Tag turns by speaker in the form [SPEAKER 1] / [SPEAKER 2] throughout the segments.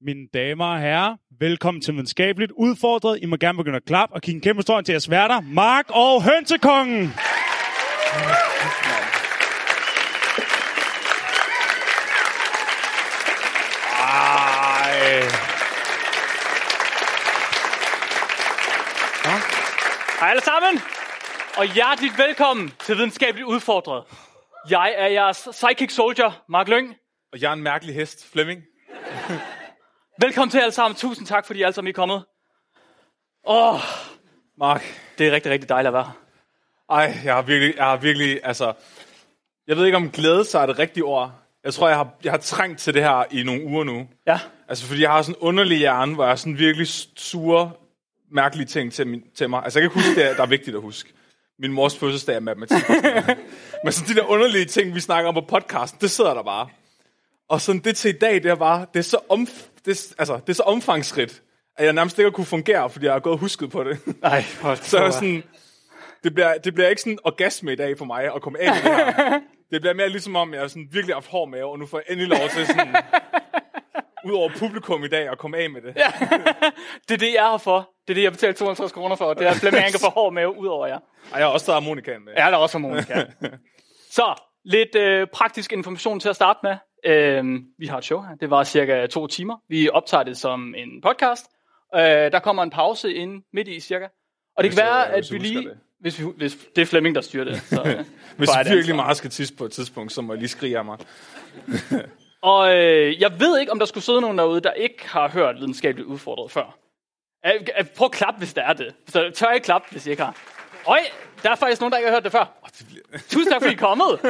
[SPEAKER 1] Mine damer og herrer, velkommen til Videnskabeligt Udfordret. I må gerne begynde at klappe og give en kæmpe stor hånd til jeres værter, Mark og Hønsekongen. Ej.
[SPEAKER 2] Hej alle sammen, og hjerteligt velkommen til Videnskabeligt Udfordret. Jeg er jeres psychic soldier, Mark Lyng.
[SPEAKER 3] Og jeg er en mærkelig hest, Flemming.
[SPEAKER 2] Velkommen til alle sammen. Tusind tak, fordi I alle sammen er kommet. Åh, oh,
[SPEAKER 3] Mark,
[SPEAKER 2] det er rigtig, rigtig dejligt at være her.
[SPEAKER 3] ej, jeg har virkelig, jeg har virkelig, altså... Jeg ved ikke, om glæde sig er det rigtige ord. Jeg tror, jeg har, jeg har trængt til det her i nogle uger nu.
[SPEAKER 2] Ja,
[SPEAKER 3] Altså, fordi jeg har sådan en underlig hjerne, hvor jeg har sådan virkelig sure, mærkelige ting til, min, til mig. Altså, jeg kan ikke huske, det, der er vigtigt at huske. Min mors fødselsdag er matematik. Men sådan de der underlige ting, vi snakker om på podcasten, det sidder der bare. Og sådan det til i dag, det er bare, det er så, omf- det, er- altså, det er så omfangsrigt, at jeg nærmest ikke har kunne fungere, fordi jeg har gået og husket på det.
[SPEAKER 2] nej, hold
[SPEAKER 3] Så er sådan, det bliver, det bliver ikke sådan en orgasme i dag for mig at komme af med det her. Det bliver mere ligesom om, jeg har sådan virkelig har haft hård mave, og nu får jeg endelig lov til sådan, ud over publikum i dag, at komme af med det. Ja.
[SPEAKER 2] Det er det, jeg er her for. Det er det, jeg betaler 250 kroner for. Det er Flemming Anker for hård mave ud over jer.
[SPEAKER 3] Og jeg har også taget harmonikaen med.
[SPEAKER 2] Ja, der er også harmonika. Så, lidt øh, praktisk information til at starte med. Øh, vi har et show her. Det var cirka to timer. Vi optager det som en podcast. Øh, der kommer en pause ind midt i cirka. Og det
[SPEAKER 3] Hvis
[SPEAKER 2] kan
[SPEAKER 3] jeg-
[SPEAKER 2] være, at
[SPEAKER 3] hvis
[SPEAKER 2] vi
[SPEAKER 3] jeg
[SPEAKER 2] lige...
[SPEAKER 3] husker det.
[SPEAKER 2] Hvis, vi, hvis det er Flemming, der styrer det. Så, øh,
[SPEAKER 3] Hvis
[SPEAKER 2] får jeg
[SPEAKER 3] jeg
[SPEAKER 2] et
[SPEAKER 3] virkelig
[SPEAKER 2] ansvar.
[SPEAKER 3] meget skal tisse på et tidspunkt, så må jeg lige skrige af mig.
[SPEAKER 2] Og øh, jeg ved ikke, om der skulle sidde nogen derude, der ikke har hørt videnskabeligt udfordret før. Øh, øh, Prøv at klappe, hvis der er det. Så tør ikke klappe, hvis I ikke har. Øj, der er faktisk nogen, der ikke har hørt det før.
[SPEAKER 3] Åh, det bliver-
[SPEAKER 2] Tusind tak, fordi I er kommet.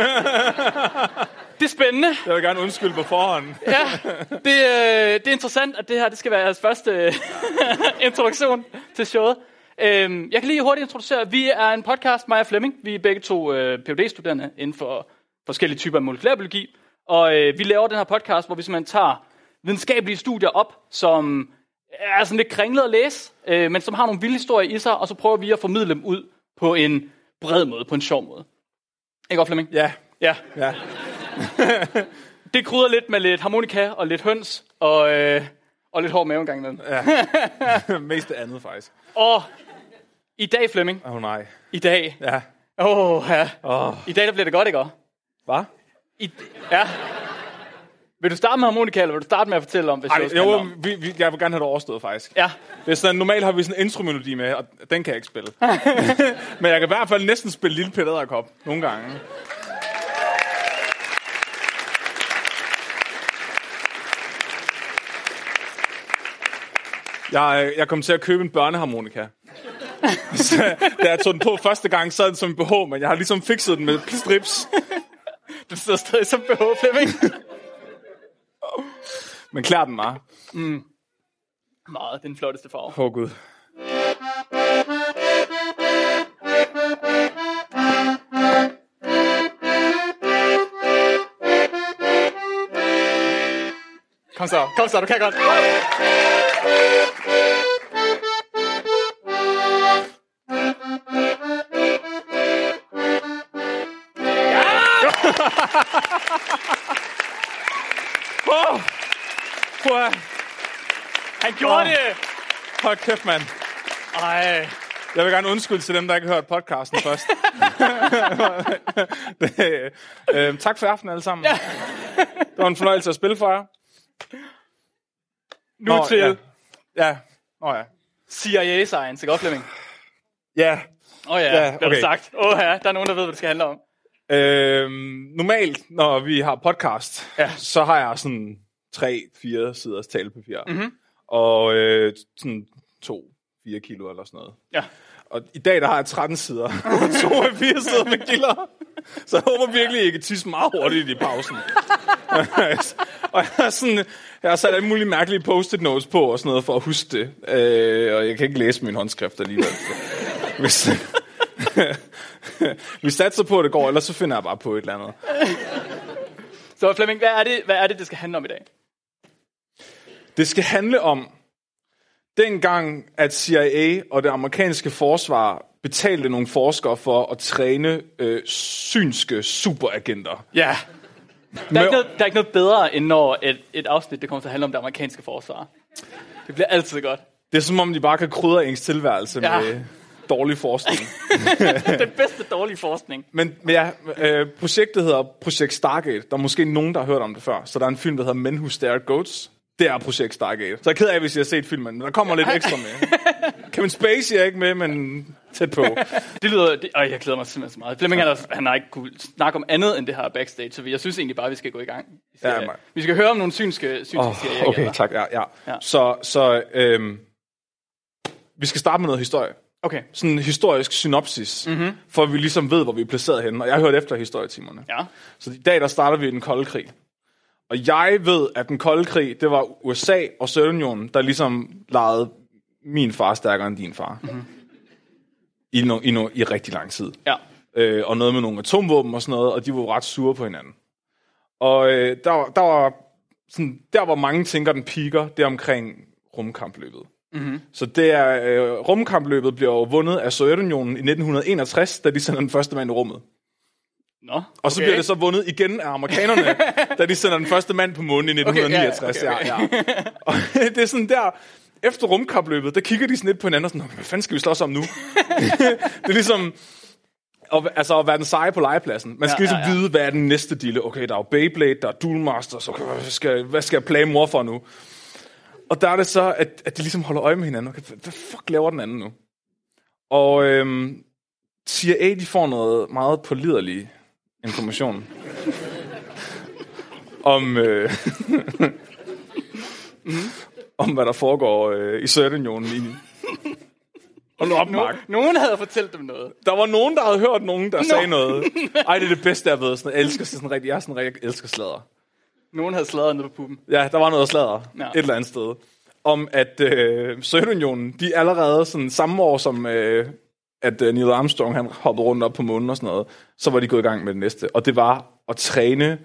[SPEAKER 2] Det er spændende.
[SPEAKER 3] Jeg vil gerne undskylde på forhånd.
[SPEAKER 2] Ja, det, øh, det er interessant, at det her det skal være jeres første øh, introduktion til showet. Øhm, jeg kan lige hurtigt introducere, vi er en podcast, mig og Flemming. Vi er begge to øh, phd studerende inden for forskellige typer af molekylærbiologi. Og øh, vi laver den her podcast, hvor vi simpelthen tager videnskabelige studier op, som er sådan lidt kringlet at læse, øh, men som har nogle vilde historier i sig, og så prøver vi at formidle dem ud på en bred måde, på en sjov måde. Ikke godt, Flemming?
[SPEAKER 3] Ja,
[SPEAKER 2] Ja.
[SPEAKER 3] ja.
[SPEAKER 2] Det krydder lidt med lidt harmonika og lidt høns og, øh, og lidt hård mave engang imellem. Ja.
[SPEAKER 3] Mest det andet, faktisk.
[SPEAKER 2] Og i dag, Flemming,
[SPEAKER 3] Åh oh, nej.
[SPEAKER 2] i dag,
[SPEAKER 3] Ja.
[SPEAKER 2] åh oh, ja,
[SPEAKER 3] Åh, oh.
[SPEAKER 2] i dag der bliver det godt, ikke også?
[SPEAKER 3] hvad?
[SPEAKER 2] I, ja. Vil du starte med harmonika, eller vil du starte med at fortælle om, hvad
[SPEAKER 3] Ej,
[SPEAKER 2] showet handler
[SPEAKER 3] jo,
[SPEAKER 2] om?
[SPEAKER 3] vi, vi, jeg vil gerne have det overstået, faktisk.
[SPEAKER 2] Ja,
[SPEAKER 3] Det er sådan, normalt har vi sådan en intromelodi med, og den kan jeg ikke spille. Men jeg kan i hvert fald næsten spille Lille Peter Edderkop nogle gange. Jeg, øh, jeg kom til at købe en børneharmonika. Så, da jeg tog den på første gang, sad den som en BH, men jeg har ligesom fikset den med strips.
[SPEAKER 2] du sidder stadig som BH, Flemming.
[SPEAKER 3] Men klær den var.
[SPEAKER 2] Meget, den flotteste farve.
[SPEAKER 3] Åh oh, gud.
[SPEAKER 2] Kom så, kom så, du kan godt.
[SPEAKER 3] Oh, wow.
[SPEAKER 2] Han gjorde
[SPEAKER 3] Åh.
[SPEAKER 2] det!
[SPEAKER 3] Hold kæft, mand.
[SPEAKER 2] Ej,
[SPEAKER 3] Jeg vil gerne undskylde til dem, der ikke har hørt podcasten først. det, øh, tak for i aften alle sammen. Ja. det var en fornøjelse at spille for jer.
[SPEAKER 2] nu Nå, til
[SPEAKER 3] ja.
[SPEAKER 2] ja.
[SPEAKER 3] Ja. Nå ja.
[SPEAKER 2] CIA Science, ikke også, Flemming?
[SPEAKER 3] Ja.
[SPEAKER 2] Åh oh, ja,
[SPEAKER 3] Ja,
[SPEAKER 2] ja okay. det
[SPEAKER 3] okay.
[SPEAKER 2] er sagt. Åh oh, ja, der er nogen, der ved, hvad det skal handle om.
[SPEAKER 3] Øh, normalt, når vi har podcast,
[SPEAKER 2] Ja.
[SPEAKER 3] ja. så har jeg sådan tre, fire siders talepapir. Mm-hmm. Og øh, sådan to, fire kilo eller sådan noget.
[SPEAKER 2] Ja.
[SPEAKER 3] Og i dag, der har jeg 13 sider. Og 82 sider med gilder. Så jeg håber virkelig, I kan tisse meget hurtigt i pausen. og jeg har, sådan, jeg har sat alle mulige mærkelige post-it notes på og sådan noget for at huske det. Øh, og jeg kan ikke læse min håndskrift alligevel. Hvis, vi satser på, at det går, ellers så finder jeg bare på et eller andet.
[SPEAKER 2] Så Flemming, hvad er det, hvad er det, det skal handle om i dag?
[SPEAKER 3] Det skal handle om, dengang at CIA og det amerikanske forsvar betalte nogle forskere for at træne øh, synske superagenter.
[SPEAKER 2] Ja. Der er, ikke noget, der er ikke noget bedre, end når et, et afsnit det kommer til at handle om det amerikanske forsvar. Det bliver altid godt.
[SPEAKER 3] Det er som om, de bare kan krydre ens tilværelse
[SPEAKER 2] Ja.
[SPEAKER 3] ja. med dårlig forskning.
[SPEAKER 2] Den bedste dårlige forskning.
[SPEAKER 3] Men, men ja, øh, projektet hedder Projekt Stargate. Der er måske nogen, der har hørt om det før. Så der er en film, der hedder Men Who Stare at Goats. Det er Projekt Stargate. Så jeg er ked af, hvis I har set filmen, men der kommer lidt ekstra med. Kevin Spacey er ikke med, men tæt på.
[SPEAKER 2] Det lyder... Det, øj, jeg glæder mig simpelthen så meget. Flemming han, har- han har ikke kunnet snakke om andet end det her backstage, så vi- jeg synes egentlig bare, vi skal gå i gang. Vi skal,
[SPEAKER 3] Ja, man.
[SPEAKER 2] vi skal høre om nogle synske, synske oh, serier.
[SPEAKER 3] okay,
[SPEAKER 2] gælder.
[SPEAKER 3] tak. Ja, ja.
[SPEAKER 2] Ja.
[SPEAKER 3] Ja. Så, så øhm, vi skal starte med noget historie.
[SPEAKER 2] Okay,
[SPEAKER 3] Sådan en historisk synopsis, mm-hmm. for at vi ligesom ved, hvor vi er placeret henne. Og jeg har hørt efter historietimerne.
[SPEAKER 2] ja.
[SPEAKER 3] Så i dag, der starter vi den kolde krig. Og jeg ved, at den kolde krig, det var USA og Sovjetunionen, der ligesom lejede min far stærkere end din far. Mm-hmm. I, no, i, no, I rigtig lang tid.
[SPEAKER 2] ja.
[SPEAKER 3] Øh, og noget med nogle atomvåben og sådan noget, og de var jo ret sure på hinanden. Og øh, der, var- der var sådan, der, hvor mange tænker, den piker, det er omkring rumkampløbet. Mm-hmm. Så det er, øh, rumkampløbet bliver jo vundet af Sovjetunionen i 1961, da de sender den første mand i rummet.
[SPEAKER 2] Nå, okay.
[SPEAKER 3] Og så bliver det så vundet igen af amerikanerne, da de sender den første mand på månen i
[SPEAKER 2] Okay, ja, ja,
[SPEAKER 3] 1969. Okay, ja, ja, okay. ja. Og det er sådan der, efter rumkapløbet, der kigger de sådan lidt på hinanden og sådan, "Nå, hvad fanden skal vi slås om nu? det er ligesom, at, altså at være den seje på legepladsen. Man skal
[SPEAKER 2] Ja,
[SPEAKER 3] ja, ligesom
[SPEAKER 2] ja,
[SPEAKER 3] ja,
[SPEAKER 2] ja.
[SPEAKER 3] ja. vide, hvad er den næste dille. Okay, der er jo Beyblade, der er Duel Masters, okay, hvad skal, hvad skal jeg plage mor for nu? Og der er det så, at, at de ligesom holder øje med hinanden. Okay, hvad- hvad fuck laver den anden nu? Og øhm, CIA, de får noget meget pålidelig information. om, øh, om hvad der foregår øh, i Sovjetunionen lige nu. Hold nu op, Mark.
[SPEAKER 2] Nogen havde fortalt dem noget.
[SPEAKER 3] Der var nogen, der havde hørt nogen, der sagde noget. Ej, det er det bedste, jeg ved. Sådan, jeg, elsker, sådan, rigtig, jeg er sådan rigtig, jeg elsker sladder.
[SPEAKER 2] Nogen havde sladret ned på puben.
[SPEAKER 3] Ja, der var noget sladder
[SPEAKER 2] Ja.
[SPEAKER 3] ja. et eller andet sted. Om at øh, Sovjetunionen, de allerede sådan, samme år som... Øh, at øh, Neil Armstrong han hoppede rundt op på månen og sådan noget, så var de gået i gang med det næste. Og det var at træne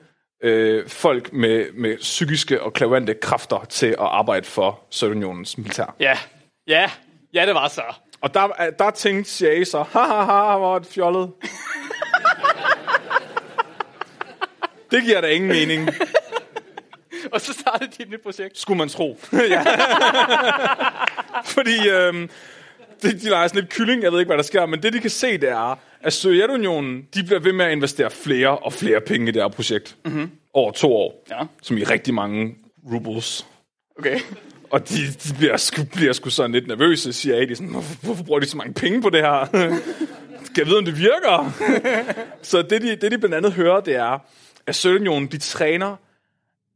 [SPEAKER 3] øh, folk med, med psykiske og klavante kræfter til at arbejde for Sovjetunionens militær.
[SPEAKER 2] Ja, ja, ja, det var så.
[SPEAKER 3] Og der, øh, der tænkte CIA så, ha ha ha, hvor er det fjollet. det giver da ingen mening,
[SPEAKER 2] Og så startede de et nyt projekt.
[SPEAKER 3] skulle man tro. Ja. Fordi øhm, de, de leger sådan lidt kylling, jeg ved ikke, hvad der sker, men det de kan se, det er, at Sovjetunionen, de bliver ved med at investere flere og flere penge i det her projekt. Mm-hmm. Over to år.
[SPEAKER 2] Ja.
[SPEAKER 3] Som i rigtig mange rubles.
[SPEAKER 2] Okay.
[SPEAKER 3] Og de, de bliver, sku, bliver sgu sådan lidt nervøse, siger jeg. De er sådan, hvorfor, hvorfor bruger de så mange penge på det her? Skal jeg vide, om det virker? så det de, det, de blandt andet hører, det er, at Sovjetunionen, de træner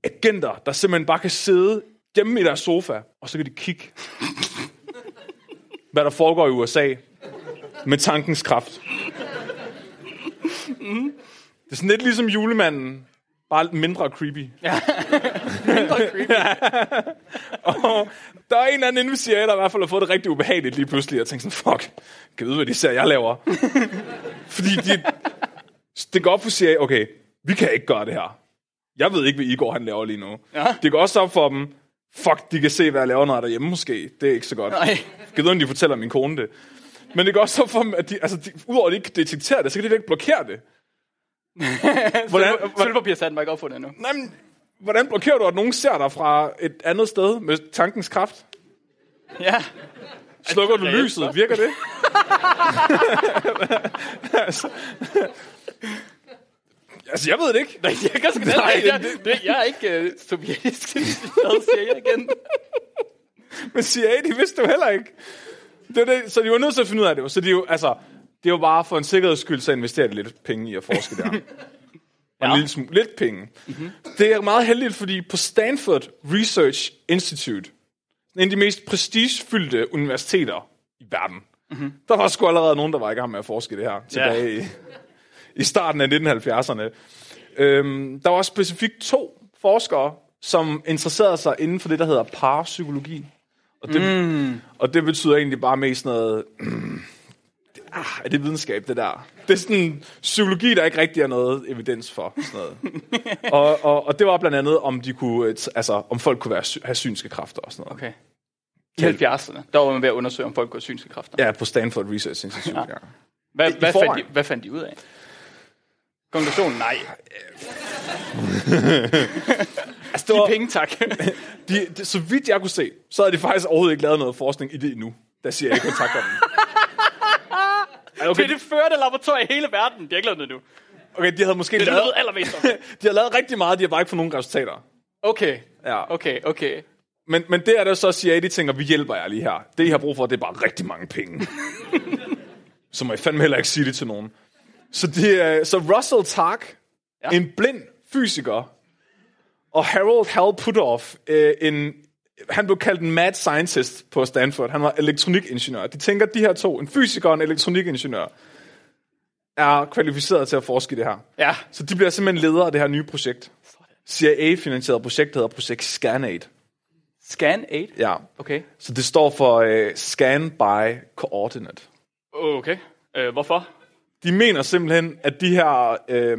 [SPEAKER 3] agenter, der simpelthen bare kan sidde hjemme i deres sofa, og så kan de kigge, hvad der foregår i USA med tankens kraft. Det er sådan lidt ligesom julemanden, bare mindre creepy.
[SPEAKER 2] Mindre creepy.
[SPEAKER 3] Og der er en eller anden inde ved CIA, der i hvert fald har fået det rigtig ubehageligt lige pludselig, og tænkte sådan, fuck, kan vide, hvad de ser, jeg laver. Fordi de, det går op for CIA, okay, vi kan ikke gøre det her. Jeg ved ikke, hvad Igor han laver lige nu.
[SPEAKER 2] Ja.
[SPEAKER 3] Det går også op for dem, fuck, de kan se, hvad jeg laver, når jeg er derhjemme måske. Det er ikke så godt.
[SPEAKER 2] Nej.
[SPEAKER 3] Kan vide, om de fortæller min kone det. Men det går også op for dem, at de, altså, de, udover at de ikke kan detektere det, så kan de ikke blokere det. hvordan, hvordan,
[SPEAKER 2] Sølvpapir satte mig ikke op for det endnu.
[SPEAKER 3] nej, men, hvordan blokerer du, at nogen ser dig fra et andet sted med tankens kraft?
[SPEAKER 2] Ja.
[SPEAKER 3] Slukker du
[SPEAKER 2] reelt
[SPEAKER 3] lyset? Virker det? altså, altså, jeg ved det ikke.
[SPEAKER 2] Nej, jeg kan sgu da-
[SPEAKER 3] Nej,
[SPEAKER 2] jeg,
[SPEAKER 3] det-
[SPEAKER 2] det, jeg er ikke øh, sovjetisk, hvad siger jeg igen?
[SPEAKER 3] Men CIA, de vidste jo heller ikke. Det var det, så de var nødt til at finde ud af det. jo. Så de jo, altså, det er jo bare for en sikkerheds skyld, så investerer de lidt penge i at forske der. Og
[SPEAKER 2] Ja.
[SPEAKER 3] en lille smule, lidt penge. Mm-hmm. Det er meget heldigt, fordi på Stanford Research Institute, en af de mest prestigefyldte universiteter i verden, mm-hmm. der var sgu allerede nogen, der var i gang med at forske i det her tilbage i, i starten af 1970'erne. Øhm, der var også specifikt to forskere, som interesserede sig inden for det, der hedder parapsykologi. Og det, mm. og det betyder egentlig bare mest noget... Ah, er det videnskab, det der? Det er sådan psykologi, der ikke rigtig er noget evidens for. Sådan noget. og, og, og det var blandt andet, om, de kunne, øh, t- altså, om folk kunne være, sy- have synske kræfter og sådan noget.
[SPEAKER 2] Okay. I 70'erne, der var man ved at undersøge, om folk kunne have synske kræfter.
[SPEAKER 3] Ja, på Stanford Research Institute. ja.
[SPEAKER 2] Hvad,
[SPEAKER 3] I
[SPEAKER 2] hvad, fandt
[SPEAKER 3] forvejen.
[SPEAKER 2] de, hvad fandt de ud af? Konklusionen? Nej.
[SPEAKER 3] altså, det
[SPEAKER 2] De
[SPEAKER 3] var,
[SPEAKER 2] penge, tak.
[SPEAKER 3] de, de, så vidt jeg kunne se, så havde de faktisk overhovedet ikke lavet noget forskning i det endnu. Der siger jeg ikke kontakt om det. Ej,
[SPEAKER 2] det
[SPEAKER 3] Okay,
[SPEAKER 2] er det førte laboratorium i hele verden. De har ikke lavet noget nu. Det
[SPEAKER 3] okay, de havde måske
[SPEAKER 2] er det,
[SPEAKER 3] lavet,
[SPEAKER 2] du ved allermest om.
[SPEAKER 3] de havde lavet rigtig meget, de har bare ikke fået nogen resultater.
[SPEAKER 2] Okay,
[SPEAKER 3] Ja.
[SPEAKER 2] okay, okay.
[SPEAKER 3] Men, men det er der så CIA, de tænker, vi hjælper jer lige her. Det, I har brug for, det er bare rigtig mange penge. så må I fandme heller ikke sige det til nogen. Så, det er, så Russell Tark, ja. en blind fysiker, og Harold Hal Putoff, øh, en, han blev kaldt en mad scientist på Stanford. Han var elektronikingeniør. De tænker, at de her to, en fysiker og en elektronikingeniør, er kvalificeret til at forske i det her.
[SPEAKER 2] Ja.
[SPEAKER 3] Så de bliver simpelthen ledere af det her nye projekt. CIA-finansieret projekt der hedder Projekt ScanAid.
[SPEAKER 2] Scan 8?
[SPEAKER 3] Ja.
[SPEAKER 2] Okay.
[SPEAKER 3] Så det står for øh, Scan by Coordinate.
[SPEAKER 2] Okay. Øh, hvorfor?
[SPEAKER 3] De mener simpelthen, at de her... Øh,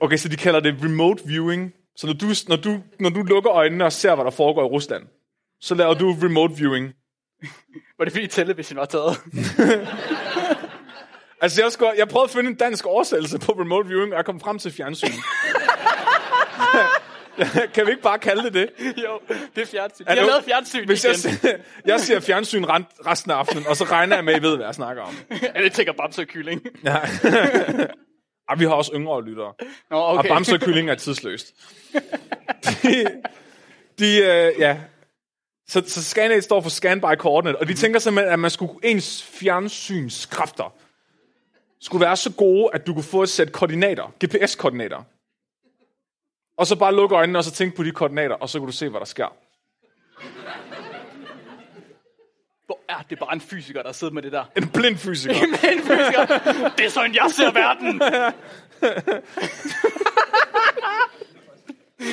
[SPEAKER 3] okay, så de kalder det remote viewing. Så når du, når, du, når du lukker øjnene og ser, hvad der foregår i Rusland, så laver du remote viewing.
[SPEAKER 2] Var det fordi television var taget?
[SPEAKER 3] Altså, jeg, skulle, jeg prøvede at finde en dansk oversættelse på remote viewing, og jeg kom frem til fjernsyn. kan vi ikke bare kalde det det?
[SPEAKER 2] jo, det er fjernsyn.
[SPEAKER 3] Er
[SPEAKER 2] Jeg har
[SPEAKER 3] du-
[SPEAKER 2] lavet fjernsyn
[SPEAKER 3] Hvis jeg,
[SPEAKER 2] igen.
[SPEAKER 3] siger, jeg siger fjernsyn rent- resten af aftenen, og så regner jeg med, at I ved, hvad jeg snakker om.
[SPEAKER 2] Alle tænker Bamse og Kylling.
[SPEAKER 3] Ja. Ej, vi har også yngre lyttere.
[SPEAKER 2] Nå,
[SPEAKER 3] Okay.
[SPEAKER 2] okay.
[SPEAKER 3] Og Bamse og Kylling er tidsløst. de, de øh, ja. Så, så ScanAid står for Scan by Coordinate, og de tænker simpelthen, at man skulle, ens fjernsynskræfter skulle være så gode, at du kunne få et sæt koordinater, GPS-koordinater. Og så bare lukke øjnene og så tænke på de koordinater, og så kan du se, hvad der sker.
[SPEAKER 2] Hvor er det bare en fysiker, der sidder med det der?
[SPEAKER 3] En blind fysiker.
[SPEAKER 2] en fysiker. Det er sådan, jeg ser verden.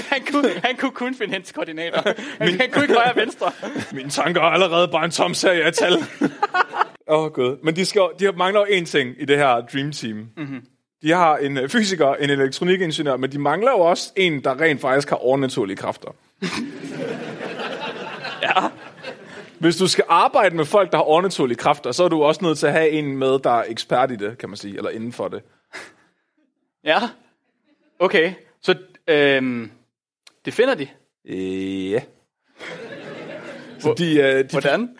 [SPEAKER 2] han, kunne, han kunne kun finde hendes koordinater. Han, han kunne ikke højre og venstre.
[SPEAKER 3] Mine tanker er allerede bare en tom serie af tal. Åh, oh, gud. Men de, skal, jo- de har- mangler jo én ting i det her Dream Team. Mm-hmm. De har en øh, fysiker, en elektronikingeniør, men de mangler jo også en, der rent faktisk har overnaturlige kræfter. ja. Hvis du skal arbejde med folk, der har overnaturlige kræfter, så er du også nødt til at have en med, der er ekspert i det, kan man sige, eller inden for det.
[SPEAKER 2] Ja. Okay. Så øhm, det finder de.
[SPEAKER 3] Øh, Ja. Så de, øh, de,
[SPEAKER 2] Hvordan?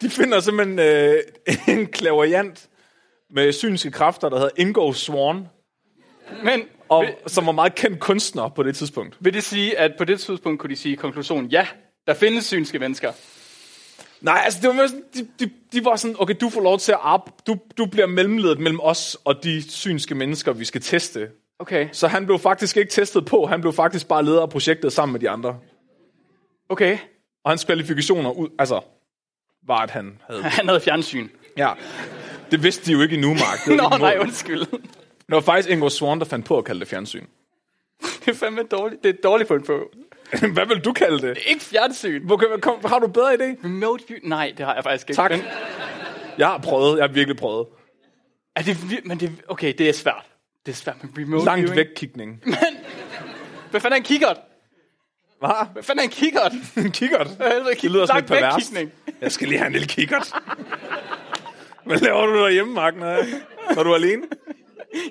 [SPEAKER 3] De finder simpelthen øh, en klaverjant med synske kræfter, der hedder Ingo Swan,
[SPEAKER 2] Men
[SPEAKER 3] og,
[SPEAKER 2] vil,
[SPEAKER 3] som var meget kendt kunstner på det tidspunkt.
[SPEAKER 2] vil det sige, at på det tidspunkt kunne de sige i konklusionen, ja, der findes synske mennesker.
[SPEAKER 3] Nej, altså det var mere sådan, de, de, de var sådan, okay, du får lov til at arbejde, du, du bliver mellemledet mellem os og de synske mennesker, vi skal teste.
[SPEAKER 2] Okay.
[SPEAKER 3] Så han blev faktisk ikke testet på, han blev faktisk bare leder af projektet sammen med de andre.
[SPEAKER 2] Okay.
[SPEAKER 3] Og hans kvalifikationer ud, altså, var at han havde.
[SPEAKER 2] Han havde fjernsyn.
[SPEAKER 3] Ja. Det vidste de jo ikke endnu, Mark. Det var,
[SPEAKER 2] Nå,
[SPEAKER 3] ikke
[SPEAKER 2] nej,
[SPEAKER 3] målet.
[SPEAKER 2] undskyld.
[SPEAKER 3] det var faktisk Ingo Swan, der fandt på at kalde det fjernsyn.
[SPEAKER 2] Det er fandme dårligt. Det er et dårligt fundet på.
[SPEAKER 3] Hvad vil du kalde det?
[SPEAKER 2] Ikke fjernsyn.
[SPEAKER 3] Okay, kom, har du en bedre idé?
[SPEAKER 2] Remote view? Nej, det har jeg faktisk ikke.
[SPEAKER 3] Tak.
[SPEAKER 2] Men,
[SPEAKER 3] Jeg har prøvet, jeg har virkelig prøvet.
[SPEAKER 2] er det, vir- men det, okay, det er svært. Det er svært med remote
[SPEAKER 3] Langt
[SPEAKER 2] viewing.
[SPEAKER 3] væk kigning.
[SPEAKER 2] Hvad fanden er en kikkert?
[SPEAKER 3] Hvad?
[SPEAKER 2] Hvad fanden er en kikkert?
[SPEAKER 3] En kikkert?
[SPEAKER 2] helvede, kig-
[SPEAKER 3] Det lyder sådan
[SPEAKER 2] langt
[SPEAKER 3] lidt
[SPEAKER 2] væk
[SPEAKER 3] perverst.
[SPEAKER 2] kigning.
[SPEAKER 3] Jeg skal lige have en lille kikkert. Hvad laver du derhjemme, Mark, når, når du er alene?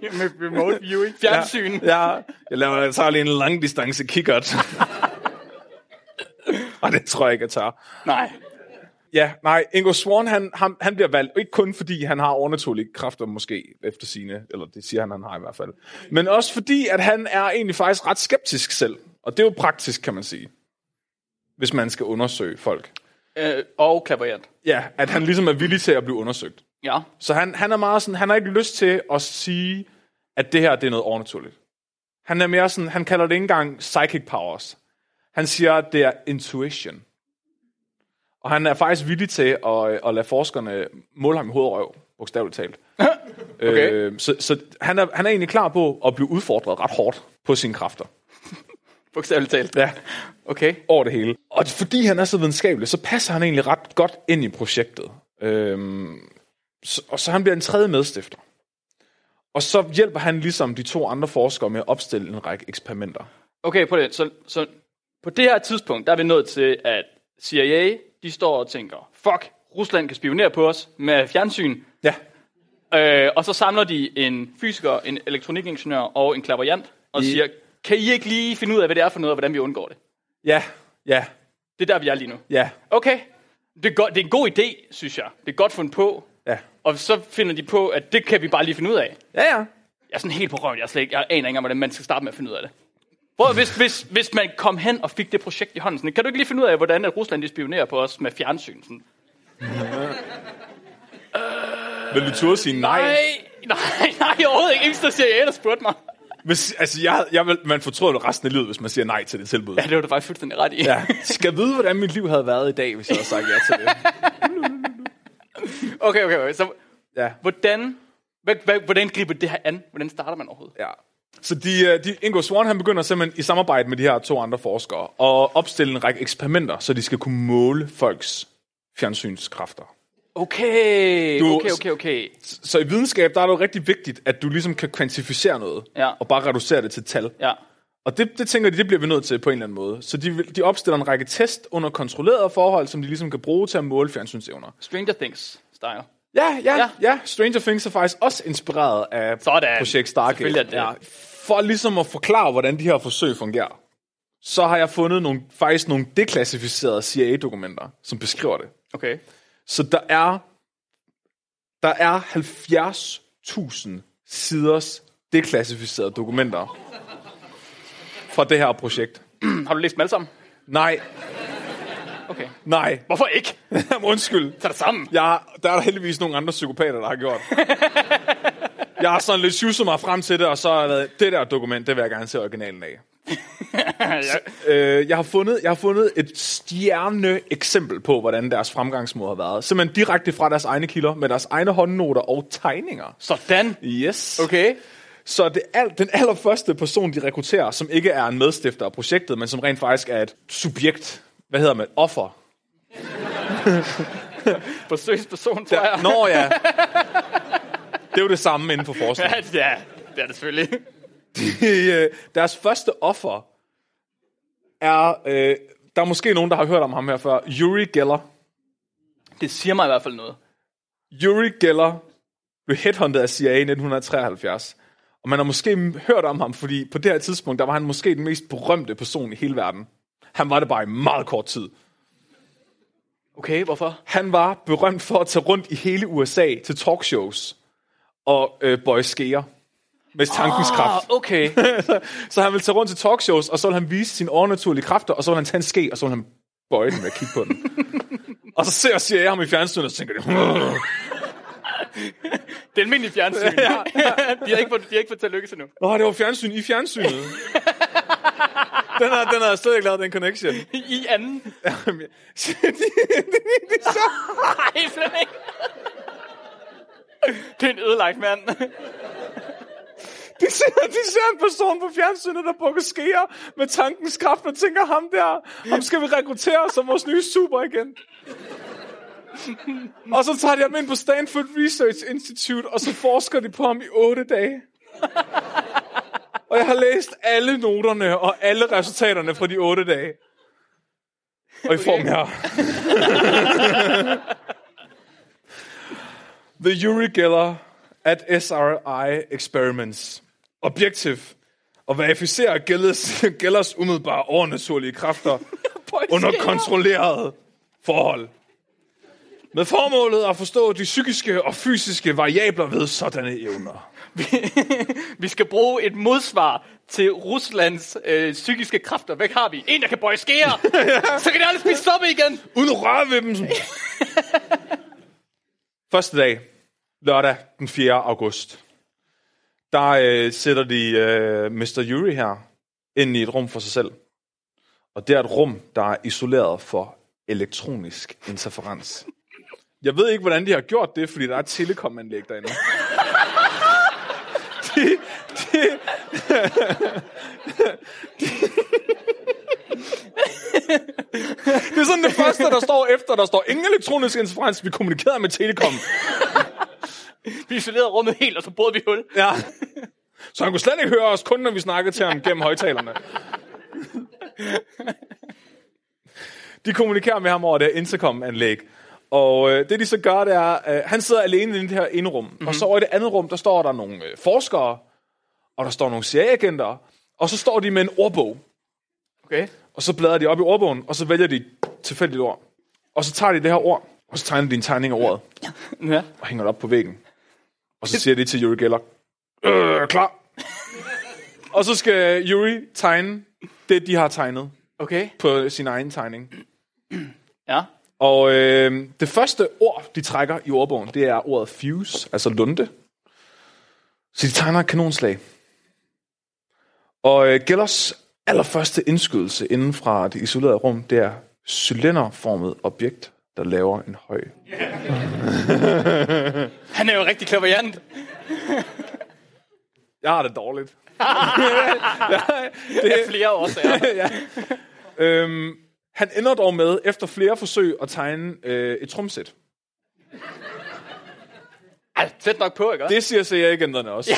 [SPEAKER 2] med remote viewing. Fjernsyn. Ja.
[SPEAKER 3] Ja, ja. Jeg, laver, jeg tager lige en langdistance kikkert. Og det tror jeg ikke, jeg tager.
[SPEAKER 2] Nej.
[SPEAKER 3] Ja, nej, Ingo Swan, han, han, han bliver valgt, ikke kun fordi han har overnaturlige kræfter måske efter sine, eller det siger han, han har i hvert fald, men også fordi, at han er egentlig faktisk ret skeptisk selv. Og det er jo praktisk, kan man sige, hvis man skal undersøge folk.
[SPEAKER 2] Øh, og klaverjant.
[SPEAKER 3] Ja, at han ligesom er villig til at blive undersøgt.
[SPEAKER 2] Ja.
[SPEAKER 3] Så han, han er meget sådan, han har ikke lyst til at sige, at det her det er noget overnaturligt. Han er mere sådan, han kalder det ikke engang psychic powers. Han siger, at det er intuition. Og han er faktisk villig til at, at lade forskerne måle ham i hovedet og røv, bogstaveligt talt.
[SPEAKER 2] Okay.
[SPEAKER 3] Øh, så så han, er, han er egentlig klar på at blive udfordret ret hårdt på sine kræfter.
[SPEAKER 2] Bogstaveligt talt.
[SPEAKER 3] Ja,
[SPEAKER 2] Okay.
[SPEAKER 3] over det hele. Og fordi han er så videnskabelig, så passer han egentlig ret godt ind i projektet. Øhm, så, og så han bliver en tredje medstifter. Og så hjælper han ligesom de to andre forskere med at opstille en række eksperimenter.
[SPEAKER 2] Okay, prøv det. Så, så på det her tidspunkt, der er vi nået til, at CIA, de står og tænker, fuck, Rusland kan spionere på os med fjernsyn.
[SPEAKER 3] Ja,
[SPEAKER 2] Øh, og så samler de en fysiker, en elektronikingeniør og en klaverjant, og
[SPEAKER 3] I-
[SPEAKER 2] siger, kan I ikke lige finde ud af, hvad det er for noget, og hvordan vi undgår det?
[SPEAKER 3] Ja, ja,
[SPEAKER 2] Det er der, vi er lige nu.
[SPEAKER 3] ja,
[SPEAKER 2] Okay, det er, godt, det er en god idé, synes jeg. Det er godt fundet på.
[SPEAKER 3] ja.
[SPEAKER 2] Og så finder de på, at det kan vi bare lige finde ud af.
[SPEAKER 3] Ja, ja.
[SPEAKER 2] Jeg er sådan helt på røven. Jeg, er slet ikke, jeg aner ikke engang, hvordan man skal starte med at finde ud af det. Prøv, at- hvis, hvis, hvis man kom hen og fik det projekt i hånden, sådan, kan du ikke lige finde ud af, hvordan at Rusland de spionerer på os med fjernsyn? Sådan,
[SPEAKER 3] Vil du turde sige nej?
[SPEAKER 2] nej, nej, nej, overhovedet ikke. Ingen, der siger, jeg der spurgte mig.
[SPEAKER 3] Hvis, altså, jeg, jeg vil, man fortryder jo resten af livet, hvis man siger nej til det tilbud.
[SPEAKER 2] Ja, det var du faktisk fuldstændig ret i.
[SPEAKER 3] Ja. Skal vide, hvordan mit liv havde været i dag, hvis jeg havde sagt ja til det.
[SPEAKER 2] Okay, okay, okay. Så
[SPEAKER 3] Ja,
[SPEAKER 2] hvordan, hvad, hvad, hvordan griber det her an? Hvordan starter man overhovedet?
[SPEAKER 3] ja. Så de, øh, de, Ingo Swan han begynder simpelthen i samarbejde med de her to andre forskere at opstille en række eksperimenter, så de skal kunne måle folks fjernsynskræfter.
[SPEAKER 2] Okay,
[SPEAKER 3] Du-
[SPEAKER 2] okay, okay, okay.
[SPEAKER 3] Så- Så i videnskab, der er det jo rigtig vigtigt, at du ligesom kan kvantificere noget,
[SPEAKER 2] Ja.
[SPEAKER 3] og bare reducere det til tal.
[SPEAKER 2] Ja.
[SPEAKER 3] Og det, det tænker de, det bliver vi nødt til på en eller anden måde. Så de, vil- de opstiller en række test under kontrollerede forhold, som de ligesom kan bruge til at måle fjernsynsevner.
[SPEAKER 2] Stranger Things style.
[SPEAKER 3] Ja, ja,
[SPEAKER 2] Ja.
[SPEAKER 3] ja, ja. Stranger Things er faktisk også inspireret af
[SPEAKER 2] Sådan.
[SPEAKER 3] projekt Stargate.
[SPEAKER 2] Selvfølgelig er det det.
[SPEAKER 3] Ja, for ligesom at forklare, hvordan de her forsøg fungerer, så har jeg fundet nogle, faktisk nogle deklassificerede CIA-dokumenter, som beskriver det.
[SPEAKER 2] Okay.
[SPEAKER 3] Så der er, der er 70.000 siders deklassificerede dokumenter fra det her projekt.
[SPEAKER 2] Har du læst dem alle sammen?
[SPEAKER 3] Nej,
[SPEAKER 2] Okay.
[SPEAKER 3] nej.
[SPEAKER 2] Hvorfor ikke?
[SPEAKER 3] Undskyld.
[SPEAKER 2] Tag det sammen.
[SPEAKER 3] Jeg, der er der heldigvis nogle andre psykopater, der har gjort. jeg har sådan lidt sjusset mig frem til det, og så har jeg været, det der dokument, det vil jeg gerne se originalen af.
[SPEAKER 2] ja.
[SPEAKER 3] Øh, jeg, har fundet, jeg har fundet et stjerne eksempel på, hvordan deres fremgangsmåde har været. Simpelthen direkte fra deres egne kilder, med deres egne håndnoter og tegninger.
[SPEAKER 2] Sådan.
[SPEAKER 3] Yes.
[SPEAKER 2] Okay.
[SPEAKER 3] Så det al, den allerførste person, de rekrutterer, som ikke er en medstifter af projektet, men som rent faktisk er et subjekt, hvad hedder man, offer.
[SPEAKER 2] Forsøgsperson, tror jeg.
[SPEAKER 3] Nå ja. Det er jo det samme inden for forskning.
[SPEAKER 2] Ja, ja, det er det selvfølgelig.
[SPEAKER 3] Øh, deres første offer er, øh, der er måske nogen, der har hørt om ham her før, Yuri Geller.
[SPEAKER 2] Det siger mig i hvert fald noget.
[SPEAKER 3] Yuri Geller blev headhunted af CIA i 1973. Og man har måske m- hørt om ham, fordi på det her tidspunkt, der var han måske den mest berømte person i hele verden. Han var det bare i meget kort tid.
[SPEAKER 2] Okay, hvorfor?
[SPEAKER 3] Han var berømt for at tage rundt i hele USA til talkshows og øh, boyskere med tankens oh. kraft.
[SPEAKER 2] Ah, okay.
[SPEAKER 3] Så han vil tage rundt til talkshows, og så vil han vise sine overnaturlige kræfter, og så vil han tage en ske, og så vil han bøje den ved at kigge på den. og så ser, ser jeg ham i fjernsynet, og så tænker jeg,
[SPEAKER 2] Det er almindelig fjernsyn. Ja. de har ikke fået, de har ikke fået til at lykkes endnu.
[SPEAKER 3] åh, det var fjernsyn i fjernsynet. den har, den har jeg slet ikke lavet den connection.
[SPEAKER 2] I anden. Nej, Flemming. Det er en ødelagt mand.
[SPEAKER 3] de, ser, de ser en person på fjernsynet, der bukker skeer med tankens kraft, og tænker ham der, ham skal vi rekruttere som vores nye super igen. og så tager de ham ind på Stanford Research Institute, og så forsker de på ham i otte dage. og jeg har læst alle noterne og alle resultaterne fra de otte dage. Og i form her. The Uri Geller at SRI Experiments. Objektiv. At verificere Gellers, Gellers umiddelbare overnaturlige kræfter under kontrollerede forhold. Med formålet at forstå de psykiske og fysiske variabler ved sådanne evner.
[SPEAKER 2] Vi skal bruge et modsvar til Ruslands øh, psykiske kræfter. Hvad har vi? En, der kan bøje skære. Så kan de aldrig spise suppe igen.
[SPEAKER 3] Uden at røre ved dem. Første dag, lørdag den 4. august, der øh, sætter de øh, Mr. Yuri her ind i et rum for sig selv. Og det er et rum, der er isoleret for elektronisk interferens. Jeg ved ikke, hvordan de har gjort det, fordi der er et telekomanlæg derinde. De, de, Det er sådan det første, der står efter. Der står ingen elektronisk interferens. Vi kommunikerer med Telekom.
[SPEAKER 2] Vi isolerede rummet helt, og så brød vi hul.
[SPEAKER 3] Ja. Så han kunne slet ikke høre os, kun når vi snakkede til ham gennem højtalerne. De kommunikerer med ham over det her intercom-anlæg. Og øh, det de så gør, det er, øh, han sidder alene i det her ene rum, mm-hmm. og så over i det andet rum, der står der nogle øh, forskere, og der står nogle CIA-agenter, og så står de med en ordbog,
[SPEAKER 2] Okay.
[SPEAKER 3] og så bladrer de op i ordbogen, og så vælger de et tilfældigt ord. Og så tager de det her ord, og så tegner de en tegning af ordet,
[SPEAKER 2] Ja.
[SPEAKER 3] og hænger det op på væggen. Og så siger de til Yuri Geller, øh, klar. og så skal Yuri tegne det, de har tegnet
[SPEAKER 2] Okay.
[SPEAKER 3] på sin egen tegning.
[SPEAKER 2] Ja.
[SPEAKER 3] Og øh, det første ord, de trækker i ordbogen, det er ordet fuse, altså lunde. Så de tegner et kanonslag. Og øh, Gellers allerførste indskydelse inden fra det isolerede rum, det er cylinderformet objekt, der laver en høj.
[SPEAKER 2] Han er jo rigtig klaverjant.
[SPEAKER 3] Jeg har det dårligt.
[SPEAKER 2] Af flere årsager.
[SPEAKER 3] Øhm, han ender dog med, efter flere forsøg, at tegne øh, et trumsæt.
[SPEAKER 2] Ej, tæt nok på, ikke? Det...
[SPEAKER 3] Det siger CIA-agenterne også.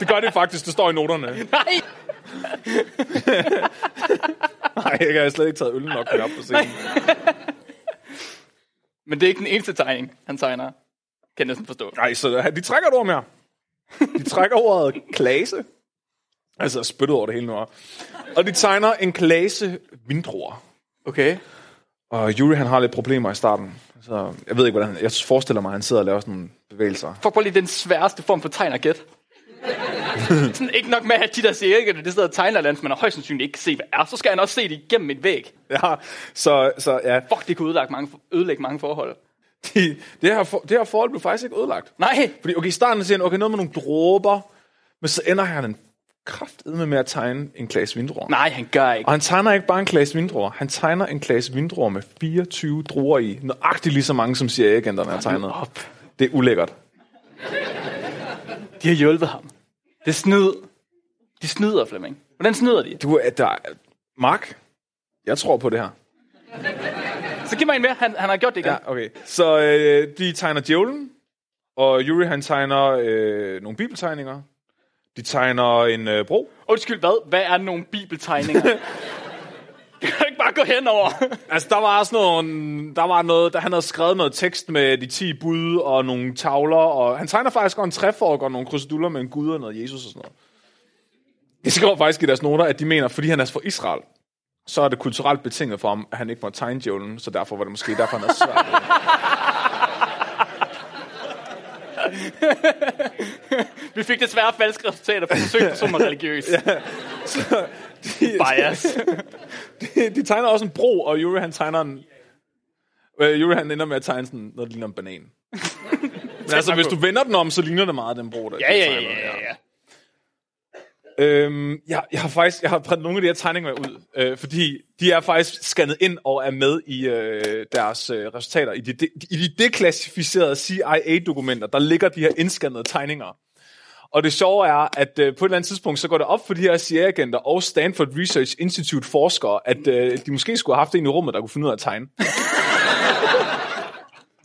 [SPEAKER 3] det gør det faktisk, det står i noterne. Nej! Nej, jeg har slet ikke taget øl nok med op på scenen.
[SPEAKER 2] Men det er ikke den eneste tegning, han tegner. Kan jeg næsten forstå.
[SPEAKER 3] Nej, så de trækker et ord mere. De trækker ordet klase. Altså, jeg er spyttet over det hele nu. Og de tegner en klase vindruer.
[SPEAKER 2] Okay.
[SPEAKER 3] Og Yuri, han har lidt problemer i starten. Så jeg ved ikke, hvordan han... Jeg forestiller mig, at han sidder og laver sådan nogle bevægelser.
[SPEAKER 2] Fuck, prøv lige den sværeste form for tegn at gætte. sådan, ikke nok med, at de der siger ikke, at det sidder og tegner land, man har højst sandsynligt ikke kan se, hvad er. Så skal han også se det igennem et væg.
[SPEAKER 3] Ja, så, så ja.
[SPEAKER 2] Fuck, det kunne ødelægge mange, ødelægge mange forhold.
[SPEAKER 3] De, det, her for, det her forhold blev faktisk ikke ødelagt.
[SPEAKER 2] Nej,
[SPEAKER 3] Fordi okay, i starten siger han, okay, noget med nogle dråber, men så ender han en kraftedme med at tegne en klasse vindruer.
[SPEAKER 2] nej, han gør ikke.
[SPEAKER 3] Og han tegner ikke bare en klasse vindruer, han tegner en klasse vindruer med 24 druer i. Nøjagtigt lige så mange, som CIA-agenterne har tegnet.
[SPEAKER 2] op.
[SPEAKER 3] Det er ulækkert.
[SPEAKER 2] De har hjulpet ham. Det er snyd. De snyder, Flemming. Hvordan snyder de?
[SPEAKER 3] Du er der... Mark, jeg tror på det her.
[SPEAKER 2] Så giv mig en mere. Han, han har gjort det igen. Ja.
[SPEAKER 3] Ja, okay. Så øh, de tegner djævlen, og Yuri han tegner øh, nogle bibeltegninger. De tegner en øh, bro.
[SPEAKER 2] Undskyld, hvad? Hvad er nogle bibeltegninger? det kan du ikke bare gå henover.
[SPEAKER 3] Altså, der var sådan nogle, der var noget, der, han havde skrevet noget tekst med de 10 bud og nogle tavler, og han tegner faktisk også en træfork og nogle kruseduller med en gud og noget Jesus og sådan noget. Det skriver faktisk i deres noter, at de mener, fordi han er fra Israel, så er det kulturelt betinget for ham, at han ikke må tegne djævlen, så derfor var det måske derfor, han er svært.
[SPEAKER 2] Vi fik desværre falske resultater for forsøg, som er religiøs. Bias.
[SPEAKER 3] de, de tegner også en bro, og Yuri han tegner en... Øh, Yuri han ender med at tegne sådan noget, der ligner en banan. Men altså, hvis du vender den om, så ligner det meget den bro, der
[SPEAKER 2] Ja,
[SPEAKER 3] de
[SPEAKER 2] ja, ja,
[SPEAKER 3] tegner,
[SPEAKER 2] ja, ja.
[SPEAKER 3] Øhm, jeg, jeg har faktisk jeg har prøvet nogle af de her tegninger ud, øh, fordi de er faktisk scannet ind og er med i øh, deres øh, resultater. I de, de, I de deklassificerede CIA-dokumenter, der ligger de her indskannede tegninger. Og det sjove er, at øh, på et eller andet tidspunkt, så går det op for de her CIA-agenter og Stanford Research Institute forskere, at øh, de måske skulle have haft en i rummet, der kunne finde ud af at tegne.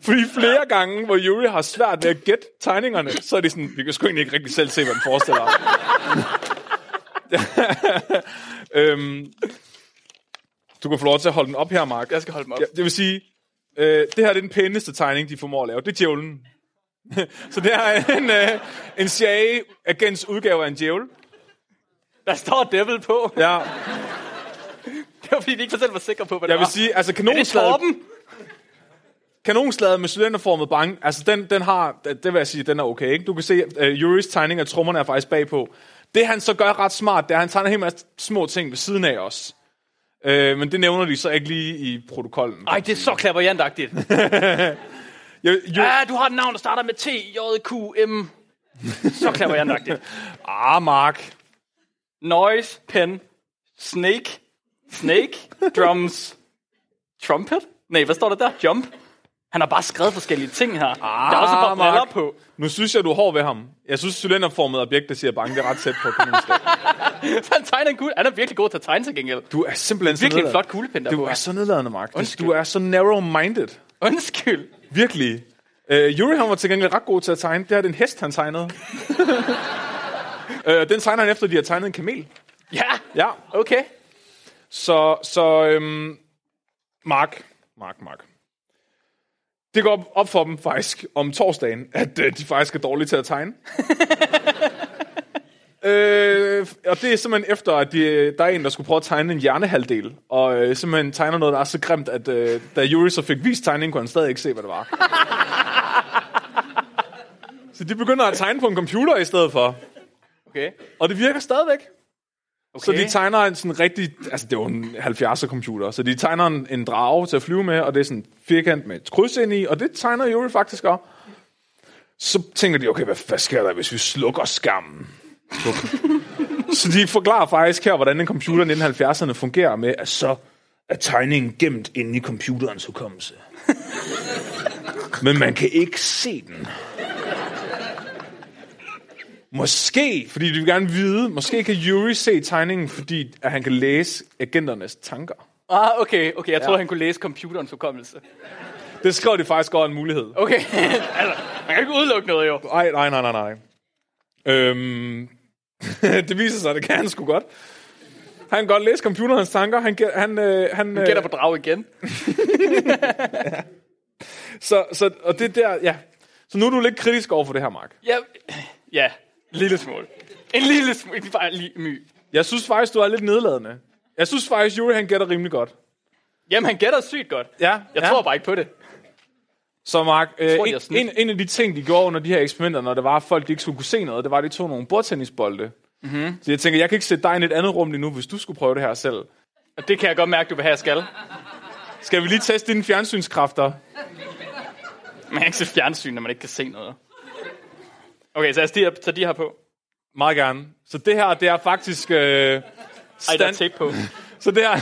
[SPEAKER 3] Fordi flere gange, hvor Yuri har svært ved at gætte tegningerne, så er det sådan, vi kan sgu egentlig ikke rigtig selv se, hvad den forestiller. Øhm, du kan få lov til at holde den op her, Mark.
[SPEAKER 2] Jeg skal holde mig op.
[SPEAKER 3] Ja, det vil sige, øh, det her det er den pæneste tegning, de formår at lave. Det er djævlen. Så det er en, øh, en CIA-agents udgave af en djævel.
[SPEAKER 2] Der står devil på.
[SPEAKER 3] Ja,
[SPEAKER 2] Det var fordi, de ikke selv var sikre på, hvad det
[SPEAKER 3] jeg vil
[SPEAKER 2] var.
[SPEAKER 3] sige, altså
[SPEAKER 2] er det
[SPEAKER 3] kanonslaget,
[SPEAKER 2] Torben?
[SPEAKER 3] kanonslaget med cylinderformet bang, altså den, den har, det vil jeg sige, den er okay. Ikke? Du kan se, at uh, Juris tegning af trommerne er faktisk bagpå. Det han så gør ret smart, det er, at han tegner en hel masse små ting ved siden af os. Øh, men det nævner de så ikke lige i protokollen.
[SPEAKER 2] Ej, det er så klaverjantagtigt.
[SPEAKER 3] Jeg, Yuri-
[SPEAKER 2] Ja, du har et navn, der starter med T, J, Q, M. Så klaverjantagtigt.
[SPEAKER 3] Ah, Mark.
[SPEAKER 2] Noise, pen, snake, snake, drums, trumpet? Nej, hvad står der der? Jump? Han har bare skrevet forskellige ting her. Ah, der er også bare briller
[SPEAKER 3] Mark.
[SPEAKER 2] på.
[SPEAKER 3] Nu synes jeg, du er hård ved ham. Jeg synes, cylinderformet objekt, der siger bange, det er ret tæt på kanonskab.
[SPEAKER 2] Så han tegner en kugle. Han er virkelig god til at tegne til gengæld.
[SPEAKER 3] Du er simpelthen så
[SPEAKER 2] Virkelig en
[SPEAKER 3] nedladende.
[SPEAKER 2] flot kuglepen der
[SPEAKER 3] Du
[SPEAKER 2] på.
[SPEAKER 3] er så nedladende, Mark.
[SPEAKER 2] Undskyld.
[SPEAKER 3] Du er så narrow-minded.
[SPEAKER 2] Undskyld.
[SPEAKER 3] Virkelig. Øh, Yuri, han var til gengæld ret god til at tegne. Det her det er en hest, han tegnede. øh, den tegner han efter, de har tegnet en kamel.
[SPEAKER 2] Ja,
[SPEAKER 3] Ja,
[SPEAKER 2] okay.
[SPEAKER 3] så, så øhm, Mark, Mark, Mark. Det går op- op for dem faktisk om torsdagen, at øh, de faktisk er dårlige til at tegne. øh, og det er simpelthen efter, at de, øh, der er en, der skulle prøve at tegne en hjernehalvdel, og øh, simpelthen tegner noget, der er så grimt, at øh, da Yuri så fik vist tegningen, kunne han stadig ikke se, hvad det var. så de begynder at tegne på en computer i stedet for,
[SPEAKER 2] Okay.
[SPEAKER 3] og det virker stadigvæk.
[SPEAKER 2] okay.
[SPEAKER 3] Så de tegner en sådan rigtig... Altså, det var en 70'er computer. Så de tegner en, en drage til at flyve med, og det er sådan en firkant med et kryds ind i, og det tegner Yuri faktisk også. Så tænker de, okay, hvad, hvad sker der, hvis vi slukker skammen? Sluk. så de forklarer faktisk her, hvordan en computer i 1970'erne fungerer med, at så er tegningen gemt inde i computerens hukommelse. Men man kan ikke se den. Måske, fordi de vil gerne vide, måske kan Yuri se tegningen, fordi at han kan læse agenternes tanker.
[SPEAKER 2] Ah, okay, okay. Jeg troede, han kunne læse computerens hukommelse.
[SPEAKER 3] Det skrev de faktisk over en mulighed.
[SPEAKER 2] Okay. altså, man kan ikke udelukke noget, jo.
[SPEAKER 3] Nej, nej, nej, nej, nej. Øhm, det viser sig, at det kan han sgu godt. Han kan godt læse computerens tanker. Han, gæ- han, øh, han, øh,
[SPEAKER 2] Gætter på drag igen.
[SPEAKER 3] så, så, og det der, ja. Så nu er du lidt kritisk over for det her, Mark.
[SPEAKER 2] Ja, ja. Lille smule. En lille smule. Ikke bare lige my.
[SPEAKER 3] Jeg synes faktisk, du er lidt nedladende. Jeg synes faktisk, Yuri han gætter rimelig godt.
[SPEAKER 2] Jamen, han gætter sygt godt.
[SPEAKER 3] Ja,
[SPEAKER 2] Jeg
[SPEAKER 3] ja.
[SPEAKER 2] tror bare ikke på det.
[SPEAKER 3] Så Mark, øh,
[SPEAKER 2] tror, de har
[SPEAKER 3] en,
[SPEAKER 2] snydt.
[SPEAKER 3] en, en af de ting, de gjorde under de her eksperimenter, når det var, at folk de ikke skulle kunne se noget, det var, at de tog nogle bordtennisbolde.
[SPEAKER 2] Mhm.
[SPEAKER 3] Mm-hmm. Så jeg tænker, jeg kan ikke sætte dig ind i et andet rum lige nu, hvis du skulle prøve det her selv.
[SPEAKER 2] Og det kan jeg godt mærke, du vil have, jeg skal.
[SPEAKER 3] Skal vi lige teste dine fjernsynskræfter?
[SPEAKER 2] Man kan ikke se fjernsyn, når man ikke kan se noget. Okay, så jeg stiger, tager de her på.
[SPEAKER 3] Meget gerne. Så det her, det er faktisk... Øh,
[SPEAKER 2] Ej, der er
[SPEAKER 3] stand-
[SPEAKER 2] tape på.
[SPEAKER 3] Så det her...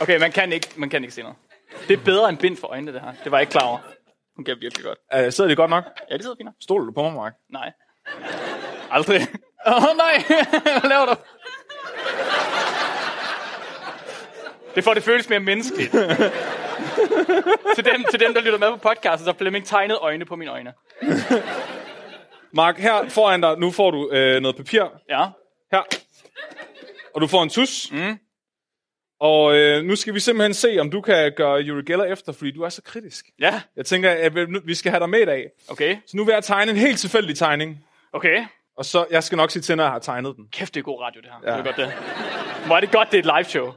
[SPEAKER 2] Okay, man kan ikke, man kan ikke se noget. Det er bedre end bind for øjnene, det her. Det var jeg ikke klar over. Hun gætter virkelig godt.
[SPEAKER 3] Øh, sidder det godt nok?
[SPEAKER 2] Ja, det sidder fint. nok.
[SPEAKER 3] Stoler du på mig, Mark?
[SPEAKER 2] Nej. Aldrig. Åh oh, nej, hvad laver du? Det får det føles mere menneskeligt. til, dem, til dem, der lytter med på podcasten, så har Flemming tegnet øjne på mine øjne.
[SPEAKER 3] Mark, her foran dig, nu får du øh, noget papir.
[SPEAKER 2] Ja.
[SPEAKER 3] Her. Og du får en tus.
[SPEAKER 2] Mhm.
[SPEAKER 3] Mm. Og øh, nu skal vi simpelthen se, om du kan gøre Yuri Geller efter, fordi du er så kritisk.
[SPEAKER 2] Ja,
[SPEAKER 3] Jeg tænker, at vi- vi skal have dig med i dag.
[SPEAKER 2] okay.
[SPEAKER 3] Så nu vil jeg tegne en helt tilfældig tegning.
[SPEAKER 2] Okay.
[SPEAKER 3] Og så, jeg skal nok sige til, når jeg har tegnet den.
[SPEAKER 2] Kæft, det er god radio, det her. Ja. Det er godt, det. Hvor er det godt, det er et live show.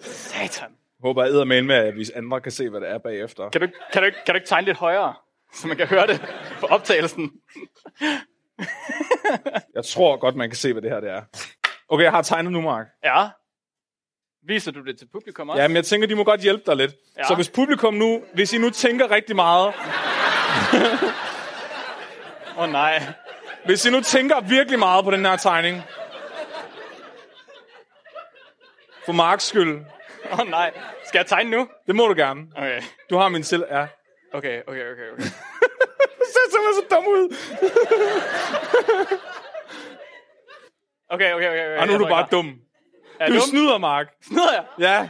[SPEAKER 2] Satan.
[SPEAKER 3] Håber jeg æder med, at vi andre kan se, hvad det er bagefter.
[SPEAKER 2] Kan du, ikke- kan, du, ikke- kan du ikke tegne lidt højere, så man kan høre det på optagelsen?
[SPEAKER 3] Jeg tror godt, man kan se, hvad det her det er. Okay, jeg har tegnet nu, Mark.
[SPEAKER 2] Ja. Viser du det til publikum også?
[SPEAKER 3] Ja, men jeg tænker, de må godt hjælpe dig lidt.
[SPEAKER 2] Ja.
[SPEAKER 3] Ja. Så hvis publikum nu, hvis I nu tænker rigtig meget,
[SPEAKER 2] Åh oh, nej.
[SPEAKER 3] hvis I nu tænker virkelig meget på den her tegning, for Marks skyld,
[SPEAKER 2] Åh oh, nej. Skal jeg tegne nu?
[SPEAKER 3] det må du gerne.
[SPEAKER 2] Okay.
[SPEAKER 3] Du har min selv, ja.
[SPEAKER 2] Okay, okay, okay. okay.
[SPEAKER 3] Du ser simpelthen så dum ud.
[SPEAKER 2] Okay, okay, okay. okay.
[SPEAKER 3] Og Ah, nu er du bare dum.
[SPEAKER 2] Er
[SPEAKER 3] Du
[SPEAKER 2] du snyder?
[SPEAKER 3] snyder, Mark.
[SPEAKER 2] Snyder jeg?
[SPEAKER 3] Ja.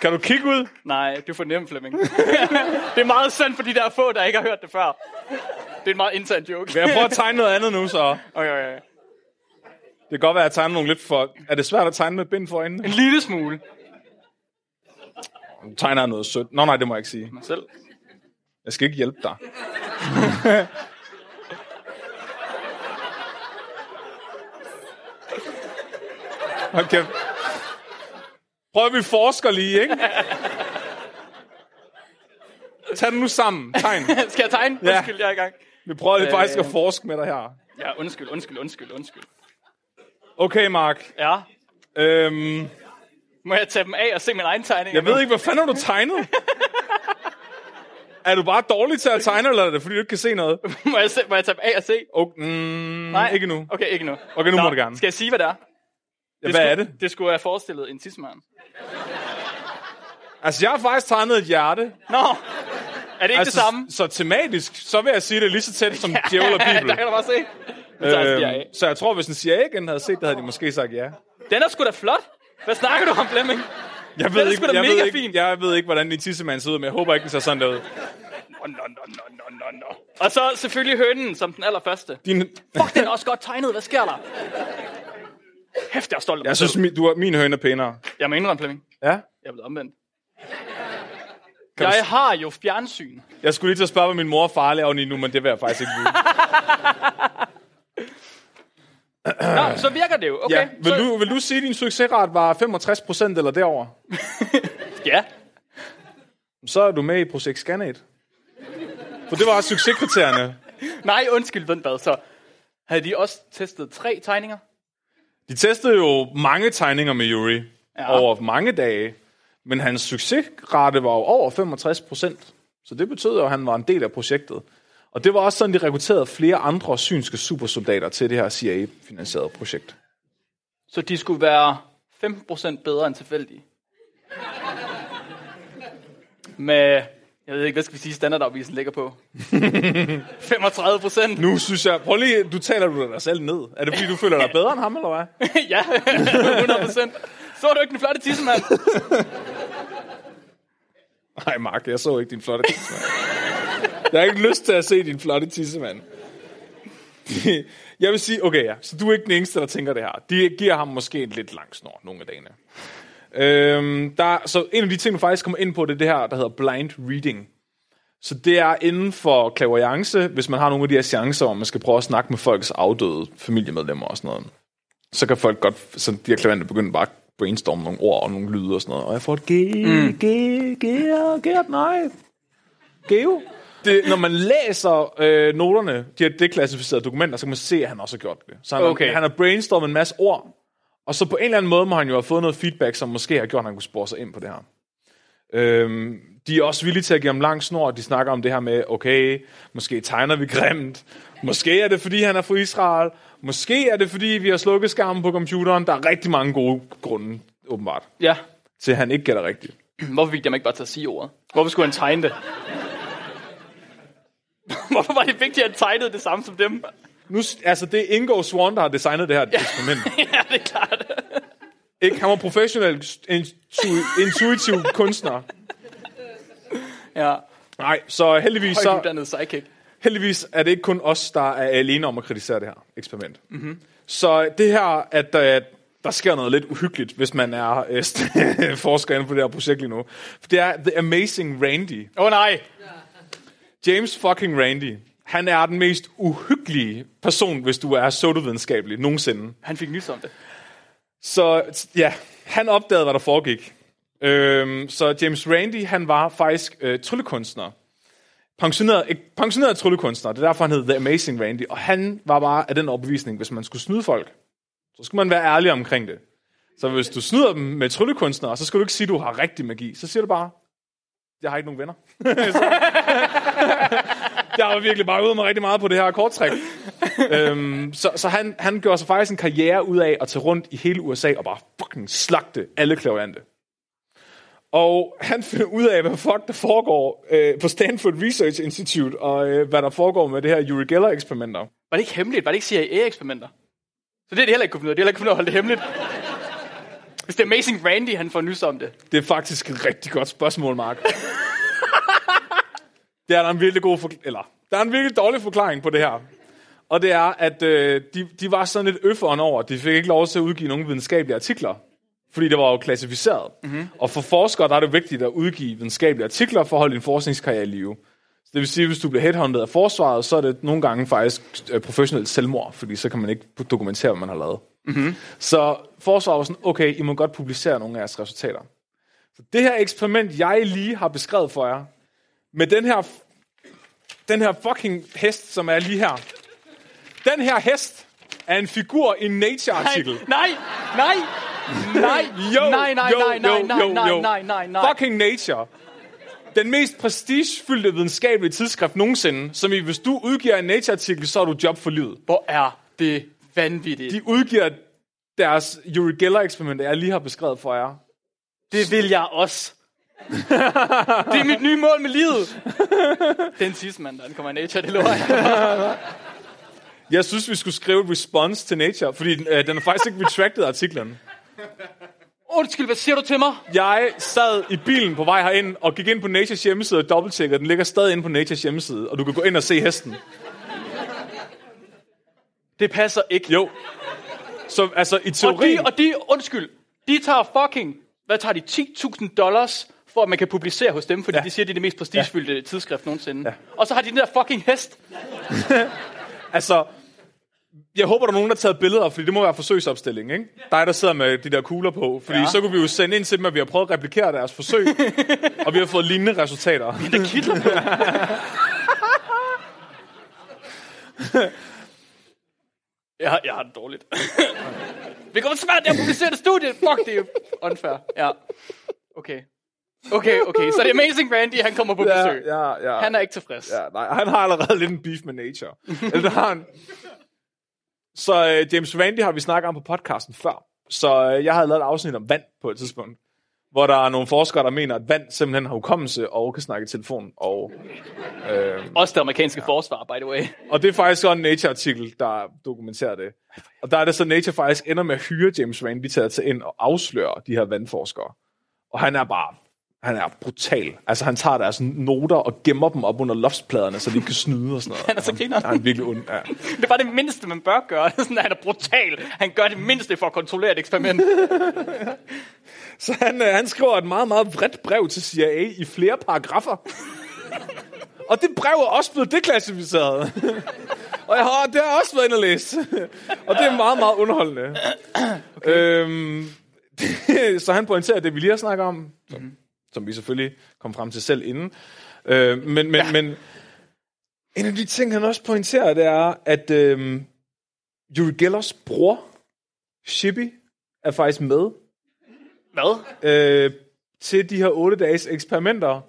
[SPEAKER 3] kan du kigge ud?
[SPEAKER 2] Nej, du er for nem, Flemming. det er meget synd for de der få, der ikke har hørt det før. Det er en meget intern joke.
[SPEAKER 3] Jeg prøver at tegne noget andet nu, så.
[SPEAKER 2] Okay, okay. okay.
[SPEAKER 3] Det kan godt være, at jeg tegner nogle lidt for... Er det svært at tegne med bind for øjnene?
[SPEAKER 2] En lille smule.
[SPEAKER 3] Nu tegner jeg noget sødt. Nå nej, det må jeg ikke sige.
[SPEAKER 2] Mig selv.
[SPEAKER 3] Jeg skal ikke hjælpe dig. okay. Prøv at vi forsker lige, ikke? Tag den nu sammen. Tegn.
[SPEAKER 2] Skal jeg tegne?
[SPEAKER 3] Ja.
[SPEAKER 2] Undskyld, jeg er i gang.
[SPEAKER 3] Vi prøver lidt faktisk at forske med dig her.
[SPEAKER 2] Ja, undskyld, undskyld, undskyld, undskyld.
[SPEAKER 3] Okay, Mark.
[SPEAKER 2] Ja.
[SPEAKER 3] Øhm,
[SPEAKER 2] Må jeg tage dem af og se min egen tegning?
[SPEAKER 3] jeg ved ikke, hvad fanden har du tegnet? Er du bare dårlig til at tegne, eller er det fordi, du ikke kan se noget?
[SPEAKER 2] må, jeg se, må jeg tage dem af og se?
[SPEAKER 3] Okay, mm, Nej. Ikke nu.
[SPEAKER 2] Okay, ikke nu.
[SPEAKER 3] Okay, nu må du gerne.
[SPEAKER 2] Skal jeg sige, hvad det er?
[SPEAKER 3] Ja, hvad er
[SPEAKER 2] skulle,
[SPEAKER 3] det?
[SPEAKER 2] Det skulle jeg have forestillet en tidsmand.
[SPEAKER 3] Altså, jeg har faktisk tegnet et hjerte.
[SPEAKER 2] Nå, er det
[SPEAKER 3] Altså,
[SPEAKER 2] ikke det samme?
[SPEAKER 3] Så tematisk, så vil jeg sige det er lige så tæt som Djævel og
[SPEAKER 2] der
[SPEAKER 3] Bibel.
[SPEAKER 2] kan du bare se. Nu tager jeg stiger af.
[SPEAKER 3] øhm, så jeg tror, hvis en CIA igen havde set det, havde de måske sagt ja.
[SPEAKER 2] Den er sgu da flot. Hvad snakker du om, Flemming?
[SPEAKER 3] Jeg
[SPEAKER 2] Den er
[SPEAKER 3] ved,
[SPEAKER 2] sgu da
[SPEAKER 3] ikke, jeg,
[SPEAKER 2] mega
[SPEAKER 3] ved ikke,
[SPEAKER 2] fin.
[SPEAKER 3] jeg ved ikke, hvordan din tissemand ser ud, men jeg håber ikke, den ser sådan der ud.
[SPEAKER 2] Nå, nå, nå, nå, nå, nå. Og så selvfølgelig hønen som den allerførste.
[SPEAKER 3] Din,
[SPEAKER 2] Fuck, den er også godt tegnet. Hvad sker der? Hæft, jeg er stolt af mig
[SPEAKER 3] jeg
[SPEAKER 2] selv.
[SPEAKER 3] synes, min, du har, min høne er pænere.
[SPEAKER 2] Jeg må indrømme, Flemming.
[SPEAKER 3] Ja?
[SPEAKER 2] Jeg er blevet omvendt.
[SPEAKER 3] Kan du
[SPEAKER 2] jeg har jo fjernsyn.
[SPEAKER 3] Jeg skulle lige til at spørge, hvad min mor og far laver lige nu, men det vil jeg faktisk ikke vide.
[SPEAKER 2] Nå, så virker det jo. Okay.
[SPEAKER 3] Ja. Vil,
[SPEAKER 2] så,
[SPEAKER 3] du, vil du sige, at din succesrat var 65 procent eller derover?
[SPEAKER 2] Ja.
[SPEAKER 3] Så er du med i projekt Scanate. For det var også succeskriterierne.
[SPEAKER 2] Nej, undskyld, Vindbad. Så havde de også testet tre tegninger?
[SPEAKER 3] De testede jo mange tegninger med Yuri
[SPEAKER 2] Ja.
[SPEAKER 3] ja. over mange dage, men hans succesrate var jo over 65 procent. Så det betød jo, at han var en del af projektet. Og det var også sådan, de rekrutterede flere andre synske supersoldater til det her CIA-finansierede projekt.
[SPEAKER 2] Så de skulle være 15% bedre end tilfældige. Med, jeg ved ikke, hvad skal vi sige, standardafvisen ligger på? 35%?
[SPEAKER 3] Nu synes jeg, prøv lige, du taler du dig selv ned. Er det fordi, du føler dig bedre end ham, eller hvad?
[SPEAKER 2] ja, 100%. Så er du ikke den flotte tissemand.
[SPEAKER 3] Nej, Mark, jeg så ikke din flotte tissemand. jeg har ikke lyst til at se din flotte tissemand. jeg vil sige, okay ja, så du er ikke den eneste, der tænker det her. De giver ham måske en lidt lang snor nogle af dagene. Øhm, der, så en af de ting, du faktisk kommer ind på, det er det her, der hedder blind reading. Så det er inden for clairvoyance, hvis man har nogle af de her chancer, hvor man skal prøve at snakke med folks afdøde familiemedlemmer og sådan noget. Så kan folk godt, så de her klavanter begynder bare at brainstorme nogle ord og nogle lyde og sådan noget. Og jeg får et G, G, G, G, nej. Geo. Det, når man læser øh, noterne, de her deklassificerede dokumenter, så kan man se, at han også har gjort det. Så han,
[SPEAKER 2] Okay.
[SPEAKER 3] okay. han har brainstormet en masse ord, og så på en eller anden måde må han jo have fået noget feedback, som måske har gjort, at han kunne spore sig ind på det her. Øhm, de er også villige til at give ham lang snor, og de snakker om det her med, okay, måske tegner vi grimt, måske er det, fordi han er fra Israel, måske er det, fordi vi har slukket skærmen på computeren. Der er rigtig mange gode grunde, åbenbart,
[SPEAKER 2] ja,
[SPEAKER 3] til at han ikke gætter rigtigt.
[SPEAKER 2] hvorfor fik de ham ikke bare til at sige ordet? Hvorfor skulle han tegne det? Hvorfor var det vigtigt, at han tegnede det samme som dem?
[SPEAKER 3] Nu, s- altså, det er Ingo Swan, der har designet det her eksperiment.
[SPEAKER 2] ja, det er klart.
[SPEAKER 3] Ikke, han var professionel, intu- intuitiv kunstner.
[SPEAKER 2] Ja,
[SPEAKER 3] Nej, så heldigvis så...
[SPEAKER 2] højtuddannet sidekick.
[SPEAKER 3] heldigvis er det ikke kun os, der er alene om at kritisere det her eksperiment. Mm-hmm. Så det her, at der, der sker noget lidt uhyggeligt, hvis man er øh, st- forsker inde på det her projekt lige nu. For det er The Amazing Randy.
[SPEAKER 2] Åh oh, nej!
[SPEAKER 3] James fucking Randy. Han er den mest uhyggelige person, hvis du er pseudovidenskabelig nogensinde.
[SPEAKER 2] Han fik nys om det.
[SPEAKER 3] Så ja, han opdagede, hvad der foregik. Øhm, så James Randi, han var faktisk øh, tryllekunstner. Pensioneret, ikke, pensioneret tryllekunstner. Det er derfor, han hed The Amazing Randy. Og han var bare af den overbevisning, hvis man skulle snyde folk, så skulle man være ærlig omkring det. Så hvis du snyder dem med tryllekunstnere, så skal du ikke sige, at du har rigtig magi. Så siger du bare, jeg har ikke nogen venner. Så- jeg har virkelig bare ude mig rigtig meget på det her korttræk. øhm, så så han, han gjorde sig faktisk en karriere ud af at tage rundt i hele USA og bare fucking slagte alle klaviante. Og han finder ud af, hvad fuck der foregår øh, på Stanford Research Institute, og øh, hvad der foregår med det her Uri Geller-eksperimenter.
[SPEAKER 2] Var det ikke hemmeligt? Var det ikke CIA-eksperimenter? Så det er de heller ikke kunne finde ud af. De har heller ikke kunne holde det hemmeligt. Hvis det er Amazing Randy, han får nys om det.
[SPEAKER 3] Det er faktisk et rigtig godt spørgsmål, Mark. det er der en virkelig god forkl- eller der er en virkelig dårlig forklaring på det her. Og det er, at øh, de, de var sådan lidt øfferen over, at de fik ikke lov til at udgive nogen videnskabelige artikler. Fordi det var jo klassificeret. Mm-hmm. Og for forskere, der er det vigtigt at udgive videnskabelige artikler for at holde din forskningskarriere i live. Så det vil sige, at hvis du bliver headhunted af forsvaret, så er det nogle gange faktisk øh, professionelt selvmord, fordi så kan man ikke dokumentere, hvad man har lavet. Mm-hmm. Så forsvaret var sådan, okay, I må godt publicere nogle af jeres resultater det her eksperiment, jeg lige har beskrevet for jer, med den her, den her fucking hest, som er lige her. Den her hest er en figur i en Nature-artikel.
[SPEAKER 2] Nej, nej, nej,
[SPEAKER 3] Jo,
[SPEAKER 2] nej, nej, nej, nej,
[SPEAKER 3] jo,
[SPEAKER 2] nej,
[SPEAKER 3] jo,
[SPEAKER 2] nej,
[SPEAKER 3] jo,
[SPEAKER 2] nej,
[SPEAKER 3] jo.
[SPEAKER 2] nej, nej, nej.
[SPEAKER 3] Fucking Nature. Den mest prestigefyldte videnskabelige tidsskrift nogensinde, som i, hvis du udgiver en Nature-artikel, så har du job for livet.
[SPEAKER 2] Hvor er det vanvittigt.
[SPEAKER 3] De udgiver deres Uri Geller-eksperiment, jeg lige har beskrevet for jer.
[SPEAKER 2] Det vil jeg også. det er mit nye mål med livet. Den sidste mand, der kommer i nature, det lover jeg.
[SPEAKER 3] Jeg synes, vi skulle skrive et response til Nature, fordi den, øh, den er faktisk ikke retracted artiklen.
[SPEAKER 2] Undskyld, hvad siger du til mig?
[SPEAKER 3] Jeg sad i bilen på vej herind og gik ind på Natures hjemmeside og dobbelttjekkede. Den ligger stadig inde på Natures hjemmeside, og du kan gå ind og se hesten.
[SPEAKER 2] Det passer ikke.
[SPEAKER 3] Jo. Så altså, i
[SPEAKER 2] Og de,
[SPEAKER 3] teorien...
[SPEAKER 2] og de, undskyld, de tager fucking, hvad tager de, 10.000 dollars, for at man kan publicere hos dem, fordi ja.
[SPEAKER 3] Ja.
[SPEAKER 2] de siger, det er det mest prestigefyldte ja. tidsskrift nogensinde. Ja. Og så har de den der fucking hest.
[SPEAKER 3] Altså, jeg håber, der er nogen, der har taget billeder, fordi det må være forsøgsopstilling, ikke? Dig, der sidder med de der kugler på. Fordi
[SPEAKER 2] Ja.
[SPEAKER 3] ja. så kunne vi jo sende ind til dem, at vi har prøvet at replikere deres forsøg, og vi har fået lignende resultater.
[SPEAKER 2] Det kitler på. jeg, har, jeg har det dårligt. Vi kommer svært til at publicere det studie. Fuck, det er unfair. Ja. Okay. Okay, okay. Så det er Amazing Randy, han kommer på
[SPEAKER 3] Ja,
[SPEAKER 2] besøg.
[SPEAKER 3] ja, ja.
[SPEAKER 2] Han er ikke tilfreds.
[SPEAKER 3] Ja, nej, han har allerede lidt en beef med nature. Eller det har han. Så øh, James Randi har vi snakket om på podcasten før. Så øh, jeg havde lavet et afsnit om vand på et tidspunkt, hvor der er nogle forskere, der mener, at vand simpelthen har hukommelse og kan snakke i telefon. Og, øh,
[SPEAKER 2] Også det amerikanske ja. forsvar, by the way.
[SPEAKER 3] og det er faktisk også en Nature-artikel, der dokumenterer det. Og der er det så, Nature faktisk ender med at hyre James Randi til at tage ind og afsløre de her vandforskere. Og han er bare han er brutal. Altså, han tager deres noter og gemmer dem op under loftspladerne, så de ikke kan snyde og sådan noget.
[SPEAKER 2] Han er så
[SPEAKER 3] Ja,
[SPEAKER 2] griner.
[SPEAKER 3] han er virkelig ond. Ja.
[SPEAKER 2] Det var det mindste, man bør gøre. Sådan, at han er brutal. Han gør det mindste for at kontrollere et eksperiment.
[SPEAKER 3] Så han, øh, han skriver et meget, meget vredt brev til CIA i flere paragrafer. og det brev er også blevet deklassificeret. og jeg har, det har jeg også været inde og læse. og det er meget, meget underholdende. Okay. Øhm, så han pointerer det, vi lige har snakket om, som, mm-hmm. som vi selvfølgelig kom frem til selv inden. Øh, men, men, ja. men en af de ting, han også pointerer, det er, at øh, Yuri Gellers bror, Shippy, er faktisk med
[SPEAKER 2] Hvad?
[SPEAKER 3] øh, til de her 8 dages eksperimenter,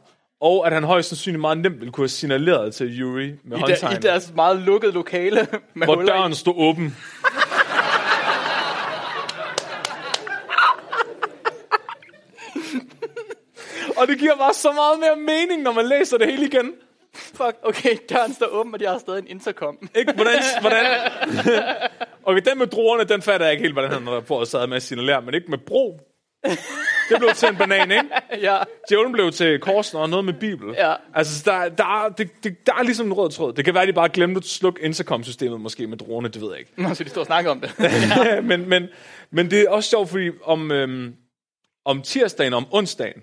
[SPEAKER 3] og at han højst sandsynligt meget nemt ville kunne have signaleret til Yuri med
[SPEAKER 2] I, der, I
[SPEAKER 3] håndtegn,
[SPEAKER 2] deres meget lukkede lokale. Med
[SPEAKER 3] hvor
[SPEAKER 2] huller i.
[SPEAKER 3] døren stod åben. og det giver bare så meget mere mening, når man læser det hele igen.
[SPEAKER 2] Fuck, okay, døren står åben, og de har stadig en intercom.
[SPEAKER 3] Ikke? Hvordan, hvordan? Okay, den med druerne, den fatter jeg ikke helt, hvordan han havde forårsaget med at signalere, men ikke med bro. Det blev til en banan, ikke?
[SPEAKER 2] ja,
[SPEAKER 3] Djævlen blev til korsen og noget med Bibel.
[SPEAKER 2] Ja.
[SPEAKER 3] Altså, så der, der, er- det, det, der er ligesom en rød tråd. Det kan være, at de bare glemte at slukke intercom-systemet måske med drone, det ved jeg ikke.
[SPEAKER 2] Nå, så de står og snakker om det.
[SPEAKER 3] Ja. men, men, men det er også sjovt, fordi om, øhm, om tirsdagen og om onsdagen,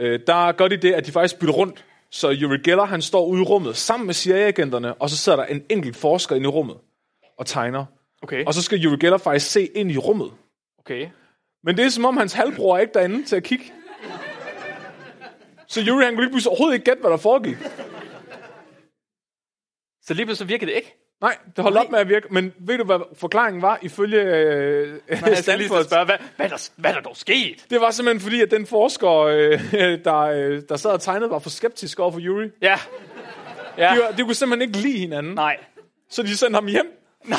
[SPEAKER 3] øh, der gør de det, at de faktisk bytter rundt. Så Yuri Geller, han står ude i rummet sammen med CIA-agenterne, og så sidder der en enkelt forsker inde i rummet og tegner.
[SPEAKER 2] Okay,
[SPEAKER 3] Og så skal Yuri Geller faktisk se ind i rummet.
[SPEAKER 2] okay.
[SPEAKER 3] Men det er som om, hans halvbror er ikke derinde til at kigge. Så Yuri, han kunne lige pludselig overhovedet ikke gætte, hvad der foregik.
[SPEAKER 2] Så lige pludselig så virker det ikke.
[SPEAKER 3] Nej, det holdt op med at virke. Men ved du, hvad forklaringen var ifølge øh,
[SPEAKER 2] Nej,
[SPEAKER 3] Nej,
[SPEAKER 2] jeg skal lige til at spørge, hvad, hvad, er der, hvad er der dog sket?
[SPEAKER 3] Det var simpelthen fordi, at den forsker, øh, der, øh, der sad og tegnede, var for skeptisk over for Yuri.
[SPEAKER 2] Ja,
[SPEAKER 3] De, var- de kunne simpelthen ikke lide hinanden. Nej.
[SPEAKER 2] nej.
[SPEAKER 3] Så de sendte ham hjem.
[SPEAKER 2] Nej,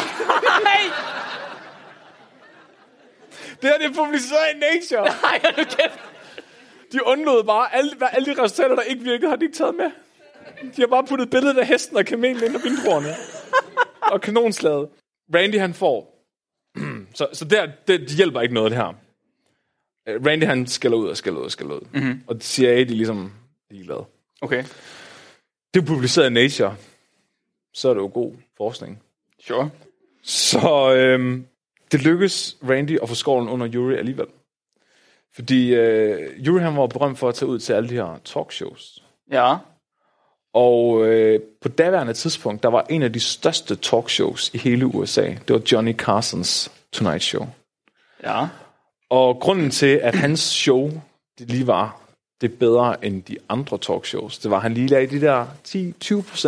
[SPEAKER 3] Det her, det er publiceret i Nature.
[SPEAKER 2] nej, er du kæft.
[SPEAKER 3] De undlod bare alle, hvad, alle de resultater, der ikke virkede, har de ikke taget med. De har bare puttet billedet af hesten og kamelen ind og vindruerne. og kanonslaget. Randy, han får. så så der, det, det hjælper ikke noget, det her. Øh, Randy, han skælder ud og skælder ud og skælder ud. Mm-hmm. Og CIA, de er ligesom ligeglade.
[SPEAKER 2] Okay,
[SPEAKER 3] Det er publiceret i Nature. Så er det jo god forskning.
[SPEAKER 2] sure.
[SPEAKER 3] Så øhm, det lykkes Randy at få skovlen under Yuri alligevel. Fordi øh, Yuri han var berømt for at tage ud til alle de her talkshows.
[SPEAKER 2] Ja,
[SPEAKER 3] Og øh, på daværende tidspunkt, der var en af de største talkshows i hele USA. Det var Johnny Carsons Tonight Show.
[SPEAKER 2] ja.
[SPEAKER 3] Og grunden til, at hans show det lige var det bedre end de andre talkshows, det var, at han lige lagde de der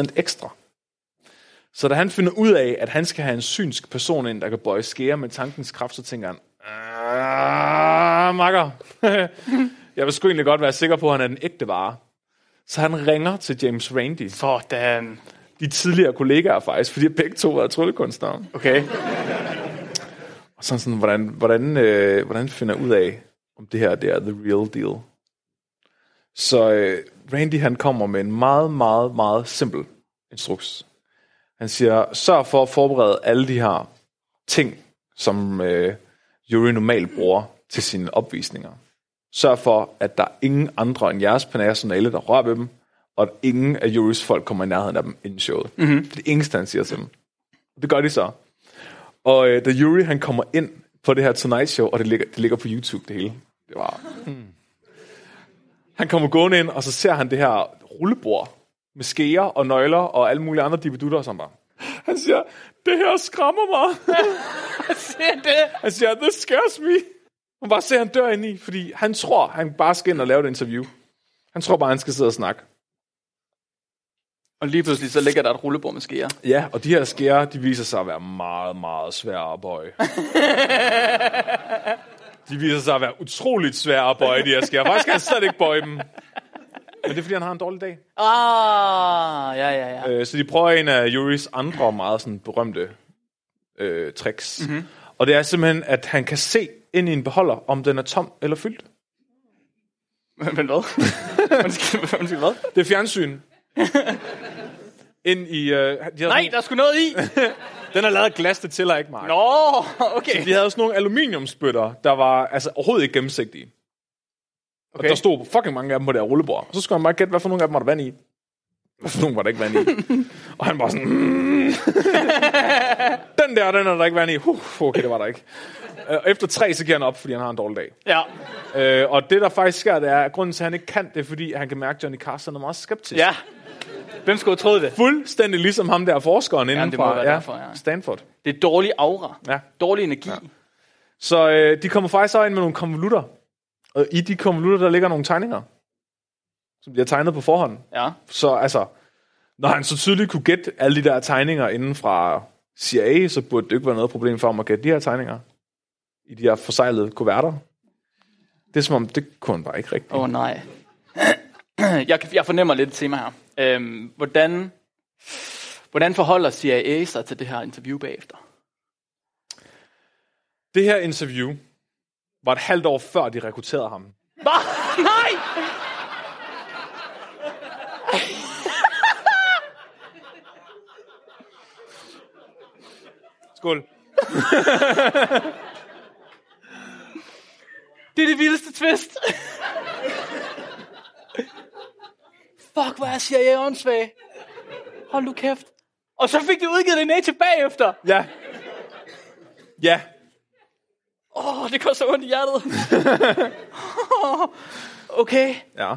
[SPEAKER 3] 10-20% ekstra. Så da han finder ud af, at han skal have en synsk person ind, der kan bøje skære med tankens kraft, så tænker han, "Ah, makker, jeg vil sgu egentlig godt være sikker på, at han er den ægte vare. Så han ringer til James Randi,
[SPEAKER 2] Sådan.
[SPEAKER 3] de tidligere kollegaer faktisk, fordi begge to var tryllekunstnere.
[SPEAKER 2] Okay.
[SPEAKER 3] Og sådan sådan, hvordan, hvordan, øh, hvordan finder jeg ud af, om det her det er the real deal? Så øh, Randy han kommer med en meget, meget, meget simpel instruks. Han siger, sørg for at forberede alle de her ting, som øh, Yuri normalt bruger til sine opvisninger. Sørg for, at der er ingen andre end jeres personale, der rører ved dem, og at ingen af Juris folk kommer i nærheden af dem inden showet. Mm-hmm. Det er det eneste, han siger til dem. Det gør de så. Og øh, da Yuri han kommer ind på det her Tonight Show, og det ligger, det ligger på YouTube det hele. Det var... Mm. Han kommer gående ind, og så ser han det her rullebord med skeer og nøgler og alle mulige andre dividutter, som bare... Han siger, det her skræmmer mig.
[SPEAKER 2] Se det.
[SPEAKER 3] Han siger, this scares me. Man bare ser, han dør ind i, fordi han tror, han bare skal ind og lave et interview. Han tror bare, han skal sidde og snakke.
[SPEAKER 2] Og lige pludselig så ligger der et rullebord med skeer.
[SPEAKER 3] Ja, og de her skærer, de viser sig at være meget, meget svære at bøje. De viser sig at være utroligt svære at bøje, de her skærer. Faktisk kan han slet ikke bøje dem. Men det er, fordi han har en dårlig dag.
[SPEAKER 2] Ah, ja, ja, ja.
[SPEAKER 3] Øh, så de prøver en af Juris andre meget sådan berømte øh, tricks.
[SPEAKER 2] Mhm.
[SPEAKER 3] Mm-hmm. Og det er simpelthen, at han kan se ind i en beholder, om den er tom eller fyldt.
[SPEAKER 2] Øh, Men hvad? Undskyld, undskyld, hvad?
[SPEAKER 3] Det er fjernsyn. ind i... Øh, de havde
[SPEAKER 2] Nej, der skulle noget i.
[SPEAKER 3] Den er lavet af glas, det tæller ikke, Mark.
[SPEAKER 2] Nå, okay.
[SPEAKER 3] De havde også nogle aluminiumsbøtter, der var altså, overhovedet ikke gennemsigtige. Okay. Og
[SPEAKER 2] Okay.
[SPEAKER 3] der stod fucking mange af dem på det her rullebord. Og så skulle han bare gætte, hvad for nogle af dem var der vand i. Hvad for nogle var der ikke vand i? og han var sådan... Mm. den der, den er der ikke vand i. Uh, okay, det var der ikke. Øh, Og efter tre, så giver han op, fordi han har en dårlig dag.
[SPEAKER 2] Ja.
[SPEAKER 3] Øh, og det, der faktisk sker, det er, at grunden til, at han ikke kan det, er, fordi han kan mærke, at Johnny Carson er meget skeptisk.
[SPEAKER 2] Ja. Hvem skulle have troet det?
[SPEAKER 3] Fuldstændig ligesom ham der forskeren inden
[SPEAKER 2] det må
[SPEAKER 3] fra
[SPEAKER 2] være derfor, ja.
[SPEAKER 3] Stanford.
[SPEAKER 2] Det er dårlig aura.
[SPEAKER 3] Ja.
[SPEAKER 2] Dårlig energi.
[SPEAKER 3] Så øh, de kommer faktisk så ind med nogle konvolutter. Og i de konvolutter, der ligger nogle tegninger, som de har tegnet på forhånd.
[SPEAKER 2] Ja. ja.
[SPEAKER 3] Så altså, når han så tydeligt kunne gætte alle de der tegninger inden fra CIA, så burde det ikke være noget problem for ham at gætte de her tegninger i de her forsejlede kuverter. Det er som om, det kunne han bare ikke rigtigt.
[SPEAKER 2] Åh oh, nej. Jeg, kan- jeg fornemmer lidt et tema her. Øhm, hvordan, hvordan forholder CIA sig til det her interview bagefter?
[SPEAKER 3] Det her interview var et halvt år før, de rekrutterede ham.
[SPEAKER 2] Hva? Nej!
[SPEAKER 3] Skål.
[SPEAKER 2] Det er det vildeste twist. Fuck, hvor er CIA åndssvag. Hold nu kæft. Og så fik de udgivet det i nature bagefter.
[SPEAKER 3] Ja. Ja.
[SPEAKER 2] Åh, oh, det går så ondt i hjertet. okay,
[SPEAKER 3] Ja.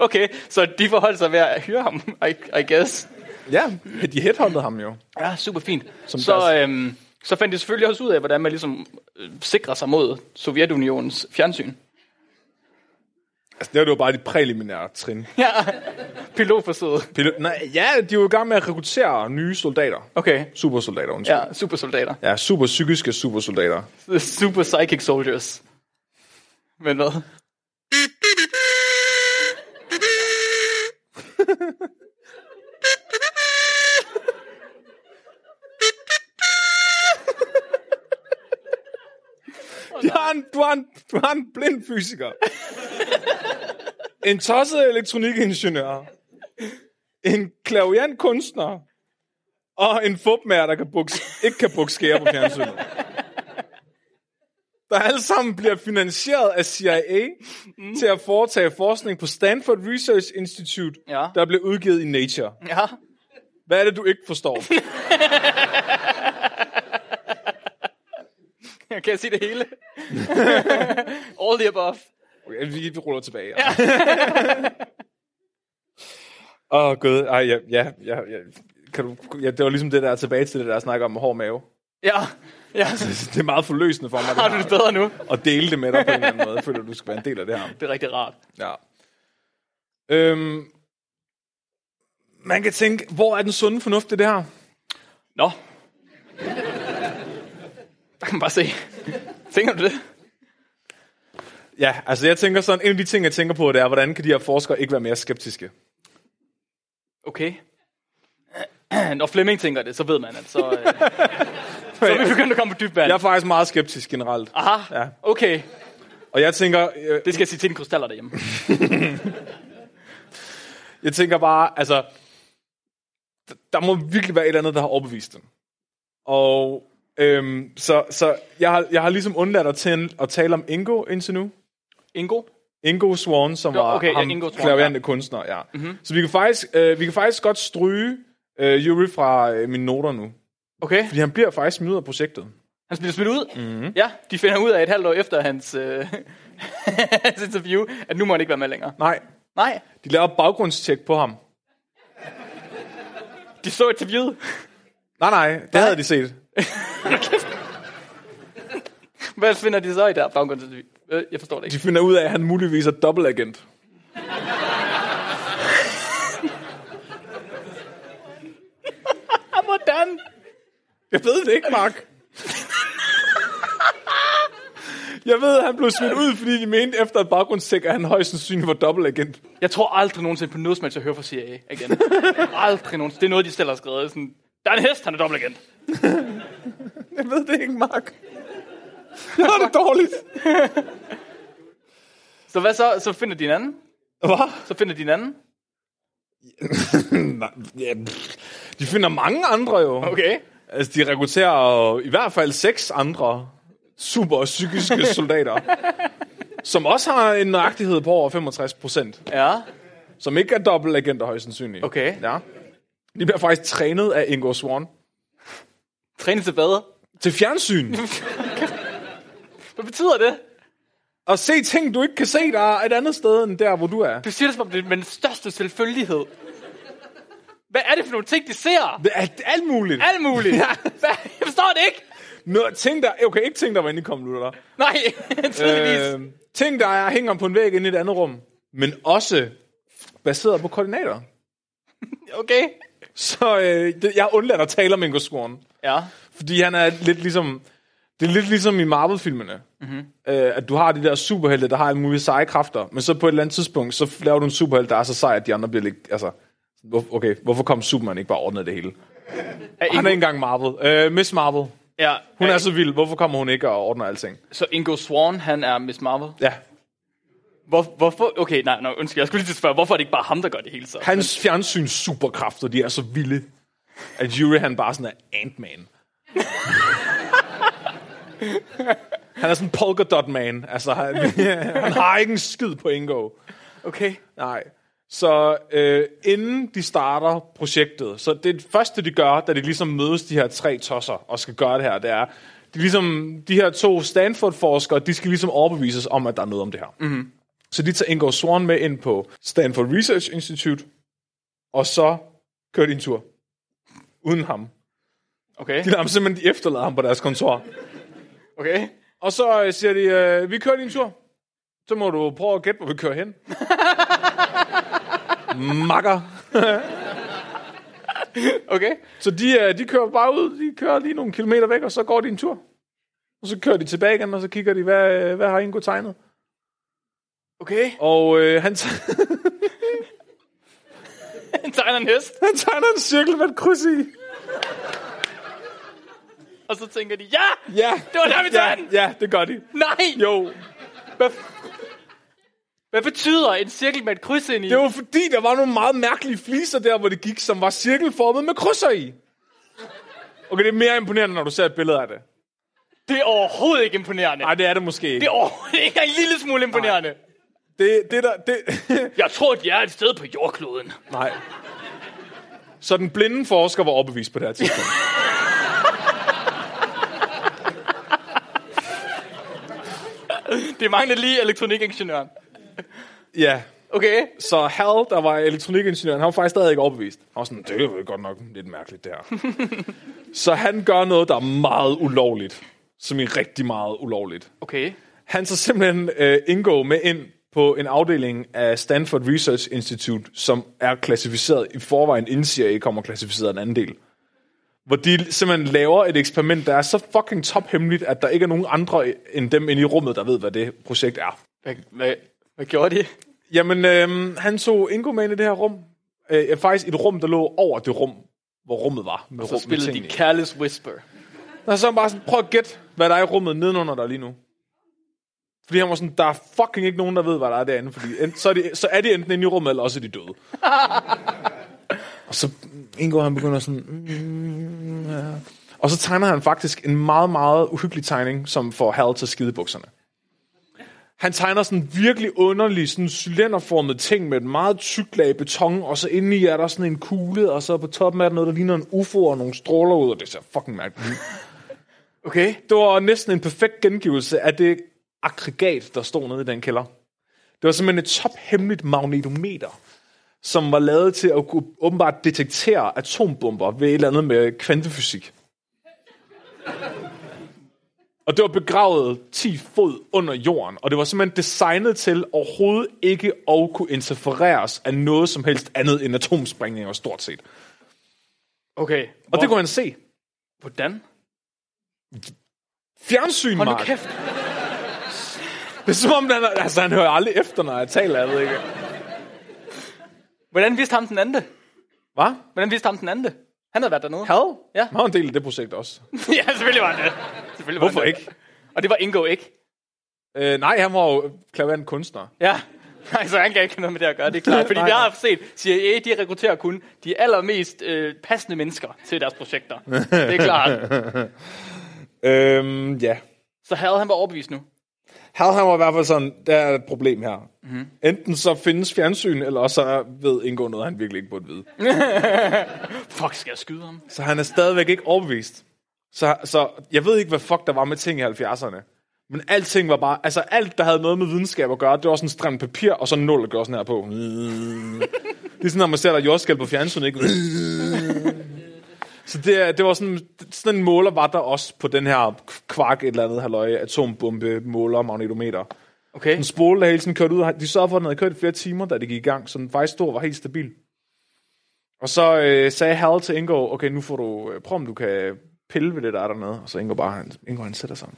[SPEAKER 2] okay. Så de forholdt sig ved at hyre ham, I, I guess.
[SPEAKER 3] Ja, de headhuntede ham jo.
[SPEAKER 2] Ja, super fint. Som så,
[SPEAKER 3] deres-
[SPEAKER 2] øhm, så fandt de selvfølgelig også ud af, hvordan man ligesom øh, sikrer sig mod Sovjetunionens fjernsyn.
[SPEAKER 3] Altså, det var jo bare de præliminære trin.
[SPEAKER 2] Ja, pilotforsøget.
[SPEAKER 3] Pilot, nej, ja, de er jo i gang med at rekruttere nye soldater.
[SPEAKER 2] Okay.
[SPEAKER 3] Supersoldater, undskyld.
[SPEAKER 2] Ja, supersoldater.
[SPEAKER 3] Ja, ja super psykiske supersoldater.
[SPEAKER 2] Super psychic soldiers. Men hvad?
[SPEAKER 3] De har en, du, har en, du har en blind fysiker. en tosset elektronikingeniør. En klaviant kunstner. Og en fupmager, der kan buks, ikke kan bukke skære på fjernsynet. Der alle sammen bliver finansieret af CIA mm. til at foretage forskning på Stanford Research Institute,
[SPEAKER 2] Ja.
[SPEAKER 3] der blev udgivet i Nature.
[SPEAKER 2] Ja.
[SPEAKER 3] Hvad er det, du ikke forstår?
[SPEAKER 2] Kan jeg sige det hele? All the above.
[SPEAKER 3] Okay, vi, vi ruller tilbage. Åh, ja. oh, gud. Ej, ja, ja, ja, ja. Kan du, ja, det var ligesom det der tilbage til det der snak om med hård mave.
[SPEAKER 2] Ja. ja.
[SPEAKER 3] Det er meget forløsende for mig det
[SPEAKER 2] Har du
[SPEAKER 3] her,
[SPEAKER 2] det bedre nu?
[SPEAKER 3] at dele det med dig på en eller anden måde. Jeg føler, du skal være en del af det her.
[SPEAKER 2] Det er rigtig rart.
[SPEAKER 3] Ja. Øhm, man kan tænke, hvor er den sunde fornuft i det her?
[SPEAKER 2] Nå. Der kan man bare se. Tænker du det?
[SPEAKER 3] Ja, altså jeg tænker sådan, en af de ting, jeg tænker på, det er, hvordan kan de her forskere ikke være mere skeptiske?
[SPEAKER 2] Okay. Når Flemming tænker det, så ved man, at så, øh, så er vi begyndt at komme på dyb vand.
[SPEAKER 3] Jeg er faktisk meget skeptisk generelt.
[SPEAKER 2] Aha,
[SPEAKER 3] Ja.
[SPEAKER 2] okay.
[SPEAKER 3] Og jeg tænker, øh,
[SPEAKER 2] Det skal jeg sige til en krystaller derhjemme.
[SPEAKER 3] Jeg tænker bare, altså, d- der må virkelig være et eller andet, der har overbevist dem. Og Øhm, så, så jeg, har, jeg har ligesom undladt at, tæn, at tale om Ingo indtil nu.
[SPEAKER 2] Ingo?
[SPEAKER 3] Ingo Swan, som
[SPEAKER 2] Nå,
[SPEAKER 3] var
[SPEAKER 2] okay, ja, Mhm.
[SPEAKER 3] ham,
[SPEAKER 2] Ingo Swann,
[SPEAKER 3] klaverende kunstner. Ja. Mm-hmm. Så vi kan faktisk, øh, vi kan faktisk godt stryge øh, Yuri fra øh, mine noter nu.
[SPEAKER 2] Okay.
[SPEAKER 3] Fordi han bliver faktisk smidt ud af projektet.
[SPEAKER 2] Han bliver smidt ud. Mm-hmm. Ja, de finder ud af et halvt år efter hans, øh, hans interview, at nu må han ikke være med længere.
[SPEAKER 3] Nej,
[SPEAKER 2] Nej,
[SPEAKER 3] de laver baggrundstjek på ham.
[SPEAKER 2] de så interviewet.
[SPEAKER 3] Nej, nej, det havde de set.
[SPEAKER 2] Hvad finder de så i der baggrundsinterview? Øh, Jeg forstår det
[SPEAKER 3] De
[SPEAKER 2] ikke.
[SPEAKER 3] finder ud af, at han muligvis er dobbeltagent.
[SPEAKER 2] Ah, hvordan?
[SPEAKER 3] Jeg ved det ikke, Mark. Jeg ved, at han blev smidt ud, fordi de mente efter et baggrundstjek, at han højst sandsynligt var dobbeltagent.
[SPEAKER 2] Jeg tror aldrig nogensinde på noget som helst, jeg hører fra CIA igen. aldrig nogensinde. Det er noget, de selv har skrevet. Sådan, der er en hest, han er dobbelt igen.
[SPEAKER 3] Jeg ved det ikke, Mark. Jeg har det dårligt.
[SPEAKER 2] Så hvad så? Så finder de en anden.
[SPEAKER 3] Hvad?
[SPEAKER 2] Så finder de en anden.
[SPEAKER 3] Nej, ja, pff. De finder mange andre jo.
[SPEAKER 2] Okay.
[SPEAKER 3] Altså, de rekrutterer i hvert fald seks andre super psykiske soldater, som også har en nøjagtighed på over 65 procent,
[SPEAKER 2] Ja.
[SPEAKER 3] som ikke er dobbeltagenter højst sandsynligt.
[SPEAKER 2] Okay.
[SPEAKER 3] Ja. De bliver faktisk trænet af Ingo Swan
[SPEAKER 2] Træne til bedre.
[SPEAKER 3] til fjernsyn.
[SPEAKER 2] Hvad betyder det?
[SPEAKER 3] Og se ting, du ikke kan se, der er et andet sted end der, hvor du er.
[SPEAKER 2] Du siger det som om det er med den største selvfølgelighed. Hvad er det for nogle ting, de ser?
[SPEAKER 3] Det er alt muligt.
[SPEAKER 2] Alt muligt.
[SPEAKER 3] Ja.
[SPEAKER 2] Hvad? Jeg forstår det ikke.
[SPEAKER 3] Nå, ting, der, okay, ikke ting, der var inde i konvolutter.
[SPEAKER 2] Nej, tydeligvis. Øh.
[SPEAKER 3] Øh, ting, der er, hænger på en væg inde i et andet rum, men også baseret på koordinater.
[SPEAKER 2] Øh. Okay.
[SPEAKER 3] Så øh, det, jeg undlader at tale om Ingo Swan,
[SPEAKER 2] Ja.
[SPEAKER 3] fordi han er lidt ligesom... Det er lidt ligesom i Marvel-filmene, mm-hmm.
[SPEAKER 2] Mhm.
[SPEAKER 3] øh, at du har de der superhelte, der har alle mulige seje kræfter, men så på et eller andet tidspunkt, så laver du en superhelt, der er så sej, at de andre bliver lidt... Altså, hvor- okay, hvorfor kom Superman ikke bare ordnet det hele?
[SPEAKER 2] Er
[SPEAKER 3] Han
[SPEAKER 2] Ingo,
[SPEAKER 3] er ikke engang Marvel. Øh, Miss Marvel.
[SPEAKER 2] ja,
[SPEAKER 3] Hun
[SPEAKER 2] er,
[SPEAKER 3] er så vild. Hvorfor kommer hun ikke og ordner alting?
[SPEAKER 2] så Ingo Swan, han er Miss Marvel.
[SPEAKER 3] Ja.
[SPEAKER 2] Hvor, hvorfor? Okay, nej, nej, undskyld. Jeg skulle lige til at spørge, hvorfor er det ikke bare ham, der gør det hele så?
[SPEAKER 3] Hans fjernsyns superkræfter, de er så vilde, at Yuri han bare sådan er Ant-Man. han er sådan Polkadot-man. Altså, han, han har ikke en skid på Ingo.
[SPEAKER 2] Okay.
[SPEAKER 3] Nej. Så øh, inden de starter projektet, så det første, de gør, da de ligesom mødes, de her tre tosser, og skal gøre det her, det er, de, ligesom, de her to Stanford-forskere, de skal ligesom overbevises om, at der er noget om det her. Mm-hmm. Så de tager Ingo Swan med ind på Stanford Research Institute, og så kører de en tur. Uden ham.
[SPEAKER 2] Okay.
[SPEAKER 3] De lader ham simpelthen de efterlader ham på deres kontor.
[SPEAKER 2] Okay.
[SPEAKER 3] Og så øh, siger de, øh, vi kører din tur. Så må du prøve at gætte, hvor vi kører hen. Makker.
[SPEAKER 2] Okay.
[SPEAKER 3] Så de, øh, de kører bare ud, de kører lige nogle kilometer væk, og så går de en tur. Og så kører de tilbage igen, og så kigger de, hvad, øh, hvad har Ingo tegnet?
[SPEAKER 2] Okay.
[SPEAKER 3] Og øh, han, t-
[SPEAKER 2] Han tegner en hest,
[SPEAKER 3] han tegner en cirkel med et kryds i.
[SPEAKER 2] og så tænker de, ja!
[SPEAKER 3] Ja,
[SPEAKER 2] Det var der, vi
[SPEAKER 3] ja,
[SPEAKER 2] tager den!
[SPEAKER 3] ja, det gør de.
[SPEAKER 2] Nej!
[SPEAKER 3] Jo,
[SPEAKER 2] Hvad, hvad betyder en cirkel med et kryds ind i?
[SPEAKER 3] det var fordi, der var nogle meget mærkelige fliser der, hvor det gik, som var cirkelformet med krydser i. Okay, det er mere imponerende, når du ser et billede af det.
[SPEAKER 2] det er overhovedet ikke imponerende.
[SPEAKER 3] Nej, det er det måske ikke.
[SPEAKER 2] Det er overhovedet ikke en lille smule imponerende.
[SPEAKER 3] Det, det der, det...
[SPEAKER 2] Jeg tror, de er et sted på jordkloden.
[SPEAKER 3] Nej. Så den blinde forsker var overbevist på det her tidspunkt.
[SPEAKER 2] Det mangler lige elektronikingeniøren.
[SPEAKER 3] ja.
[SPEAKER 2] Okay.
[SPEAKER 3] Så Hal, der var elektronikingeniør, han var faktisk stadig ikke overbevist. Han var sådan, det er jo godt nok lidt mærkeligt der. så han gør noget, der er meget ulovligt. Som er rigtig meget ulovligt.
[SPEAKER 2] Okay.
[SPEAKER 3] Han så simpelthen øh, indgå med ind på en afdeling af Stanford Research Institute, som er klassificeret i forvejen, inden CIA kommer klassificeret en anden del. Hvor de simpelthen laver et eksperiment, der er så fucking tophemmeligt, at der ikke er nogen andre end dem inde i rummet, der ved, hvad det projekt er.
[SPEAKER 2] Hvad, hvad, hvad gjorde de?
[SPEAKER 3] Jamen, øh, han tog Ingo med ind i det her rum. Øh, ja, faktisk et rum, der lå over det rum, hvor rummet var. Med
[SPEAKER 2] Så
[SPEAKER 3] rum, med
[SPEAKER 2] spillede
[SPEAKER 3] tingene
[SPEAKER 2] de
[SPEAKER 3] i.
[SPEAKER 2] Careless Whisper.
[SPEAKER 3] Og så er han bare sådan, prøv at gætte, hvad der er i rummet nedenunder dig lige nu. Fordi han var sådan, der er fucking ikke nogen, der ved, hvad der er derinde. Fordi ent, så, er de, så er de enten inde i rummet, eller også er de døde. og så Ingo, han begynder sådan... Mm, ja. Og så tegner han faktisk en meget, meget uhyggelig tegning, som får Hal til at skide i bukserne. Han tegner sådan virkelig underlig, sådan cylinderformet ting med et meget tykt lag beton, og så inde i er der sådan en kugle, og så på toppen er der noget, der ligner en ufo og nogle stråler ud, og det ser fucking mærkeligt ud.
[SPEAKER 2] Okay.
[SPEAKER 3] Det var næsten en perfekt gengivelse af det aggregat, der stod nede i den kælder. Det var simpelthen et tophemmeligt magnetometer, som var lavet til at kunne åbenbart detektere atombomber ved et eller andet med kvantefysik. Og det var begravet 10 fod under jorden, og det var simpelthen designet til overhovedet ikke at kunne interfereres af noget som helst andet end atomsprængninger stort set.
[SPEAKER 2] Okay.
[SPEAKER 3] Og det kunne han se.
[SPEAKER 2] Hvordan?
[SPEAKER 3] Fjernsyn,
[SPEAKER 2] Hold nu
[SPEAKER 3] Mark.
[SPEAKER 2] kæft.
[SPEAKER 3] Det er som om, han, altså, han hører aldrig efter, når jeg taler, jeg ved ikke.
[SPEAKER 2] Hvordan vidste ham den anden det?
[SPEAKER 3] Hvad?
[SPEAKER 2] Hvordan vidste ham den anden det? Han havde været dernede.
[SPEAKER 3] Had?
[SPEAKER 2] Ja.
[SPEAKER 3] Han var en del af det projekt også.
[SPEAKER 2] ja, selvfølgelig var han det. Selvfølgelig var
[SPEAKER 3] Hvorfor
[SPEAKER 2] han det.
[SPEAKER 3] ikke?
[SPEAKER 2] Og det var Ingo ikke.
[SPEAKER 3] Øh, nej, han var jo klaverant kunstner.
[SPEAKER 2] Ja. Nej, så han kan ikke have noget med det at gøre, det er klart. Fordi
[SPEAKER 3] Nej.
[SPEAKER 2] vi har set, CIA de rekrutterer kun de allermest øh, passende mennesker til deres projekter. Det er klart.
[SPEAKER 3] Øhm, ja.
[SPEAKER 2] Så havde han var overbevist nu.
[SPEAKER 3] Hal, han var i hvert fald sådan, der er et problem her. Mm-hmm. Enten så findes fjernsyn, eller også så ved Ingo noget, han virkelig ikke burde vide.
[SPEAKER 2] Fuck, skal jeg skyde ham?
[SPEAKER 3] Så han er stadigvæk ikke overbevist. Så, så jeg ved ikke, hvad fuck der var med ting i 70'erne. Men alting var bare... Altså alt, der havde noget med videnskab at gøre, det var sådan en strand papir, og så en nul at gøre sådan her på. Det er sådan, når man ser der jordskæld på fjernsynet, ikke? Så det, er- det var sådan, sådan en måler var der også på den her kvark et eller andet halløj, atombombe, måler, magnetometer.
[SPEAKER 2] Okay.
[SPEAKER 3] En spole, der hele tiden kørte ud, og de sørgede for, at den havde kørt i flere timer, da det gik i gang, så den faktisk stod og var helt stabil. Og så øh, sagde Hal til Ingo, okay, nu får du, øh, prøv om du kan pille ved det, der er dernede. Og så Ingo bare, han, Ingo han sætter sig.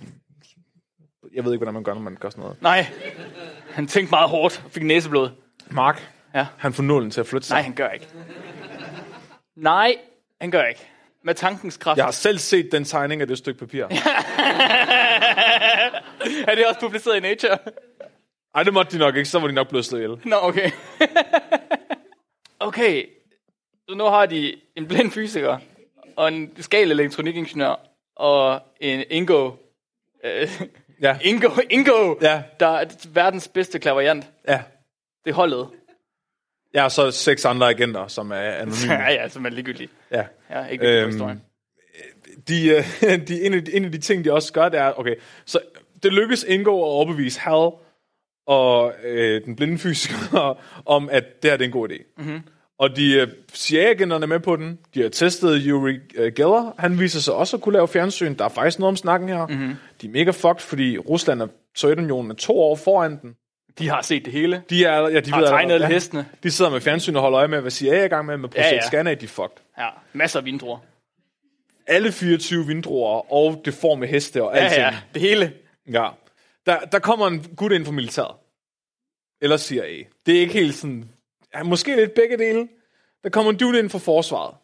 [SPEAKER 3] Jeg ved ikke, hvordan man gør, når man gør sådan noget.
[SPEAKER 2] Nej. Han tænkte meget hårdt og fik næseblod.
[SPEAKER 3] Mark,
[SPEAKER 2] Ja.
[SPEAKER 3] han får nålen til at flytte sig.
[SPEAKER 2] Nej, han gør ikke. Nej, han gør ikke. Med tankens kraft.
[SPEAKER 3] Jeg har selv set den tegning af det stykke papir.
[SPEAKER 2] Er det også publiceret i Nature?
[SPEAKER 3] Ej, det måtte de nok ikke, så var de nok blevet slået ihjel.
[SPEAKER 2] Nå, okay. okay. Så nu har de en blind fysiker, og en skal elektronikingeniør, og en Ingo. Øh,
[SPEAKER 3] Ja,
[SPEAKER 2] Ingo, Ingo,
[SPEAKER 3] Ja.
[SPEAKER 2] der er verdens bedste klaverjant.
[SPEAKER 3] ja.
[SPEAKER 2] Det er holdet.
[SPEAKER 3] Mm. Ja, og så seks andre agenter, som er anonyme.
[SPEAKER 2] ja, ja, som er ligegyldigt.
[SPEAKER 3] Ja.
[SPEAKER 2] Ja, ikke øhm.
[SPEAKER 3] Øhm.
[SPEAKER 2] historien.
[SPEAKER 3] de, øh, de, en, af de, en af de ting, de også gør, det er, okay, så det lykkes Ingo at overbevise Hal og øh, den blinde fysiker om, at det her det er en god idé.
[SPEAKER 2] Mhm.
[SPEAKER 3] Mm-hmm. Og de øh, CIA-agenterne er med på den. De har testet Yuri øh, Geller. Han viser sig også at kunne lave fjernsyn. Der er faktisk noget om snakken her.
[SPEAKER 2] Mhm.
[SPEAKER 3] Mm-hmm. De er mega fucked, fordi Rusland og Sovjetunionen er to år foran den.
[SPEAKER 2] De har set det hele.
[SPEAKER 3] De er, ja, de
[SPEAKER 2] Har
[SPEAKER 3] ved,
[SPEAKER 2] tegnet
[SPEAKER 3] allerede-
[SPEAKER 2] alle hestene.
[SPEAKER 3] De sidder med fjernsyn og holder øje med, hvad CIA er i gang med. Med projekt
[SPEAKER 2] Ja,
[SPEAKER 3] ja,
[SPEAKER 2] ja.
[SPEAKER 3] ja. Scana, de er fucked
[SPEAKER 2] Ja, masser af vindruer.
[SPEAKER 3] alle 24 vindruer og det får med heste og
[SPEAKER 2] Ja,
[SPEAKER 3] alting.
[SPEAKER 2] ja, det hele.
[SPEAKER 3] ja. Der, der kommer en gut ind fra militæret. Eller CIA. Det er ikke helt sådan... Ja, måske lidt begge dele. Der kommer en dude ind fra forsvaret.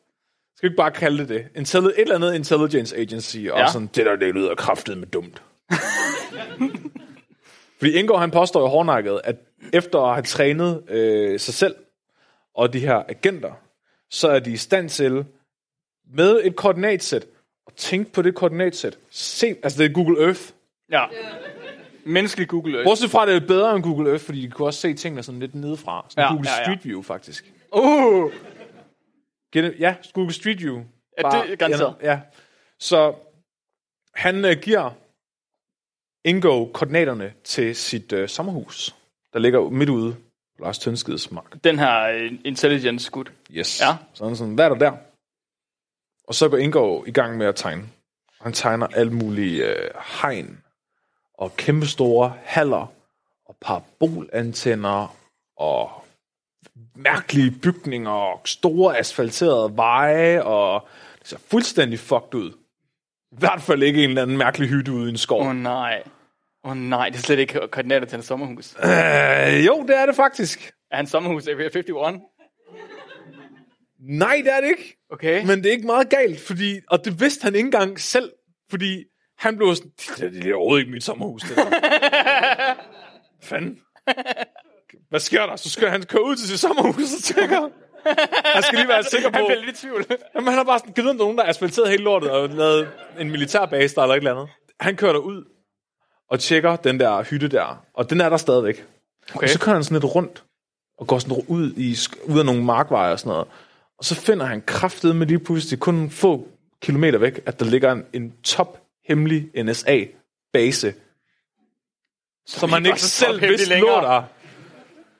[SPEAKER 3] Skal vi ikke bare kalde det det? Intelli- et eller andet intelligence agency. Og
[SPEAKER 2] Ja.
[SPEAKER 3] ja. sådan, det der det lyder kraftet med dumt. Fordi Ingo, han påstår jo hårdnakket, at efter at have trænet øh, sig selv og de her agenter, så er de i stand til med et koordinatsæt, og tænk på det koordinatsæt. Se, altså det er Google Earth.
[SPEAKER 2] Ja. Menneskelig Google Earth.
[SPEAKER 3] Bortset fra, at det er bedre end Google Earth, fordi de kunne også se tingene sådan lidt nedefra.
[SPEAKER 2] Ja,
[SPEAKER 3] Sådan ja, Google
[SPEAKER 2] ja, ja.
[SPEAKER 3] Street View, faktisk.
[SPEAKER 2] Uh,
[SPEAKER 3] Giver det- Ja, Google Street View.
[SPEAKER 2] Ja, det er garanteret.
[SPEAKER 3] Ja, ja. Så han øh, giver Ingo koordinaterne til sit øh, sommerhus, der ligger midt ude på Lars Tønskeds mark.
[SPEAKER 2] den her øh, intelligence gut.
[SPEAKER 3] Yes.
[SPEAKER 2] Ja.
[SPEAKER 3] Så han er sådan, hvad er der der? Og så går Ingo i gang med at tegne. Og Han tegner alle mulige øh, hegn og kæmpestore haller og parabolantenner og mærkelige bygninger og store asfalterede veje og det ser fuldstændig fucked ud. I hvert fald ikke en eller anden mærkelig hytte ude i en skov.
[SPEAKER 2] Åh oh, nej. Åh oh, nej, det er slet ikke koordinater til en sommerhus.
[SPEAKER 3] Øh, jo, det er det faktisk.
[SPEAKER 2] Er han sommerhus Area 51?
[SPEAKER 3] Nej, det er det ikke.
[SPEAKER 2] Okay. Men...
[SPEAKER 3] Men det er ikke meget galt, fordi, og det vidste han ikke engang selv, fordi han blev sådan, det er- det er overhovedet ikke mit sommerhus, det der. Fanden. Hvad sker der? Så skal han køre ud til sit sommerhus og tjekke. Han skal lige være sikker på...
[SPEAKER 2] Han bliver lidt i tvivl.
[SPEAKER 3] Jamen, han har bare sådan, givet om der er nogen, der har asfalteret hele lortet og lavet en militærbase, der er eller et eller andet. Han kører derud og tjekker den der hytte der, og den er der stadigvæk. Okay. Og så kører han sådan lidt rundt og går sådan ud, i, sk- ud af nogle markveje og sådan noget. Og så finder han kraftet med lige pludselig kun få kilometer væk, at der ligger en, en top hemmelig NSA-base, som han
[SPEAKER 2] ikke var
[SPEAKER 3] ikke
[SPEAKER 2] så
[SPEAKER 3] selv
[SPEAKER 2] tophemmelig
[SPEAKER 3] vidste lå
[SPEAKER 2] længere.
[SPEAKER 3] der,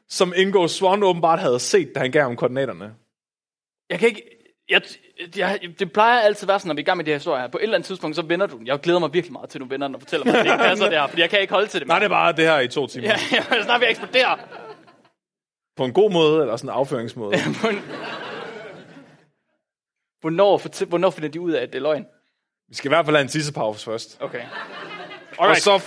[SPEAKER 3] som Ingo Swan åbenbart havde set, da han gav ham koordinaterne.
[SPEAKER 2] Jeg kan ikke... Jeg, jeg, det plejer altid at være sådan, når vi er i gang med de her historier her. På et eller andet tidspunkt, så vender du den. Jeg glæder mig virkelig meget til, at du vender den og fortæller mig, at det ikke passer der, fordi jeg kan ikke holde til det.
[SPEAKER 3] Nej, det er bare det her i to timer.
[SPEAKER 2] Ja, jeg snart vil jeg eksplodere.
[SPEAKER 3] På en god måde, eller sådan en afføringsmåde.
[SPEAKER 2] Hvornår, fortæ- hvornår finder de ud af, at det er løgn?
[SPEAKER 3] Vi skal i hvert fald have en tissepause først.
[SPEAKER 2] Okay.
[SPEAKER 3] Og
[SPEAKER 2] Alright.
[SPEAKER 3] så...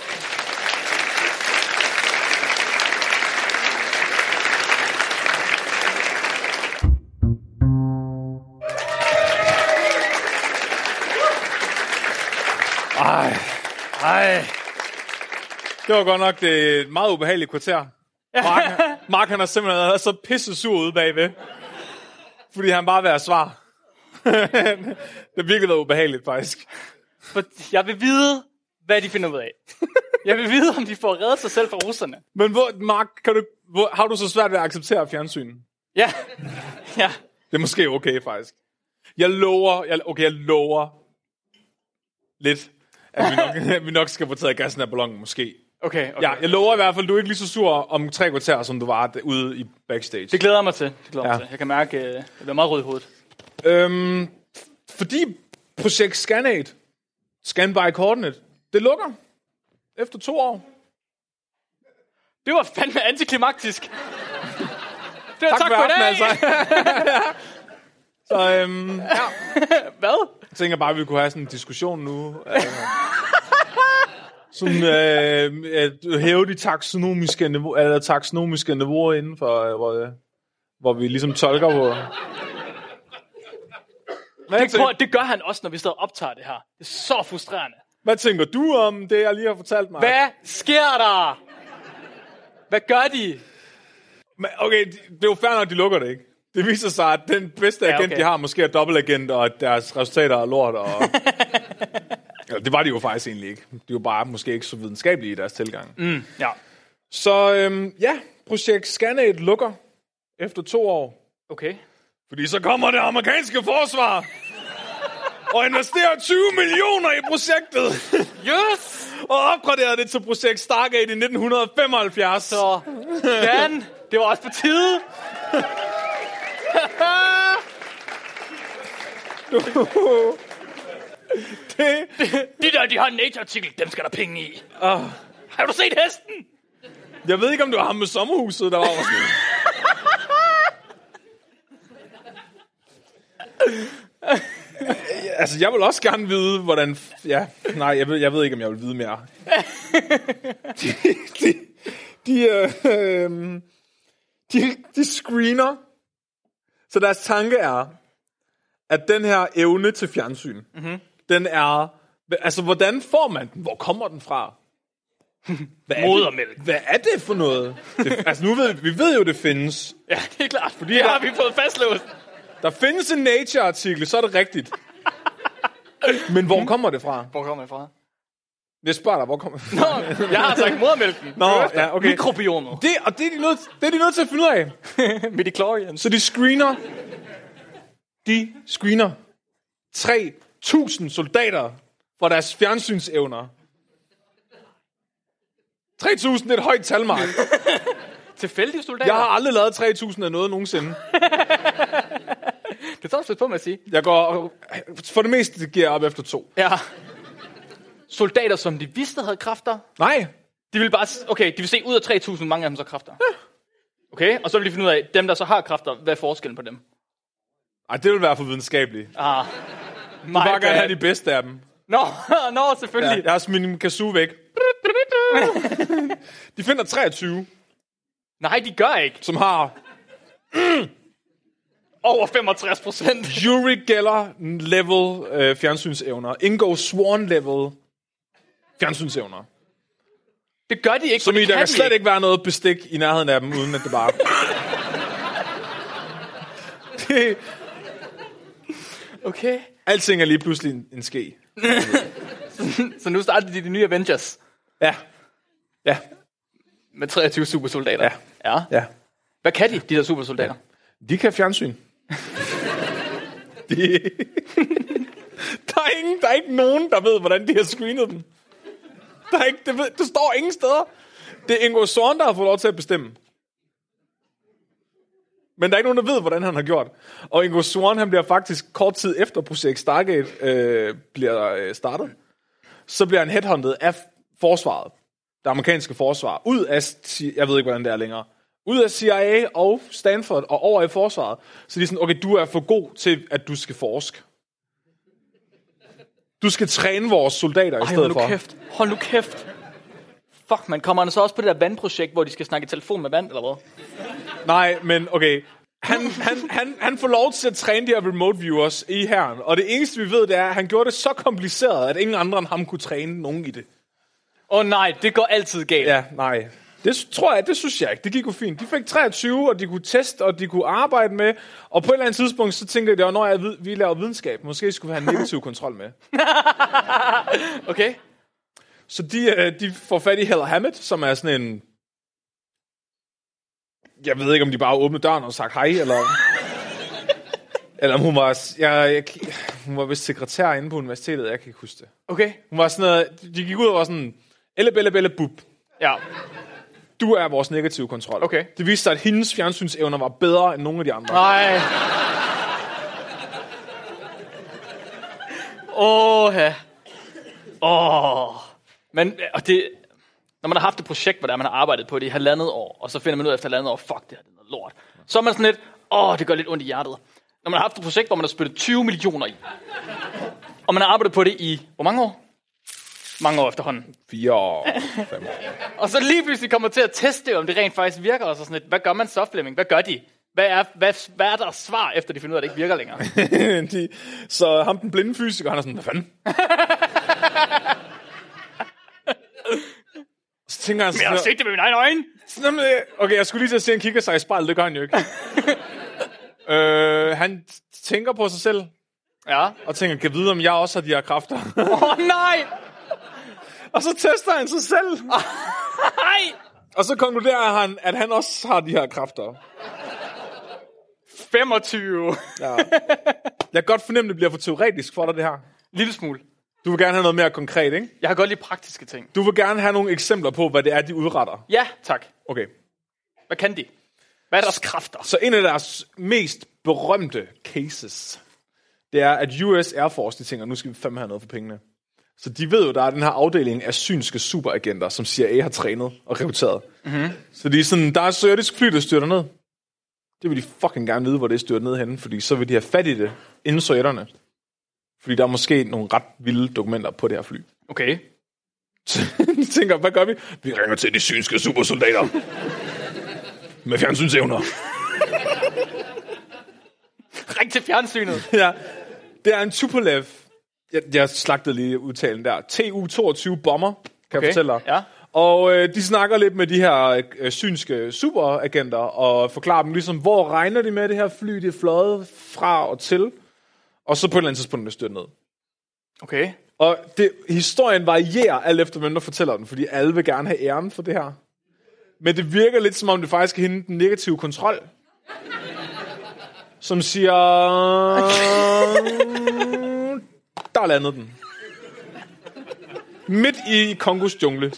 [SPEAKER 3] Ej,
[SPEAKER 2] Ej.
[SPEAKER 3] det var godt nok det et meget ubehageligt kvarter. Mark, Mark han har simpelthen været så pisse sur ude bagved. Fordi han bare vil have svar. det virkelig været ubehageligt, faktisk.
[SPEAKER 2] For jeg vil vide, hvad de finder ud af. Jeg vil vide, om de får reddet sig selv fra russerne.
[SPEAKER 3] Men hvor, Mark, kan du, hvor, har du så svært ved at acceptere fjernsyn?
[SPEAKER 2] Ja. Ja.
[SPEAKER 3] Det er måske okay, faktisk. Jeg lover, jeg, okay, jeg lover lidt, at vi nok, at vi nok skal få taget gassen af ballonen, måske.
[SPEAKER 2] Okay, okay.
[SPEAKER 3] Ja, jeg lover i hvert fald, du er ikke lige så sur om tre kvarter, som du var ude i backstage.
[SPEAKER 2] Det glæder jeg mig til. Det glæder ja.
[SPEAKER 3] Ja.
[SPEAKER 2] mig til. Jeg kan mærke, øh, jeg bliver meget rød i hovedet.
[SPEAKER 3] Øhm, fordi projekt ScanAid, Scan by Coordinate, det lukker efter to år.
[SPEAKER 2] Det var fandme antiklimaktisk. Det var tak, tak
[SPEAKER 3] Tak, for
[SPEAKER 2] for i dag.
[SPEAKER 3] aften, altså. så øhm, ja.
[SPEAKER 2] Hvad?
[SPEAKER 3] Jeg tænker bare, at vi kunne have sådan en diskussion nu. Øh, sådan, øh, at hæve de taxonomiske, niveau, eller taxonomiske niveauer inden for, øh, hvor, øh, hvor vi ligesom tolker på. Hvad,
[SPEAKER 2] Det, prøv,
[SPEAKER 3] tænker,
[SPEAKER 2] det gør han også, når vi står og optager det her. Det er så frustrerende.
[SPEAKER 3] hvad tænker du om det, jeg lige har fortalt mig?
[SPEAKER 2] Hvad sker der? Hvad gør de?
[SPEAKER 3] Men, okay, det det er jo fair nok, de lukker det ikke. Det viser sig, at den bedste agent, ja, okay.
[SPEAKER 2] okay.
[SPEAKER 3] de har, måske er dobbeltagent, og at deres resultater er lort. Og... Eller, det var de jo faktisk egentlig ikke. De var bare måske ikke så videnskabelige i deres tilgang.
[SPEAKER 2] Ja.
[SPEAKER 3] Så øhm, ja, projekt Scanaid lukker efter to år.
[SPEAKER 2] Okay.
[SPEAKER 3] Fordi så kommer det amerikanske forsvar og investerer 20 millioner i projektet
[SPEAKER 2] Yes!
[SPEAKER 3] og opgraderer det til projekt Stargate i 1975. Så.
[SPEAKER 2] Så, Dan, det var også på tide.
[SPEAKER 3] Det,
[SPEAKER 2] De der, de har en Nature-artikel, dem skal der penge i. Uh. Har du set hesten?
[SPEAKER 3] jeg ved ikke, om det var ham med sommerhuset, der var over sådan. Altså, jeg vil også gerne vide, hvordan... f- Ja, nej, jeg ved, jeg ved ikke, om jeg vil vide mere. De, de, de, øh, øhm, de, de screener. Så deres tanke er, at den her evne til fjernsyn, mm-hmm. den er... Altså, hvordan får man den? Hvor kommer den fra? Hvad er det-
[SPEAKER 2] Modermælk.
[SPEAKER 3] Hvad er det for noget? Det, altså, nu ved vi, vi ved jo, det findes.
[SPEAKER 2] Ja, det er klart. Fordi det har vi fået fastlåst.
[SPEAKER 3] Der findes en Nature-artikel, så er det rigtigt. Men hvor kommer det fra?
[SPEAKER 2] Hvor kommer jeg fra?
[SPEAKER 3] Jeg spørger dig, hvor kommer det fra?
[SPEAKER 2] Nå, jeg har sagt modermælken.
[SPEAKER 3] Nå, ja, okay.
[SPEAKER 2] Mikrobiomet.
[SPEAKER 3] Det, og det er, de nødt, det er de nødt til at finde ud af.
[SPEAKER 2] Midichlorians.
[SPEAKER 3] Så de screener... De screener 3.000 soldater for deres fjernsynsevner. 3.000 det er et højt tal, Mark.
[SPEAKER 2] Tilfældige soldater.
[SPEAKER 3] Jeg har aldrig lavet 3.000 af noget nogensinde.
[SPEAKER 2] Det tager du slet på med at sige.
[SPEAKER 3] Jeg går for det meste giver jeg op efter to.
[SPEAKER 2] Ja. Soldater, som de vidste havde kræfter.
[SPEAKER 3] Nej,
[SPEAKER 2] De vil bare... s- Okay, de vil se ud af 3.000, hvor mange af dem så har kræfter. Okay, og så vil de finde ud af, dem der så har kræfter, hvad er forskellen på dem?
[SPEAKER 3] Ej, det vil være for videnskabeligt. Jeg
[SPEAKER 2] Ah, my
[SPEAKER 3] vil bare gerne
[SPEAKER 2] bad.
[SPEAKER 3] have de bedste af dem.
[SPEAKER 2] Nå, nå, selvfølgelig.
[SPEAKER 3] Jeg har smidt min kasu væk. De finder 23,
[SPEAKER 2] Nej, de gør ikke.
[SPEAKER 3] som har
[SPEAKER 2] Over 65 procent.
[SPEAKER 3] Yuri Geller-level øh, fjernsynsevner. Ingo Swan-level fjernsynsevner.
[SPEAKER 2] Det gør de ikke,
[SPEAKER 3] Som
[SPEAKER 2] for
[SPEAKER 3] i,
[SPEAKER 2] det
[SPEAKER 3] der
[SPEAKER 2] kan
[SPEAKER 3] kan
[SPEAKER 2] de
[SPEAKER 3] slet ikke være noget bestik i nærheden af dem, uden at det bare... okay.
[SPEAKER 2] Okay.
[SPEAKER 3] Alting er lige pludselig en, en ske.
[SPEAKER 2] Så nu starter de de nye Avengers
[SPEAKER 3] Ja. Ja,
[SPEAKER 2] med 23 supersoldater.
[SPEAKER 3] Ja.
[SPEAKER 2] ja.
[SPEAKER 3] ja.
[SPEAKER 2] Hvad kan de, de der supersoldater?
[SPEAKER 3] De kan fjernsyn. de... der, er ingen, der er ikke nogen, der ved, hvordan de har screenet dem. Der er ikke, det, ved, det står ingen steder. Det er Ingo Søren, der har fået lov til at bestemme. Men der er ikke nogen, der ved, hvordan han har gjort. Og Ingo Søren, han bliver faktisk kort tid efter projekt Stargate øh, bliver øh, startet, så bliver han headhunted af forsvaret, det amerikanske forsvar, ud af, C- jeg ved ikke, hvordan det er længere, ud af CIA og Stanford og over i forsvaret. Så de er sådan, okay, du er for god til, at du skal forske. Du skal træne vores soldater i
[SPEAKER 2] Ej, hold
[SPEAKER 3] stedet
[SPEAKER 2] nu
[SPEAKER 3] for.
[SPEAKER 2] kæft. Hold nu kæft. Fuck, man kommer han så også på det der vandprojekt, hvor de skal snakke i telefon med vand, eller hvad?
[SPEAKER 3] Nej, men okay. Han, han, han, han får lov til at træne de her remote viewers i herren, og det eneste vi ved, det er, at han gjorde det så kompliceret, at ingen andre end ham kunne træne nogen i det.
[SPEAKER 2] Åh oh, nej, det går altid galt.
[SPEAKER 3] Ja, nej. Det s- tror jeg, det synes jeg ikke. Det gik jo fint. De fik 23, og de kunne teste, og de kunne arbejde med. Og på et eller andet tidspunkt, så tænkte jeg, det var, når jeg, vid- vi laver videnskab, måske skulle vi have en negativ kontrol med.
[SPEAKER 2] Okay?
[SPEAKER 3] Så de, øh, de får fat i Hella Hammett, som er sådan en... Jeg ved ikke, om de bare åbnede døren og sagt hej, eller... eller om hun var... Jeg, jeg, hun var vist sekretær inde på universitetet, jeg kan ikke huske det.
[SPEAKER 2] Okay?
[SPEAKER 3] Hun var sådan noget... De gik ud og var sådan... Elle, belle, belle, bub.
[SPEAKER 2] Ja.
[SPEAKER 3] Du er vores negative kontrol.
[SPEAKER 2] Okay.
[SPEAKER 3] Det viste sig, at hendes fjernsynsevner var bedre end nogle af de andre.
[SPEAKER 2] Nej. Åh, ja. Åh. Men, og det, når man har haft et projekt, hvor det er, man har arbejdet på det i halvandet år, og så finder man ud af efter halvandet år, fuck, det her det er noget lort. Så er man sådan lidt, åh, det gør lidt ondt i hjertet. Når man har haft et projekt, hvor man har spyttet 20 millioner i, og man har arbejdet på det i, hvor mange år? Mange år efterhånden.
[SPEAKER 3] Fire og fem år.
[SPEAKER 2] Og så lige pludselig kommer til at teste, om det rent faktisk virker, og så sådan lidt, hvad gør man så, Flemming? Hvad gør de? Hvad er, hvad, hvad er deres svar, efter de finder ud af, at det ikke virker længere?
[SPEAKER 3] de, så ham, den blinde fysiker, han er sådan, hvad fanden? så tænker han
[SPEAKER 2] Jeg har
[SPEAKER 3] sådan,
[SPEAKER 2] set det med mine egne øjne.
[SPEAKER 3] Jamen, øh, Okay, jeg skulle lige til at se, at han kigger sig i spejlet. Det gør han jo ikke. øh, han t- tænker på sig selv,
[SPEAKER 2] Ja.
[SPEAKER 3] og tænker, kan vide, om jeg også har de her kræfter.
[SPEAKER 2] Åh oh, nej!
[SPEAKER 3] og så tester han sig selv.
[SPEAKER 2] Nej!
[SPEAKER 3] og så konkluderer han, at han også har de her kræfter.
[SPEAKER 2] 25.
[SPEAKER 3] Ja. Jeg kan godt fornemme, det bliver for teoretisk for dig, det her.
[SPEAKER 2] Lille smule.
[SPEAKER 3] Du vil gerne have noget mere konkret, ikke?
[SPEAKER 2] Jeg har godt lige praktiske ting.
[SPEAKER 3] Du vil gerne have nogle eksempler på, hvad det er, de udretter.
[SPEAKER 2] Ja, tak.
[SPEAKER 3] Okay.
[SPEAKER 2] Hvad kan de? Hvad er deres kræfter?
[SPEAKER 3] Så en af deres mest berømte cases, det er, at US Air Force, de tænker, nu skal vi fandme have noget for pengene. Så de ved jo, der er den her afdeling af synske superagenter, som CIA har trænet og rekrutteret. Mm-hmm. Så de er sådan, der er et sovjetisk fly, der styrter ned. Det vil de fucking gerne vide, hvor det styrter ned henne, fordi så vil de have fat i det inden sovjetterne. Fordi der er måske nogle ret vilde dokumenter på det her fly.
[SPEAKER 2] Okay.
[SPEAKER 3] de tænker, hvad gør vi? Vi ringer til de synske supersoldater. Med fjernsynsevner.
[SPEAKER 2] Ring til fjernsynet.
[SPEAKER 3] ja. Det er en Tupolev. Jeg, jeg slagtede lige udtalen der. TU-22 bomber, kan okay. jeg fortælle dig.
[SPEAKER 2] ja.
[SPEAKER 3] Og øh, de snakker lidt med de her øh, synske superagenter og forklarer dem ligesom, hvor regner de med det her fly, det er fløjet fra og til. Og så på et eller andet tidspunkt er det styrtet ned.
[SPEAKER 2] Okay.
[SPEAKER 3] Og det, historien varierer alt efter, hvem der fortæller den, fordi alle vil gerne have æren for det her. Men det virker lidt, som om det faktisk er hende den negative kontrol, som siger... Der landede den. Midt i Kongos jungle.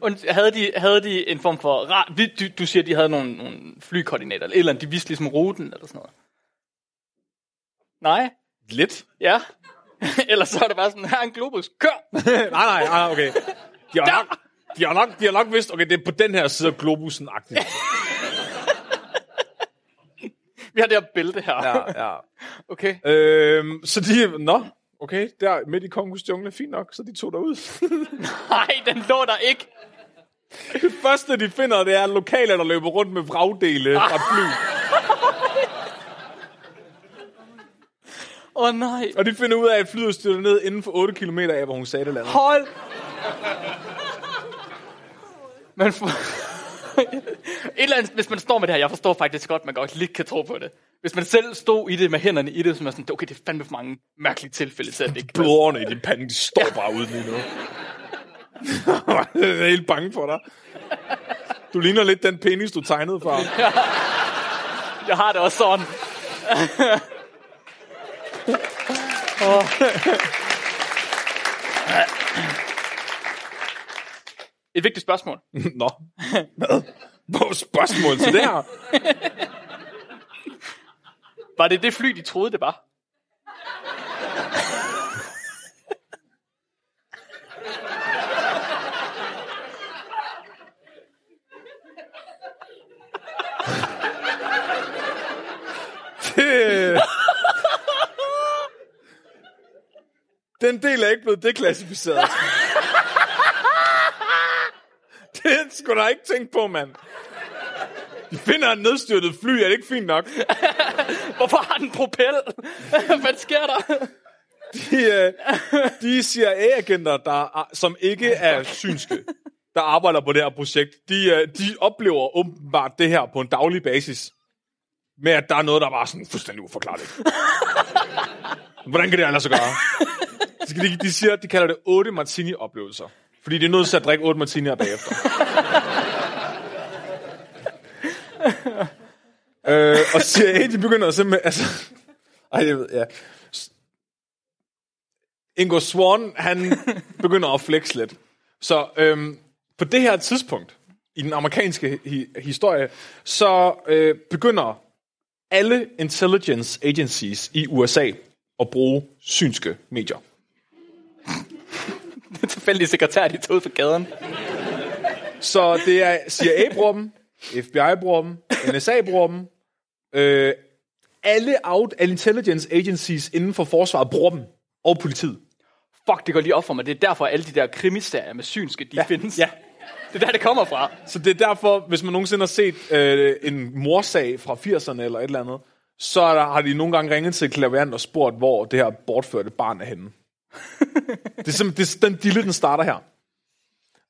[SPEAKER 2] Und, havde, de, havde de en form for... Rar, vi- du, du siger, de havde nogle, nogle flykoordinater, eller et eller andet. De vidste ligesom ruten, eller sådan noget. Nej?
[SPEAKER 3] Lidt?
[SPEAKER 2] Ja. Ellers så er det bare sådan, her er en globus, kør!
[SPEAKER 3] nej, nej, nej, okay. De har, nok, de, har nok, de har nok vidst, okay, det er på den her side af globusen-agtigt.
[SPEAKER 2] Vi har det her bælte her.
[SPEAKER 3] ja.
[SPEAKER 2] Okay.
[SPEAKER 3] Øhm, så de... Nå, okay, der midt i Kongos jungle, fint nok, så de tog derud.
[SPEAKER 2] Nej, den lå der ikke.
[SPEAKER 3] Det første, de finder, det er lokale, der løber rundt med vragdele fra et fly.
[SPEAKER 2] Åh oh, nej.
[SPEAKER 3] Og de finder ud af, at flyet styrter ned inden for 8 km af, hvor hun sagde det landede.
[SPEAKER 2] Hold! Men for... Et eller andet, hvis man står med det her, jeg forstår faktisk godt, man godt lidt kan tro på det. Hvis man selv stod i det med hænderne i det, så er man sådan, okay, det er fandme for mange mærkelige tilfælde til, at det ikke kan være
[SPEAKER 3] Blodårene i din pande, de står bare ude lige nu. jeg er helt bange for dig. Du ligner lidt den penis, du tegnede for.
[SPEAKER 2] sådan. Jeg har det også sådan. Og- Et vigtigt spørgsmål.
[SPEAKER 3] Nå. Hvad? Hvor er spørgsmål til det her?
[SPEAKER 2] Var det det fly, de troede, det var?
[SPEAKER 3] Det... Den del er ikke blevet deklassificeret. Det skulle da ikke tænke på, mand. De finder et nedstyrtet fly, er det ikke fint nok?
[SPEAKER 2] Hvorfor har den propel? Hvad sker der?
[SPEAKER 3] De, øh, de CIA-agenter, der, er- som ikke er synske, der arbejder på det her projekt, de, øh, de oplever åbenbart det her på en daglig basis. Med at der er noget, der var sådan fuldstændig uforklarligt. Hvordan kan det ellers gøre? Så De, de siger, at de kalder det 8 martini-oplevelser. Fordi de er nødt til at drikke 8 martinier bagefter. øh, og CIA, de begynder simpelthen... Altså, ej, jeg ved, ja. Ingo Swan, han begynder at flex lidt. Så øhm, på det her tidspunkt i den amerikanske hi- historie, så øh, begynder alle intelligence agencies i USA at bruge synske medier.
[SPEAKER 2] Den tilfældige sekretær, de tog ud fra gaden.
[SPEAKER 3] Så det er CIA bruger dem, FBI bruger dem, NSA bruger dem, øh, alle out, alle intelligence agencies inden for forsvaret bruger dem, og politiet.
[SPEAKER 2] Fuck, det går lige op for mig. Det er derfor, alle de der krimiserier med synske, de ja. findes.
[SPEAKER 3] ja.
[SPEAKER 2] Det er der, det kommer fra.
[SPEAKER 3] Så det er derfor, hvis man nogensinde har set øh, en morsag fra 80'erne eller et eller andet, så er der, har de nogle gange ringet til klaverant og spurgt, hvor det her bortførte barn er henne. det er simpelthen det, er den dille, den starter her.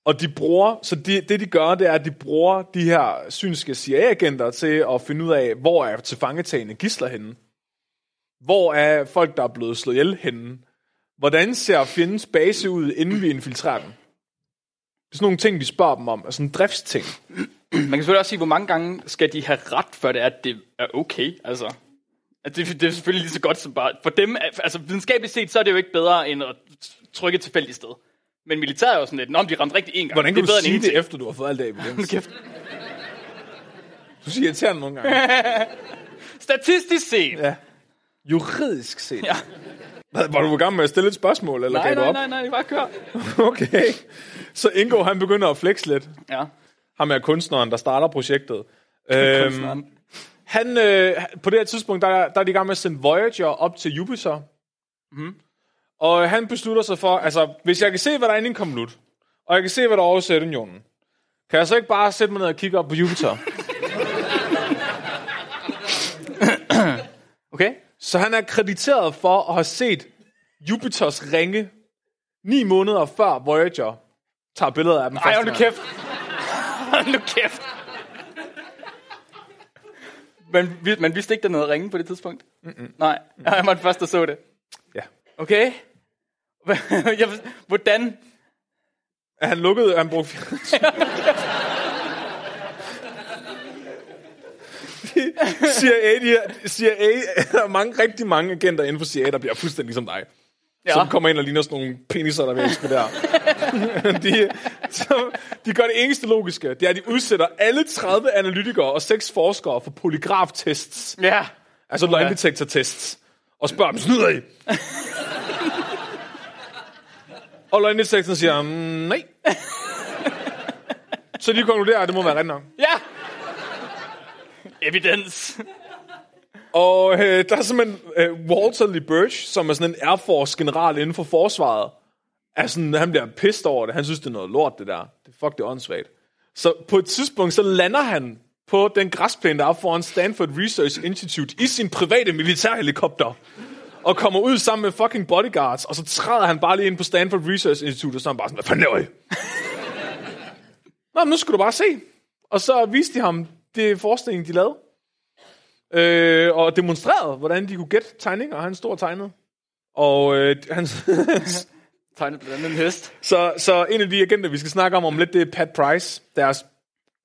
[SPEAKER 3] Og de bruger, så de, det de gør, det er, at de bruger de her synske CIA-agenter til at finde ud af, hvor er tilfangetagende gisler henne. Hvor er folk, der er blevet slået ihjel henne. Hvordan ser fjendens base ud, inden vi infiltrerer dem? Det er sådan nogle ting, vi spørger dem om. Altså sådan driftsting.
[SPEAKER 2] Man kan selvfølgelig også sige, hvor mange gange skal de have ret, før det er, at det er okay. Altså, at det, det er selvfølgelig lige så godt som bare... For dem, er- altså videnskabeligt set, så er det jo ikke bedre, end at trykke et tilfældigt sted. Men militæret er jo sådan lidt, nå, men de ramte rigtigt en gang.
[SPEAKER 3] Hvordan kan
[SPEAKER 2] det er
[SPEAKER 3] du
[SPEAKER 2] bedre
[SPEAKER 3] sige
[SPEAKER 2] end
[SPEAKER 3] det, efter du har fået alt af evidens?
[SPEAKER 2] ingenting.
[SPEAKER 3] Du siger irriterende nogle gange.
[SPEAKER 2] Statistisk set.
[SPEAKER 3] ja. Juridisk set.
[SPEAKER 2] Ja.
[SPEAKER 3] Hvad, var du i gang med at stille et spørgsmål, eller
[SPEAKER 2] Nej,
[SPEAKER 3] gav du
[SPEAKER 2] nej,
[SPEAKER 3] op?
[SPEAKER 2] nej, nej, det er bare kør.
[SPEAKER 3] Okay. Så Ingo, han begynder at flex lidt.
[SPEAKER 2] Ja.
[SPEAKER 3] Ham er kunstneren, der starter projektet. øhm, han, øh, på det her tidspunkt, der, er- der er de i gang med at sende Voyager op til Jupiter. Mm.
[SPEAKER 2] Mhm.
[SPEAKER 3] Og han beslutter sig for, altså, hvis jeg kan se, hvad der er inde i en konvolut, og jeg kan se, hvad der er over i Sovjetunionen, kan jeg så ikke bare sætte mig ned og kigge op på Jupiter?
[SPEAKER 2] Okay.
[SPEAKER 3] Så han er krediteret for at have set Jupiters ringe ni måneder før Voyager tager billeder af dem.
[SPEAKER 2] Ej,
[SPEAKER 3] første
[SPEAKER 2] hold nu
[SPEAKER 3] gang.
[SPEAKER 2] kæft. Hold nu kæft. Men, vi- man vidste ikke, der noget ringe på det tidspunkt? Mm-mm. Nej, jeg var den første, der så det.
[SPEAKER 3] Ja.
[SPEAKER 2] Okay. Jeg ved- Hvordan?
[SPEAKER 3] Er Han lukkede, han brugte... CIA, de, er- CIA, der er mange, rigtig mange agenter inden for CIA, der bliver fuldstændig som dig. Ja. Som kommer ind og ligner sådan nogle peniser, der vil der. de, så, de gør det eneste logiske, det er, at de udsætter alle 30 analytikere og 6 forskere for polygraftests.
[SPEAKER 2] Ja.
[SPEAKER 3] Altså løgndetektortests. Og spørger dem, snyder I? og løgndetektoren siger, "Mm, nej. Så de konkluderer, at det må være rigtigt nok.
[SPEAKER 2] Ja. Evidens.
[SPEAKER 3] Og øh, der er simpelthen øh, Walter Lee Birch, som er sådan en Air Force-general inden for forsvaret. Er sådan, han bliver pissed over det. Han synes, det er noget lort, det der. Det fuck, det er åndssvagt. Så på et tidspunkt, så lander han på den græsplæne, der er foran Stanford Research Institute, i sin private militærhelikopter. Og kommer ud sammen med fucking bodyguards, og så træder han bare lige ind på Stanford Research Institute, og så er han bare sådan, hvad fanden laver I? Nå, men nu skal du bare se. Og så viste de ham det forskning, de lavede. Øh, og demonstrerede, hvordan de kunne gætte tegninger, og han stod og tegnede. Og øh, han,
[SPEAKER 2] Tegnet blandt andet en hest.
[SPEAKER 3] så, så en af de agenter, vi skal snakke om om lidt, det er Pat Price, deres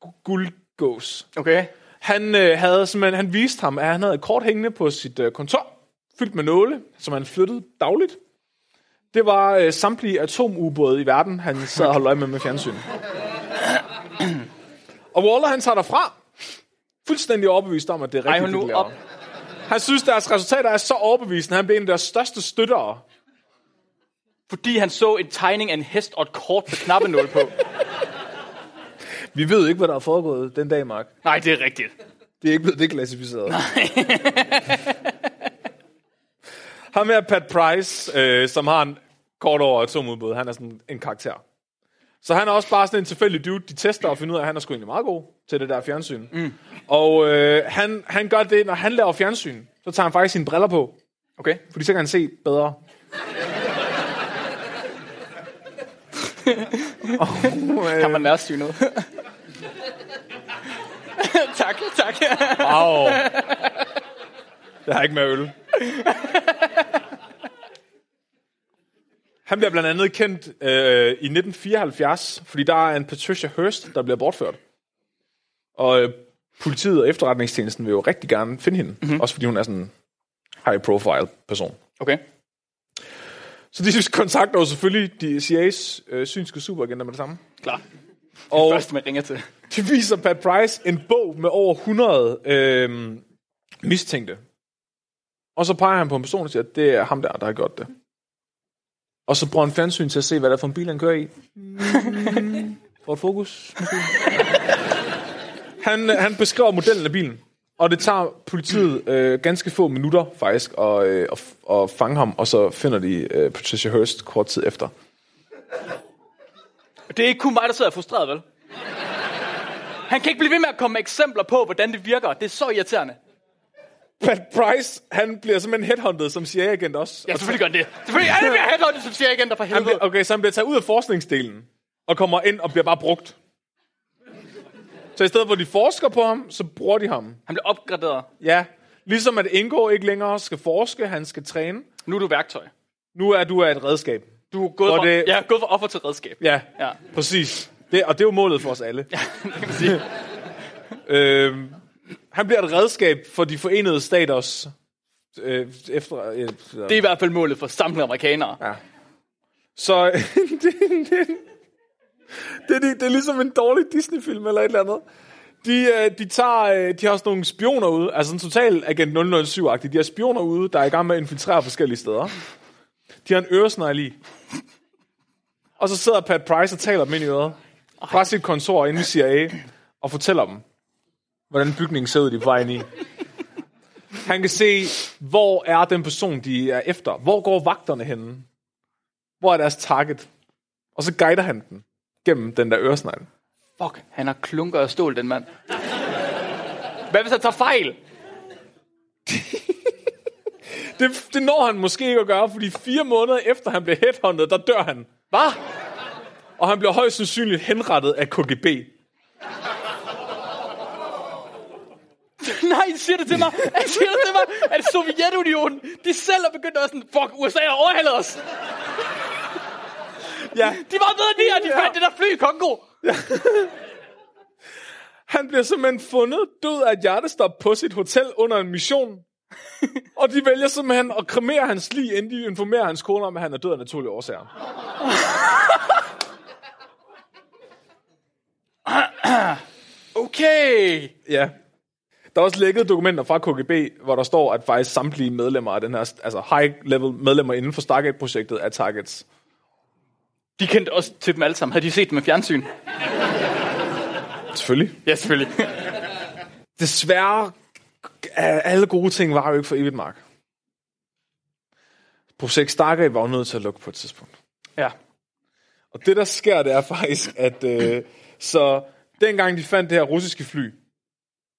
[SPEAKER 3] gu- guldgås.
[SPEAKER 2] Okay.
[SPEAKER 3] Han, øh, havde, simpelthen, han viste ham, at han havde et kort hængende på sit øh, kontor, fyldt med nåle, som han flyttede dagligt. Det var øh, samtlige atomubåde i verden, han sad og holdt øje med med fjernsyn. Og Waller, han tager derfra, fuldstændig overbevist om, at det er
[SPEAKER 2] Ej,
[SPEAKER 3] rigtigt,
[SPEAKER 2] hold
[SPEAKER 3] det, de
[SPEAKER 2] nu
[SPEAKER 3] laver.
[SPEAKER 2] op.
[SPEAKER 3] Han synes, deres resultater er så overbevisende, at han bliver en af deres største støttere.
[SPEAKER 2] Fordi han så en tegning af en hest og et kort med knappenål på.
[SPEAKER 3] Vi ved ikke, hvad der er foregået den dag, Mark.
[SPEAKER 2] Nej, det er rigtigt.
[SPEAKER 3] Det er ikke blevet deklassificeret. Ham her, Pat Price, øh, som har en kort over atomudbud, han er sådan en karakter. Så han er også bare sådan en tilfældig dude, de tester og finder ud af, at han er sgu egentlig meget god til det der fjernsyn. Mm. Og øh, han, han gør det, når han laver fjernsyn, så tager han faktisk sine briller på,
[SPEAKER 2] Okay.
[SPEAKER 3] fordi så kan han se bedre.
[SPEAKER 2] Kan man lære at sige noget? tak, tak.
[SPEAKER 3] Au. Jeg har ikke med øl. Han bliver blandt andet kendt øh, i 1974, fordi der er en Patricia Hearst, der bliver bortført. Og øh, politiet og efterretningstjenesten vil jo rigtig gerne finde hende. Mm-hmm. Også fordi hun er sådan en high-profile person.
[SPEAKER 2] Okay.
[SPEAKER 3] Så de kontakter jo selvfølgelig de CIA's øh, synske superagenter med det samme.
[SPEAKER 2] Klar.
[SPEAKER 3] Og
[SPEAKER 2] Først, man ringer til.
[SPEAKER 3] de viser Pat Price en bog med over 100 øh, mistænkte. Og så peger han på en person og siger, at det er ham der, der har gjort det. Og så bruger han fjernsyn til at se, hvad der er for en bil, han kører i. For et fokus. måske. han, han beskriver modellen af bilen. Og det tager politiet øh, ganske få minutter faktisk at, øh, at, at fange ham, og så finder de øh, Patricia Hearst kort tid efter.
[SPEAKER 2] Det er ikke kun mig, der sidder og er frustreret, vel? Han kan ikke blive ved med at komme med eksempler på, hvordan det virker. Det er så irriterende.
[SPEAKER 3] Pat Price, han bliver simpelthen headhunted som CIA-agent også.
[SPEAKER 2] Ja, selvfølgelig gør han det. Selvfølgelig alle bliver headhunted som CIA-agenter for
[SPEAKER 3] Han
[SPEAKER 2] helvede.
[SPEAKER 3] bliver, okay, så han bliver taget ud af forskningsdelen, og kommer ind og bliver bare brugt. Så i stedet for, at de forsker på ham, så bruger de ham.
[SPEAKER 2] Han bliver opgraderet.
[SPEAKER 3] Ja, ligesom at Ingo ikke længere skal forske, han skal træne.
[SPEAKER 2] Nu er du værktøj.
[SPEAKER 3] Nu er du et redskab.
[SPEAKER 2] Du er gået,
[SPEAKER 3] Og
[SPEAKER 2] fra,
[SPEAKER 3] det-
[SPEAKER 2] det... ja, gået fra offer til redskab.
[SPEAKER 3] Ja,
[SPEAKER 2] Ja.
[SPEAKER 3] præcis. Det, og det er jo målet for os alle.
[SPEAKER 2] Det kan man sige.
[SPEAKER 3] Øhm, han bliver et redskab for de forenede staters øh, efter... Øh,
[SPEAKER 2] Det er i hvert fald målet for samtlige amerikanere.
[SPEAKER 3] Ja. Så det, det, det, det, det er ligesom en dårlig Disney-film eller et eller andet. De, øh, de, tager, øh, de har sådan nogle spioner ude, altså en total Agent 007-agtig. De har spioner ude, der er i gang med at infiltrere forskellige steder. De har en øresnegl i. Og så sidder Pat Price og taler dem ind i øret. Fra sit kontor inde i CIA. Og fortæller dem, hvordan bygningen ser ud, de er på vej ind i. Han kan se, hvor er den person, de er efter. Hvor går vagterne henne? Hvor er deres target? Og så guider han den gennem den der øresnegl.
[SPEAKER 2] Fuck, han har klunker og stål, den mand. Hvad hvis han tager fejl?
[SPEAKER 3] Det, det når han måske ikke at gøre, fordi fire måneder efter han bliver headhunted, der dør han.
[SPEAKER 2] Hvad?
[SPEAKER 3] Og han bliver højst sandsynligt henrettet af KGB.
[SPEAKER 2] Nej, han siger det til mig. Han siger det til mig, at Sovjetunionen, de selv er begyndt at være sådan, fuck, USA har overhældet os.
[SPEAKER 3] Ja,
[SPEAKER 2] De var ved at lige, og de fandt det der fly i Kongo.
[SPEAKER 3] han bliver simpelthen fundet død af et hjertestop på sit hotel under en mission. Og de vælger simpelthen at kremere hans lig, inden de informerer hans kone om, at han er død af naturlige årsager.
[SPEAKER 2] Okay.
[SPEAKER 3] Ja. Der er også lækket dokumenter fra KGB, hvor der står, at faktisk samtlige medlemmer af den her, altså high-level medlemmer inden for Stargate-projektet er targets.
[SPEAKER 2] De kendte også til dem alle sammen. Havde de set dem med fjernsyn?
[SPEAKER 3] Selvfølgelig.
[SPEAKER 2] Ja, selvfølgelig.
[SPEAKER 3] desværre, er alle gode ting var jo ikke for evigt, Mark. Projekt Stargate var jo nødt til at lukke på et tidspunkt.
[SPEAKER 2] ja.
[SPEAKER 3] Og det, der sker, det er faktisk, at øh, så dengang de fandt det her russiske fly,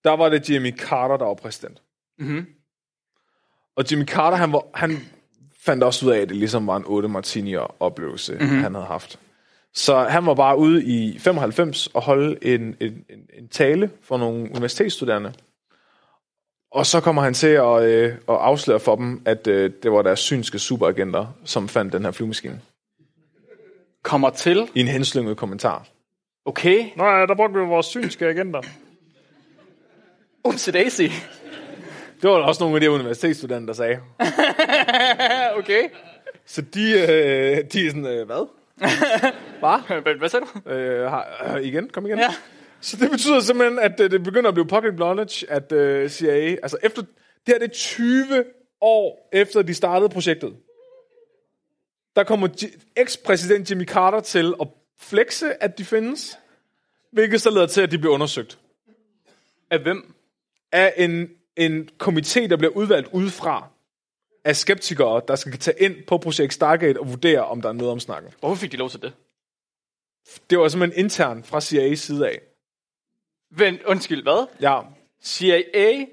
[SPEAKER 3] der var det Jimmy Carter, der var præsident. Mm-hmm. Og Jimmy Carter, han, var, han fandt også ud af, at det ligesom var en 8 martini oplevelse, mm-hmm. han havde haft. Så han var bare ude i 95 og holde en, en, en, en tale for nogle universitetsstuderende. Og så kommer han til at, øh, at afsløre for dem, at øh, det var deres synske superagenter, som fandt den her flyvemaskine.
[SPEAKER 2] Kommer til.
[SPEAKER 3] I en henslynget kommentar.
[SPEAKER 2] Okay.
[SPEAKER 4] Nej, der brugte vi vores synske agenter.
[SPEAKER 2] Oopsie daisy.
[SPEAKER 3] Det var der også nogle af de universitetsstuderende, der sagde.
[SPEAKER 2] Ja, okay.
[SPEAKER 3] Så de, øh, de er sådan, øh, hvad?
[SPEAKER 2] Hvad, hvad sagde du?
[SPEAKER 3] Øh, har, øh, igen, kom igen.
[SPEAKER 2] Ja.
[SPEAKER 3] Så det betyder simpelthen, at øh, det begynder at blive public knowledge, at øh, CIA... Altså, efter, det her det er 20 år efter, de startede projektet. Der kommer Ji- ekspræsident Jimmy Carter til at flexe, at de findes, hvilket så leder til, at de bliver undersøgt
[SPEAKER 2] Af hvem?
[SPEAKER 3] af en, en komité, der bliver udvalgt udefra af skeptikere, der skal tage ind på projekt Stargate og vurdere, om der er noget om snakken.
[SPEAKER 2] Hvorfor fik de lov til det?
[SPEAKER 3] Det var simpelthen internt fra CIA's side af.
[SPEAKER 2] Vent, undskyld, hvad?
[SPEAKER 3] Ja,
[SPEAKER 2] CIA?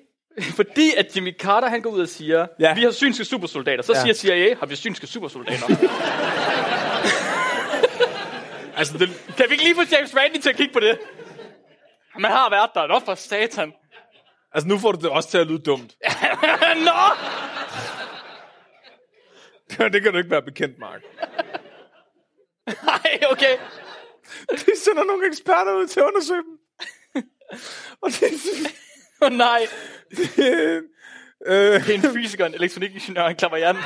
[SPEAKER 2] Fordi at Jimmy Carter, han går ud og siger,
[SPEAKER 3] Ja.
[SPEAKER 2] ja. vi har synske supersoldater. Så
[SPEAKER 3] Ja.
[SPEAKER 2] ja. siger CIA, har vi synske supersoldater?
[SPEAKER 3] altså det,
[SPEAKER 2] kan vi ikke lige få James Randi til at kigge på det? Man har været der. Nå for satan.
[SPEAKER 3] Altså, nu får du det også til at lyde dumt.
[SPEAKER 2] Nå!
[SPEAKER 3] det kan du ikke være bekendt, Mark.
[SPEAKER 2] Nej, okay.
[SPEAKER 3] De sender nogle eksperter ud til at undersøge dem. Og det,
[SPEAKER 2] Oh, nej.
[SPEAKER 3] det, øh,
[SPEAKER 2] Det er en fysiker, en elektronikingeniør, en klaverjant.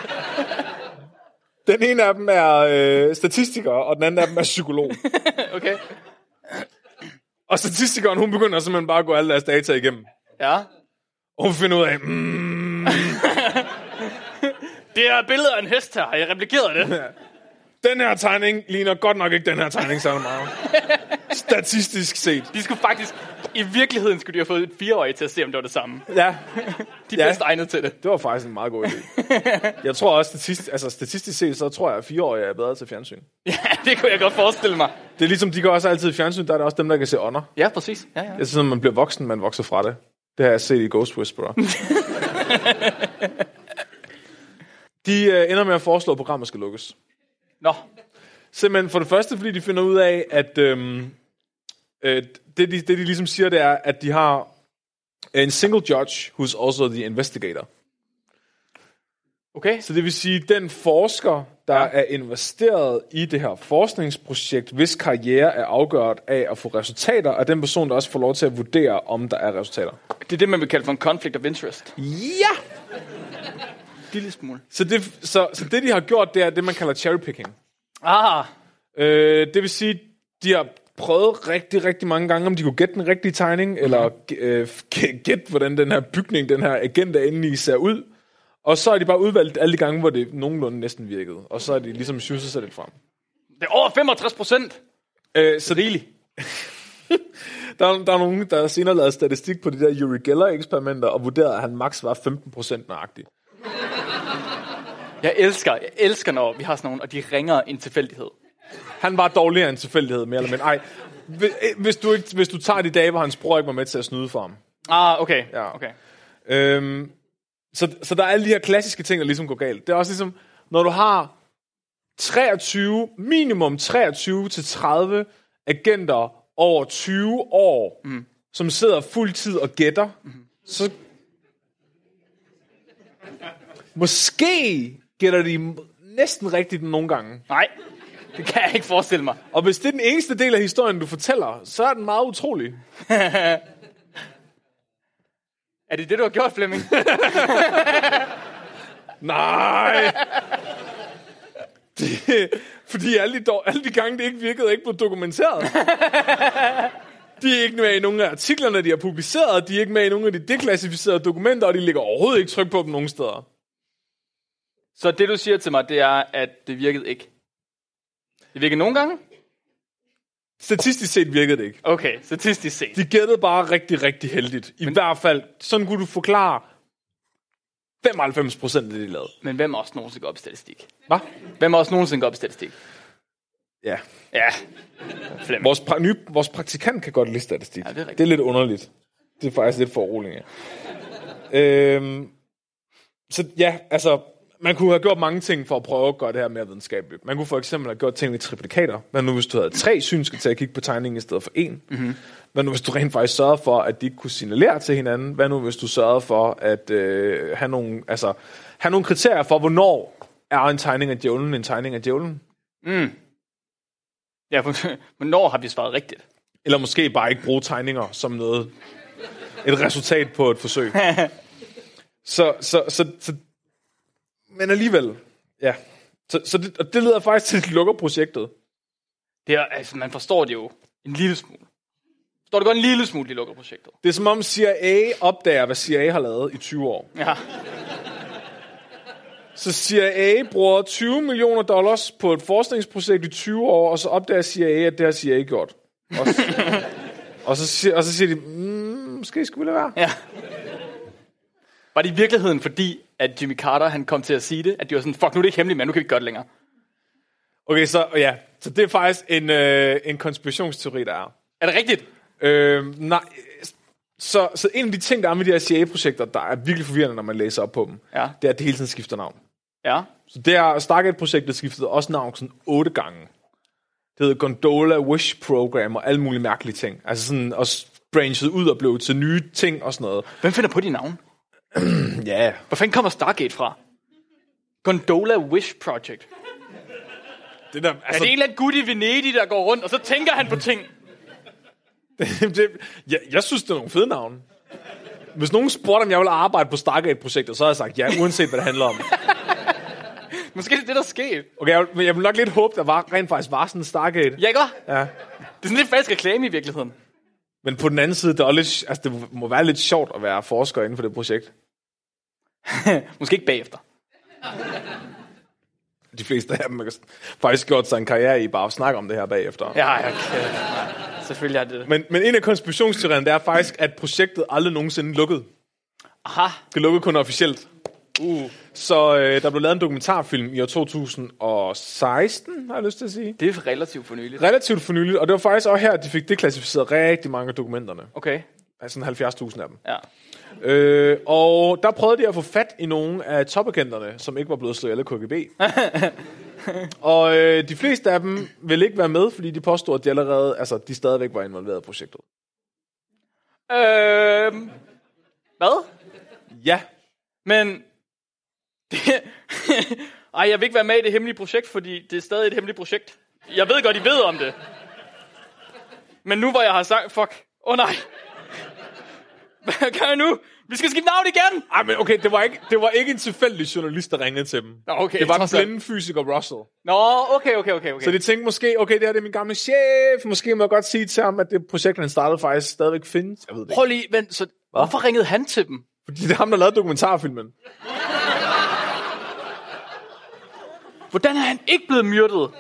[SPEAKER 3] den ene af dem er øh, statistiker, og den anden af dem er psykolog.
[SPEAKER 2] Okay.
[SPEAKER 3] Og statistikeren, hun begynder simpelthen bare at gå alle deres data igennem.
[SPEAKER 2] Ja.
[SPEAKER 3] Og hun finder ud af, mm,
[SPEAKER 2] Det er billedet af en hest her. Har jeg replikeret det?
[SPEAKER 3] den her tegning ligner godt nok ikke den her tegning særlig meget. Statistisk set.
[SPEAKER 2] De skulle faktisk... I virkeligheden skulle de have fået et fireårigt til at se, om det var det samme.
[SPEAKER 3] Ja,
[SPEAKER 2] De
[SPEAKER 3] Ja.
[SPEAKER 2] er bedst egnet til det.
[SPEAKER 3] det var faktisk en meget god idé. Jeg tror også, statistisk, altså, statistisk set, så tror jeg, at fireårige er bedre til fjernsyn.
[SPEAKER 2] Ja, det kunne jeg godt forestille mig.
[SPEAKER 3] Det er ligesom, de går også altid i fjernsyn, der er det også dem, der kan se ånder.
[SPEAKER 2] Ja, præcis. Ja, ja.
[SPEAKER 3] Jeg synes, når man bliver voksen, man vokser fra det. Det har jeg set i Ghost Whisperer. de øh, ender med at foreslå, at programmet skal lukkes.
[SPEAKER 2] Nå,
[SPEAKER 3] Simpelthen for det første, fordi de finder ud af, at øhm, øh, det, de, det, de ligesom siger, det er, at de har en single judge, who's also the investigator.
[SPEAKER 2] okay.
[SPEAKER 3] Så det vil sige, den forsker, der ja. er investeret i det her forskningsprojekt, hvis karriere er afgjort af at få resultater, og den person, der også får lov til at vurdere, om der er resultater.
[SPEAKER 2] Det er det, man vil kalde for en conflict of interest. En
[SPEAKER 3] Ja!
[SPEAKER 2] lille smule.
[SPEAKER 3] Så det, så, så det, de har gjort, det er det, man kalder cherrypicking.
[SPEAKER 2] Ah,
[SPEAKER 3] Øh, det vil sige, de har prøvet rigtig, rigtig mange gange, om de kunne gætte den rigtige tegning, eller øh, gæ- gætte, hvordan den her bygning, den her agent er inde i, ser ud. Og så har de bare udvalgt alle de gange, hvor det nogenlunde næsten virkede. Og så har de ligesom sjusset sig lidt frem.
[SPEAKER 2] det er over 65 procent.
[SPEAKER 3] Øh, så rigeligt. der, er, der er nogen, der senere lavede statistik på de der Uri Geller-eksperimenter, og vurderede, at han maks var 15% nøjagtig.
[SPEAKER 2] Jeg elsker, jeg elsker, når vi har sådan nogen, og de ringer en tilfældighed.
[SPEAKER 3] Han var dårligere end tilfældighed, mere eller mindre. Ej, hvi- hvis du, ikke, hvis du tager de dage, hvor hans bror ikke var med til at snyde for ham.
[SPEAKER 2] Ah, okay.
[SPEAKER 3] Ja.
[SPEAKER 2] okay.
[SPEAKER 3] Øhm, så, så der er alle de her klassiske ting, der ligesom går galt. Det er også ligesom, når du har 23, minimum 23 til 30 agenter over 20 år, mm. som sidder fuldtid og gætter, mm. så måske gætter de næsten rigtigt nogle gange.
[SPEAKER 2] Nej, det kan jeg ikke forestille mig.
[SPEAKER 3] Og hvis det er den eneste del af historien, du fortæller, så er den meget utrolig.
[SPEAKER 2] Er det det, du har gjort, Flemming?
[SPEAKER 3] Nej! Det, fordi alle de, dår- alle de gange, det ikke virkede, er ikke blev dokumenteret. De er ikke med i nogen af artiklerne, de har publiceret. De er ikke med i nogen af de deklassificerede dokumenter, og de ligger overhovedet ikke tryk på dem nogen steder.
[SPEAKER 2] Så det, du siger til mig, det er, at det virkede ikke. Det virkede nogle gange?
[SPEAKER 3] Statistisk set virkede det ikke.
[SPEAKER 2] Okay, statistisk set.
[SPEAKER 3] De gættede bare rigtig, rigtig heldigt. I Men, hvert fald, sådan kunne du forklare 95 procent af det, de lavede.
[SPEAKER 2] Men hvem også nogensinde går op i statistik?
[SPEAKER 3] Hvad?
[SPEAKER 2] Hvem også nogensinde går op i statistik?
[SPEAKER 3] Ja.
[SPEAKER 2] Ja,
[SPEAKER 3] Vores, pra- nye, vores praktikant kan godt lide statistik. Ja,
[SPEAKER 2] det er rigtigt.
[SPEAKER 3] det er lidt underligt. Det er faktisk lidt for roligt, ja. øhm, så ja, altså, man kunne have gjort mange ting for at prøve at gøre det her mere videnskabeligt. Man kunne for eksempel have gjort ting med triplikater. Men nu hvis du havde tre synske til at kigge på tegningen i stedet for en?
[SPEAKER 2] Mhm.
[SPEAKER 3] Mm-hmm. Hvad nu hvis du rent faktisk sørgede for, at de ikke kunne signalere til hinanden? Hvad nu hvis du sørgede for at øh, have, nogle, altså, have nogle kriterier for, hvornår er en tegning af djævlen en tegning af djævlen?
[SPEAKER 2] Ja, hvornår har vi svaret rigtigt?
[SPEAKER 3] Eller måske bare ikke bruge tegninger som noget, et resultat på et forsøg. så, så, så, så, men alligevel, ja. Så, så det, og det leder faktisk til, at de lukker projektet.
[SPEAKER 2] Det er, altså, man forstår det jo en lille smule. Forstår det godt en lille smule, de lukker projektet?
[SPEAKER 3] Det er som om CIA opdager, hvad CIA har lavet i 20 år.
[SPEAKER 2] Ja.
[SPEAKER 3] Så CIA bruger 20 millioner dollars på et forskningsprojekt i 20 år, og så opdager CIA, at det har CIA gjort. Og så, og så, siger, og så siger de, mm, måske skulle vi lade være.
[SPEAKER 2] ja. Var det i virkeligheden fordi, at Jimmy Carter han kom til at sige det, at de var sådan, fuck, nu er det ikke hemmeligt, men nu kan vi ikke gøre det længere.
[SPEAKER 3] Okay, så ja, så det er faktisk en, øh, en konspirationsteori, der er.
[SPEAKER 2] Er det rigtigt?
[SPEAKER 3] Øh, nej, så, så en af de ting, der er med de her CIA-projekter, der er virkelig forvirrende, når man læser op på dem,
[SPEAKER 2] Ja.
[SPEAKER 3] det er, at det hele tiden skifter navn.
[SPEAKER 2] Ja.
[SPEAKER 3] Så det er Stargate-projektet skiftede også navn sådan otte gange. Det hedder Gondola Wish Program og alle mulige mærkelige ting. Altså sådan, og s- branchede ud og blev til nye ting og sådan noget.
[SPEAKER 2] Hvem finder på de navne?
[SPEAKER 3] Ja, yeah.
[SPEAKER 2] Hvor fanden kommer Stargate fra? Gondola Wish Project.
[SPEAKER 3] det der,
[SPEAKER 2] Er
[SPEAKER 3] altså,
[SPEAKER 2] det en eller anden gut i Venedig, der går rundt, og så tænker han på ting?
[SPEAKER 3] det, det, jeg, jeg synes, det er nogle fede navne. Hvis nogen spurgte, om jeg ville arbejde på Stargate-projektet, så havde jeg sagt ja, uanset hvad det handler om.
[SPEAKER 2] Måske er det det, der sker.
[SPEAKER 3] Okay, jeg, vil- men jeg vil nok lidt håbe, der var, rent faktisk var sådan en Stargate.
[SPEAKER 2] Ja, ikke?
[SPEAKER 3] Ja. ja.
[SPEAKER 2] Det er sådan lidt falsk reklame i virkeligheden.
[SPEAKER 3] Men på den anden side, det, er også lidt, altså, det må være lidt sjovt at være forsker inden for det projekt.
[SPEAKER 2] Måske ikke bagefter.
[SPEAKER 3] De fleste af dem har faktisk gjort sig en karriere i bare at snakke om det her bagefter.
[SPEAKER 2] Ja, ja, okay. Selvfølgelig er det det.
[SPEAKER 3] Men, men en af konspirationsteorierne, det er faktisk, at projektet aldrig nogensinde lukkede.
[SPEAKER 2] Aha.
[SPEAKER 3] Det lukkede kun officielt.
[SPEAKER 2] Uh.
[SPEAKER 3] Så øh, der blev lavet en dokumentarfilm i år 2016, har jeg lyst til at sige.
[SPEAKER 2] Det er relativt for nyligt.
[SPEAKER 3] Relativt for nyligt, og det var faktisk også her, at de fik deklassificeret rigtig mange af dokumenterne.
[SPEAKER 2] Okay,
[SPEAKER 3] Altså sådan 70.000 af dem.
[SPEAKER 2] ja.
[SPEAKER 3] Øh, og der prøvede de at få fat i nogle af topagenterne, som ikke var blevet slået alle KGB. og øh, de fleste af dem ville ikke være med, fordi de påstod, at de allerede, altså de stadigvæk var involveret i projektet.
[SPEAKER 2] Øhm, hvad?
[SPEAKER 3] Ja,
[SPEAKER 2] Men... Det, ej, jeg vil ikke være med i det hemmelige projekt, fordi det er stadig et hemmeligt projekt. Jeg ved godt, I ved om det. Men nu hvor jeg har sagt, fuck, åh oh, nej. Hvad gør jeg nu? Vi skal skifte navn igen!
[SPEAKER 3] Ej, men okay, det var, ikke, det var ikke en tilfældig journalist, der ringede til dem.
[SPEAKER 2] Nå, okay,
[SPEAKER 3] det var den
[SPEAKER 2] trods alt.
[SPEAKER 3] blinde fysiker Russell. Okay.
[SPEAKER 2] Nå, okay, okay, okay, okay.
[SPEAKER 3] Så de tænkte måske, okay, det her det er min gamle chef. Måske må jeg godt sige til ham, at det projekt, han startede, faktisk stadigvæk findes. Jeg ved det ikke.
[SPEAKER 2] Prøv lige, vent, så hvorfor ringede han til dem?
[SPEAKER 3] Fordi det er ham, der lavede dokumentarfilmen.
[SPEAKER 2] Hvordan er han ikke blevet myrdet?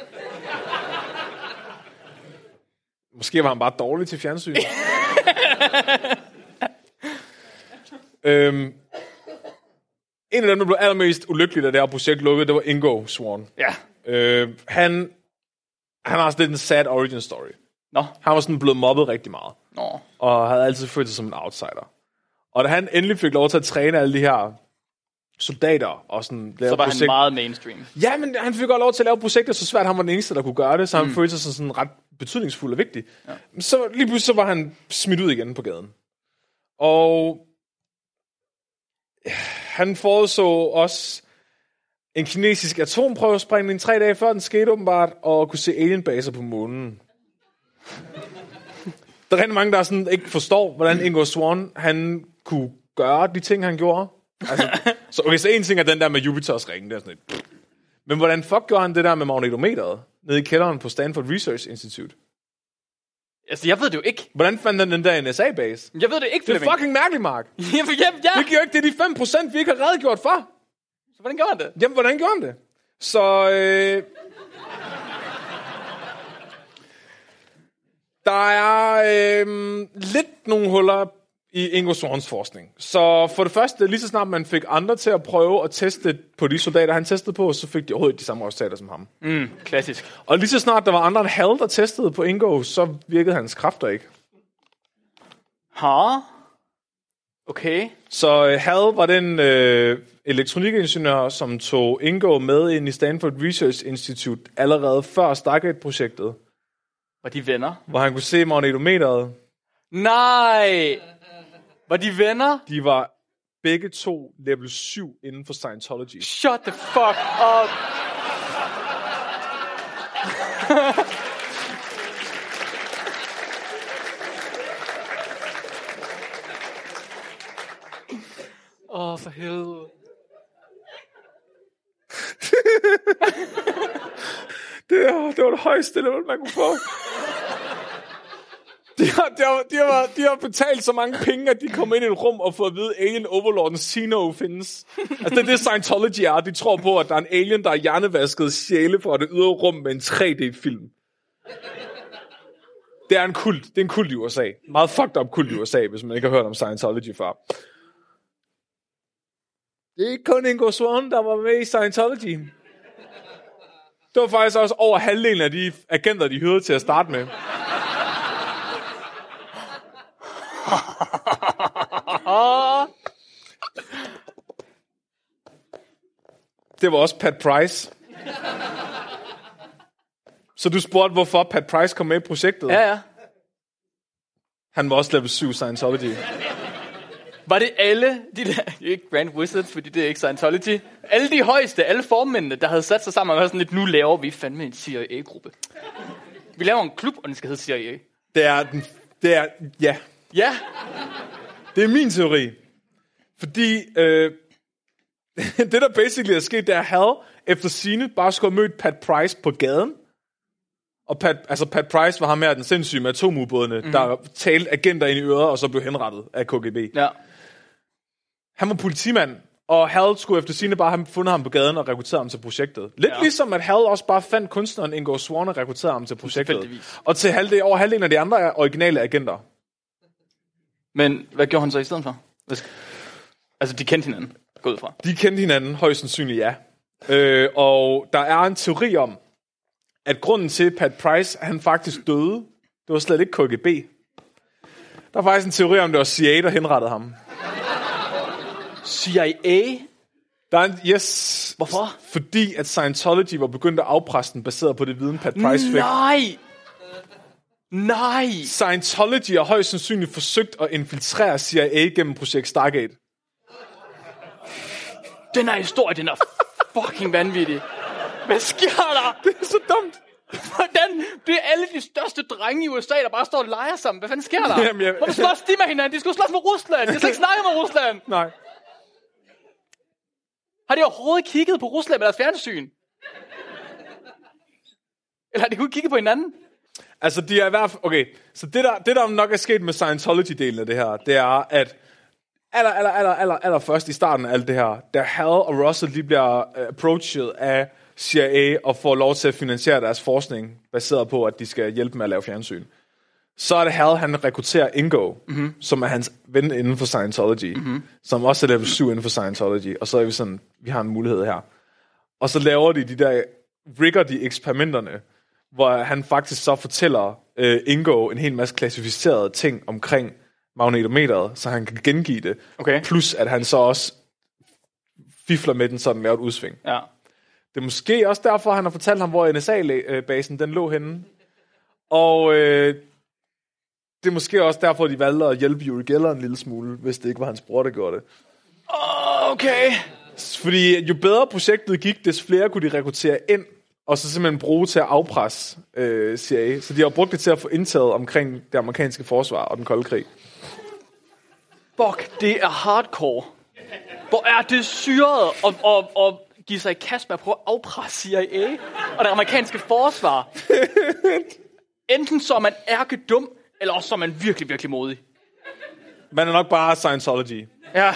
[SPEAKER 3] Måske var han bare dårlig til fjernsyn. øhm, en af dem, der blev allermest ulykkelig, da det her projekt lukkede, det var Ingo Swan.
[SPEAKER 2] Ja.
[SPEAKER 3] Øh, han, han har også lidt en sad origin story.
[SPEAKER 2] Nå,
[SPEAKER 3] Han var sådan blevet mobbet rigtig meget.
[SPEAKER 2] nå.
[SPEAKER 3] og havde altid følt sig som en outsider. Og da han endelig fik lov til at træne alle de her soldater og sådan lave
[SPEAKER 2] Så var han
[SPEAKER 3] projekt-
[SPEAKER 2] meget mainstream.
[SPEAKER 3] Ja, men han fik godt lov til at lave projekter, så svært han var den eneste, der kunne gøre det, så han mm. følte sig som sådan ret betydningsfuld og vigtig. Ja. Så lige pludselig så var han smidt ud igen på gaden. Og han foreså også en kinesisk atomprøvesprængning tre dage før den skete åbenbart, og kunne se alienbaser på månen. Der er rigtig mange, der sådan ikke forstår, hvordan Ingo Swan han kunne gøre de ting, han gjorde. Altså, så, okay, så en ting er den der med Jupiters ringe, det er sådan et men hvordan fuck gjorde han det der med magnetometeret nede i kælderen på Stanford Research Institute?
[SPEAKER 2] Altså, jeg ved det jo ikke.
[SPEAKER 3] Hvordan fandt han den der NSA-base?
[SPEAKER 2] Jeg ved det ikke,
[SPEAKER 3] Det er
[SPEAKER 2] Flemming.
[SPEAKER 3] fucking mærkeligt, Mark.
[SPEAKER 2] Jamen, ja, ja.
[SPEAKER 3] Det giver jo ikke det er de 5%, vi ikke har redegjort for.
[SPEAKER 2] Så hvordan gjorde han det?
[SPEAKER 3] Jamen, hvordan gjorde han det? Så, øh... Der er øh, lidt nogle huller i Ingo Sorens forskning. Så for det første, lige så snart man fik andre til at prøve at teste på de soldater, han testede på, så fik de overhovedet ikke de samme resultater som ham.
[SPEAKER 2] Klassisk.
[SPEAKER 3] Og lige så snart der var andre end Hal, der testede på Ingo, så virkede hans kræfter ikke.
[SPEAKER 2] Ha? Okay.
[SPEAKER 3] Så øh, Hal var den øh, elektronikingeniør, som tog Ingo med ind i Stanford Research Institute allerede før Stargate-projektet,
[SPEAKER 2] Var de venner?
[SPEAKER 3] hvor han kunne se magnetometeret.
[SPEAKER 2] Nej! Var de venner?
[SPEAKER 3] De var begge to level 7 inden for Scientology.
[SPEAKER 2] Shut the fuck up! Åh, oh, for helvede.
[SPEAKER 3] Det, der, det var det højeste level, man kunne få. De har, de, har, de, har, de har betalt så mange penge, at de kommer ind i et rum og får at vide, at Alien Overlorden Sino findes. Altså, det er det, Scientology er. De tror på, at der er en alien, der har hjernevasket sjæle fra det ydre rum med en 3D-film. Det er en kult. Det er en kult i USA. Meget fucked up kult i USA, hvis man ikke har hørt om Scientology før. Det er ikke kun Ingo Swan, der var med i Scientology. Det var faktisk også over halvdelen af de agenter, de hyrede til at starte med. Det var også Pat Price. Så du spurgte, hvorfor Pat Price kom med i projektet?
[SPEAKER 2] Ja, ja.
[SPEAKER 3] Han var også level 7 Scientology.
[SPEAKER 2] Var det alle de der, ikke Grand Wizards, fordi det er ikke Scientology, alle de højeste, alle formændene, der havde sat sig sammen og var sådan lidt, nu laver vi fandme en CIA-gruppe. Vi laver en klub, og den skal hedde CIA.
[SPEAKER 3] Det er den... Det er... Ja.
[SPEAKER 2] Ja,
[SPEAKER 3] Det er min teori. Fordi øh, det, der basically er sket, det er, at Hal efter sine bare skulle have mødt Pat Price på gaden. Og Pat, altså Pat Price var ham her, den sindssyge med atomubådene, mm. der talte agenter ind i øret, og så blev henrettet af KGB.
[SPEAKER 2] ja.
[SPEAKER 3] Han var politimand, og Hal skulle efter sine bare have fundet ham på gaden og rekrutteret ham til projektet. Lidt ja.
[SPEAKER 2] Ja.
[SPEAKER 3] ligesom at Hal også bare fandt kunstneren Ingo Swan og rekrutterede ham til projektet.
[SPEAKER 2] Tilfældigvis.
[SPEAKER 3] Og til halvdelen, over halvdelen af de andre er originale agenter.
[SPEAKER 2] Men hvad gjorde han så i stedet for? Hvad sk- Altså, de kendte hinanden, gå ud fra.
[SPEAKER 3] De kendte hinanden, højst sandsynligt ja. Øh, og der er en teori om, at grunden til, at Pat Price han faktisk døde, det var slet ikke KGB. Der er faktisk en teori om, det var CIA, der henrettede ham.
[SPEAKER 2] CIA?
[SPEAKER 3] Der er en, yes,
[SPEAKER 2] Hvorfor?
[SPEAKER 3] fordi at Scientology var begyndt at afpresse den, baseret på det viden, Pat Price fik.
[SPEAKER 2] Nej! Nej!
[SPEAKER 3] Scientology har højst sandsynligt forsøgt at infiltrere CIA gennem projekt Stargate.
[SPEAKER 2] Den her historie, den er fucking vanvittig. Hvad sker der?
[SPEAKER 3] Det er så dumt.
[SPEAKER 2] Hvordan? Det er alle de største drenge i USA, der bare står og leger sammen. Hvad fanden sker der?
[SPEAKER 3] Jamen, jeg-
[SPEAKER 2] Hvorfor slås de med hinanden? De skulle slås med Rusland. Jeg skal ikke snakke med Rusland.
[SPEAKER 3] Nej.
[SPEAKER 2] Har de overhovedet kigget på Rusland med deres fjernsyn? Eller har de kun kigget på hinanden?
[SPEAKER 3] Altså, de er i hvert fald... Okay, så det der, det der nok er sket med Scientology-delen af det her, det er, at aller, aller, aller, aller, aller først i starten af alt det her, da Hal og Russell lige bliver øh, approached af CIA og får lov til at finansiere deres forskning, baseret på, at de skal hjælpe med at lave fjernsyn. Så er det Hal, han rekrutterer Ingo, mm-hmm. som er hans ven inden for Scientology, mm-hmm. som også er level 7 inden for Scientology, og så er vi sådan, vi har en mulighed her. Og så laver de de der, rigger de eksperimenterne, hvor han faktisk så fortæller øh, Ingo en hel masse klassificerede ting omkring magnetometeret, så han kan gengive det.
[SPEAKER 2] Okay.
[SPEAKER 3] Plus at han så også fifler med den, så den laver et udsving.
[SPEAKER 2] Ja.
[SPEAKER 3] Det er måske også derfor, han har fortalt ham, hvor NSA-basen den lå henne. Og øh, det er måske også derfor, de valgte at hjælpe Yuri Geller en lille smule, hvis det ikke var hans bror, der gjorde det.
[SPEAKER 2] Okay.
[SPEAKER 3] Fordi jo bedre projektet gik, des flere kunne de rekruttere ind, og så simpelthen bruge til at afpresse øh, CIA. Så de har brugt det til at få indtaget omkring det amerikanske forsvar og den kolde krig.
[SPEAKER 2] Fuck, det er hardcore. Hvor er det syret at, at, at give sig i kast med at prøve at afpresse CIA og det amerikanske forsvar. Enten så er man ærke dum, eller også så er man virkelig, virkelig modig.
[SPEAKER 3] Man er nok bare Scientology.
[SPEAKER 2] Ja.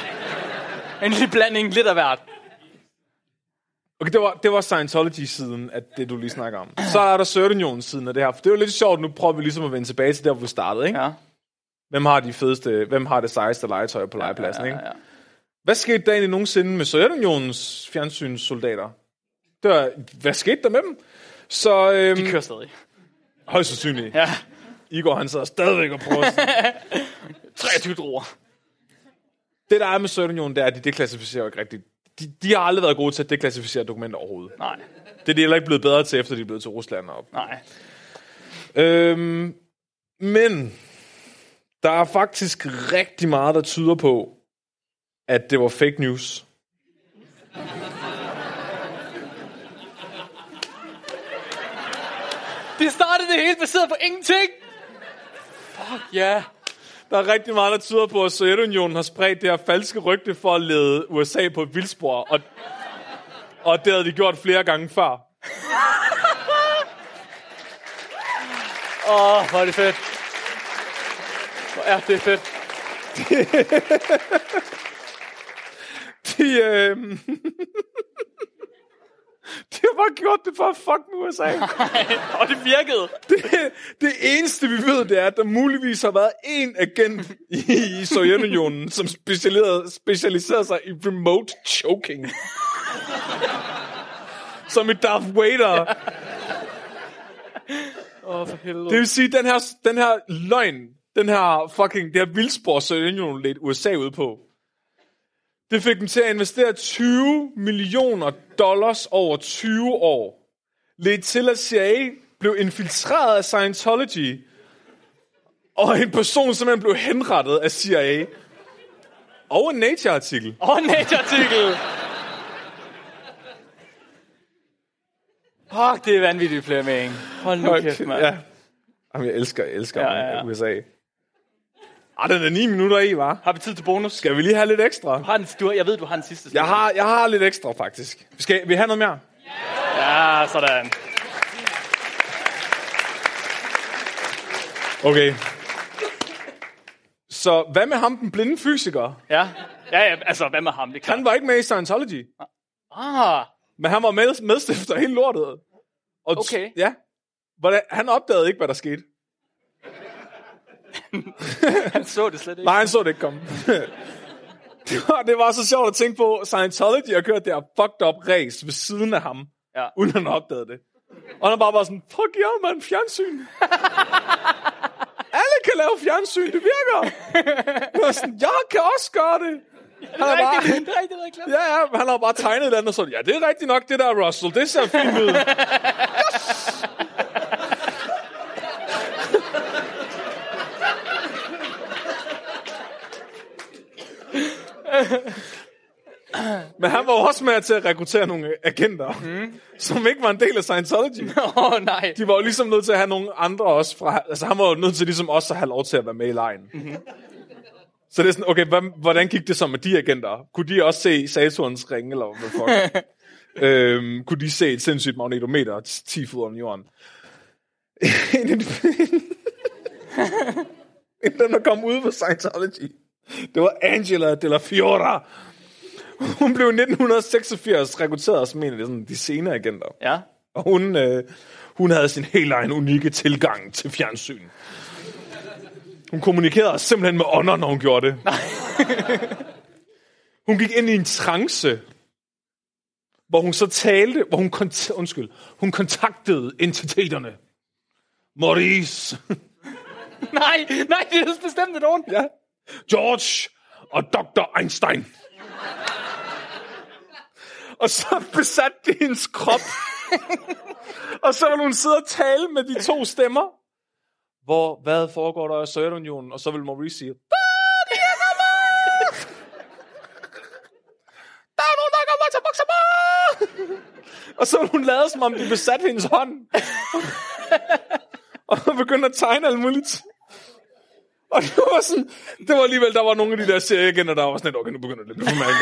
[SPEAKER 2] En lille blanding, lidt af hvert.
[SPEAKER 3] Okay, det var, det var Scientology-siden af det, du lige snakker om. Så er der Sørenjons-siden af det her. For det er jo lidt sjovt, nu prøver vi ligesom at vende tilbage til der, hvor vi startede. Ikke?
[SPEAKER 2] Ja.
[SPEAKER 3] Hvem har de fedeste, hvem har det sejeste legetøj på legepladsen? Ikke?
[SPEAKER 2] ja.
[SPEAKER 3] Hvad skete der egentlig nogensinde med Sovjetunionens fjernsynssoldater? Det var, hvad skete der med dem? Så, øhm,
[SPEAKER 2] De kører stadig.
[SPEAKER 3] højst sandsynligt.
[SPEAKER 2] Ja.
[SPEAKER 3] Igor, han sidder stadigvæk og prøver at
[SPEAKER 2] 23 druer.
[SPEAKER 3] Det, der er med Sovjetunionen, det er, at de deklassificerer jo ikke rigtigt. De, de har aldrig været gode til at deklassificere dokumenter overhovedet.
[SPEAKER 2] Nej,
[SPEAKER 3] Det er de heller ikke blevet bedre til, efter de er blevet til Rusland. Og...
[SPEAKER 2] nej.
[SPEAKER 3] Øhm, men der er faktisk rigtig meget, der tyder på, at det var fake news.
[SPEAKER 2] De startede det hele baseret på ingenting. Fuck ja. Yeah.
[SPEAKER 3] Der er rigtig meget, der tyder på, at Sovjetunionen har spredt det her falske rygte for at lede USA på et vildspor. Og, og det havde de gjort flere gange før.
[SPEAKER 2] Åh, oh, hvor er det fedt. Hvor er det fedt.
[SPEAKER 3] De, øh... de har bare gjort det for at fuck med USA.
[SPEAKER 2] Og det virkede.
[SPEAKER 3] Det, det eneste, vi ved, det er, at der muligvis har været en agent i, i Sovjetunionen, som specialiserede, specialiserede sig i remote choking. Som i Darth Vader.
[SPEAKER 2] Åh, oh, for helvede.
[SPEAKER 3] Det vil sige, den her, den her løgn, den her fucking, det her vildspor, Sovjetunionen lidt USA ud på, det fik dem til at investere 20 millioner dollars over 20 år. Lidt til, at CIA blev infiltreret af Scientology, og en person simpelthen blev henrettet af CIA. Og en Nature-artikel.
[SPEAKER 2] Åh, oh, Nature-artikel. Fuck, det er vanvittigt flaming. Hold nu kæft, mand.
[SPEAKER 3] ja. Jamen, jeg elsker, jeg elsker
[SPEAKER 2] Ja, ja, ja.
[SPEAKER 3] USA. Ej, Ah, den er 9 minutter i, var.
[SPEAKER 2] Har vi tid til bonus? Skal
[SPEAKER 3] Skal vi lige have lidt ekstra?
[SPEAKER 2] har den, du, har- jeg ved, du har den sidste.
[SPEAKER 3] Jeg har, jeg har lidt ekstra, faktisk. Vi skal vi have noget mere?
[SPEAKER 2] Ja, sådan.
[SPEAKER 3] Okay. Så hvad med ham, den blinde fysiker?
[SPEAKER 2] Ja. Ja, ja, altså, hvad med ham? Det kan
[SPEAKER 3] Han var ikke med i Scientology,
[SPEAKER 2] Ah,
[SPEAKER 3] men han var med, medstifter af hele lortet. Og t-
[SPEAKER 2] Okay.
[SPEAKER 3] Ja. Hvordan, han opdagede ikke, hvad der skete.
[SPEAKER 2] han så det slet ikke.
[SPEAKER 3] Nej, han så det ikke komme. det, var, det var så sjovt at tænke på, Scientology har kørt det her fucked up race ved siden af ham,
[SPEAKER 2] Ja.
[SPEAKER 3] uden han opdagede det. Og han bare var sådan, fuck ja, yeah, mand, fjernsyn. Alle kan lave fjernsyn, det virker. Jeg var sådan, jeg kan også gøre det. Han er
[SPEAKER 2] Rigtig,
[SPEAKER 3] bare,
[SPEAKER 2] det er rigtig, rigtig klart.
[SPEAKER 3] ja, ja, han har bare tegnet et eller andet, og sådan, ja, det er rigtigt nok det der, Russell, det ser fint ud. Men han var jo også med til at rekruttere nogle agenter, mm. som ikke var en del af Scientology.
[SPEAKER 2] Åh, oh, nej.
[SPEAKER 3] De var jo ligesom nødt til at have nogle andre også fra... Altså, han var jo nødt til ligesom også at have lov til at være med i lejen. Mm-hmm. Så det er sådan, okay, hvad, hvordan gik det så med de agenter? Kunne de også se Saturns ringe, eller hvad fuck? øhm, kunne de se et sindssygt magnetometer 10 fod under jorden? en af de... en af dem, der kom ud for Scientology. Det var Angela de la Fiora. Hun blev i 1986 rekrutteret som en af de, sådan, de senere agenter.
[SPEAKER 2] Ja.
[SPEAKER 3] Og hun, øh, hun havde sin helt egen unikke tilgang til fjernsyn. Hun kommunikerede simpelthen med ånder, når hun gjorde det. hun gik ind i en trance, hvor hun så talte, hvor hun, kont- undskyld, hun kontaktede entiteterne. Maurice,
[SPEAKER 2] Nej, nej, det er bestemt nogen.
[SPEAKER 3] ja. George og Dr. Einstein. og så besatte det hendes krop. og så ville hun sidde og tale med de to stemmer. Hvor, hvad foregår der i Sovjetunionen? Og så vil Maurice sige, "Fuck, jeg er med!" Der er nogen, der kommer til at bokse mig! Og så ville hun lade, som om de besatte hendes hånd. og begyndte at tegne alt muligt. Og det var sådan, det var alligevel, der var nogle af de der serieagenter, der var sådan lidt, okay, nu begynder det lidt for meget.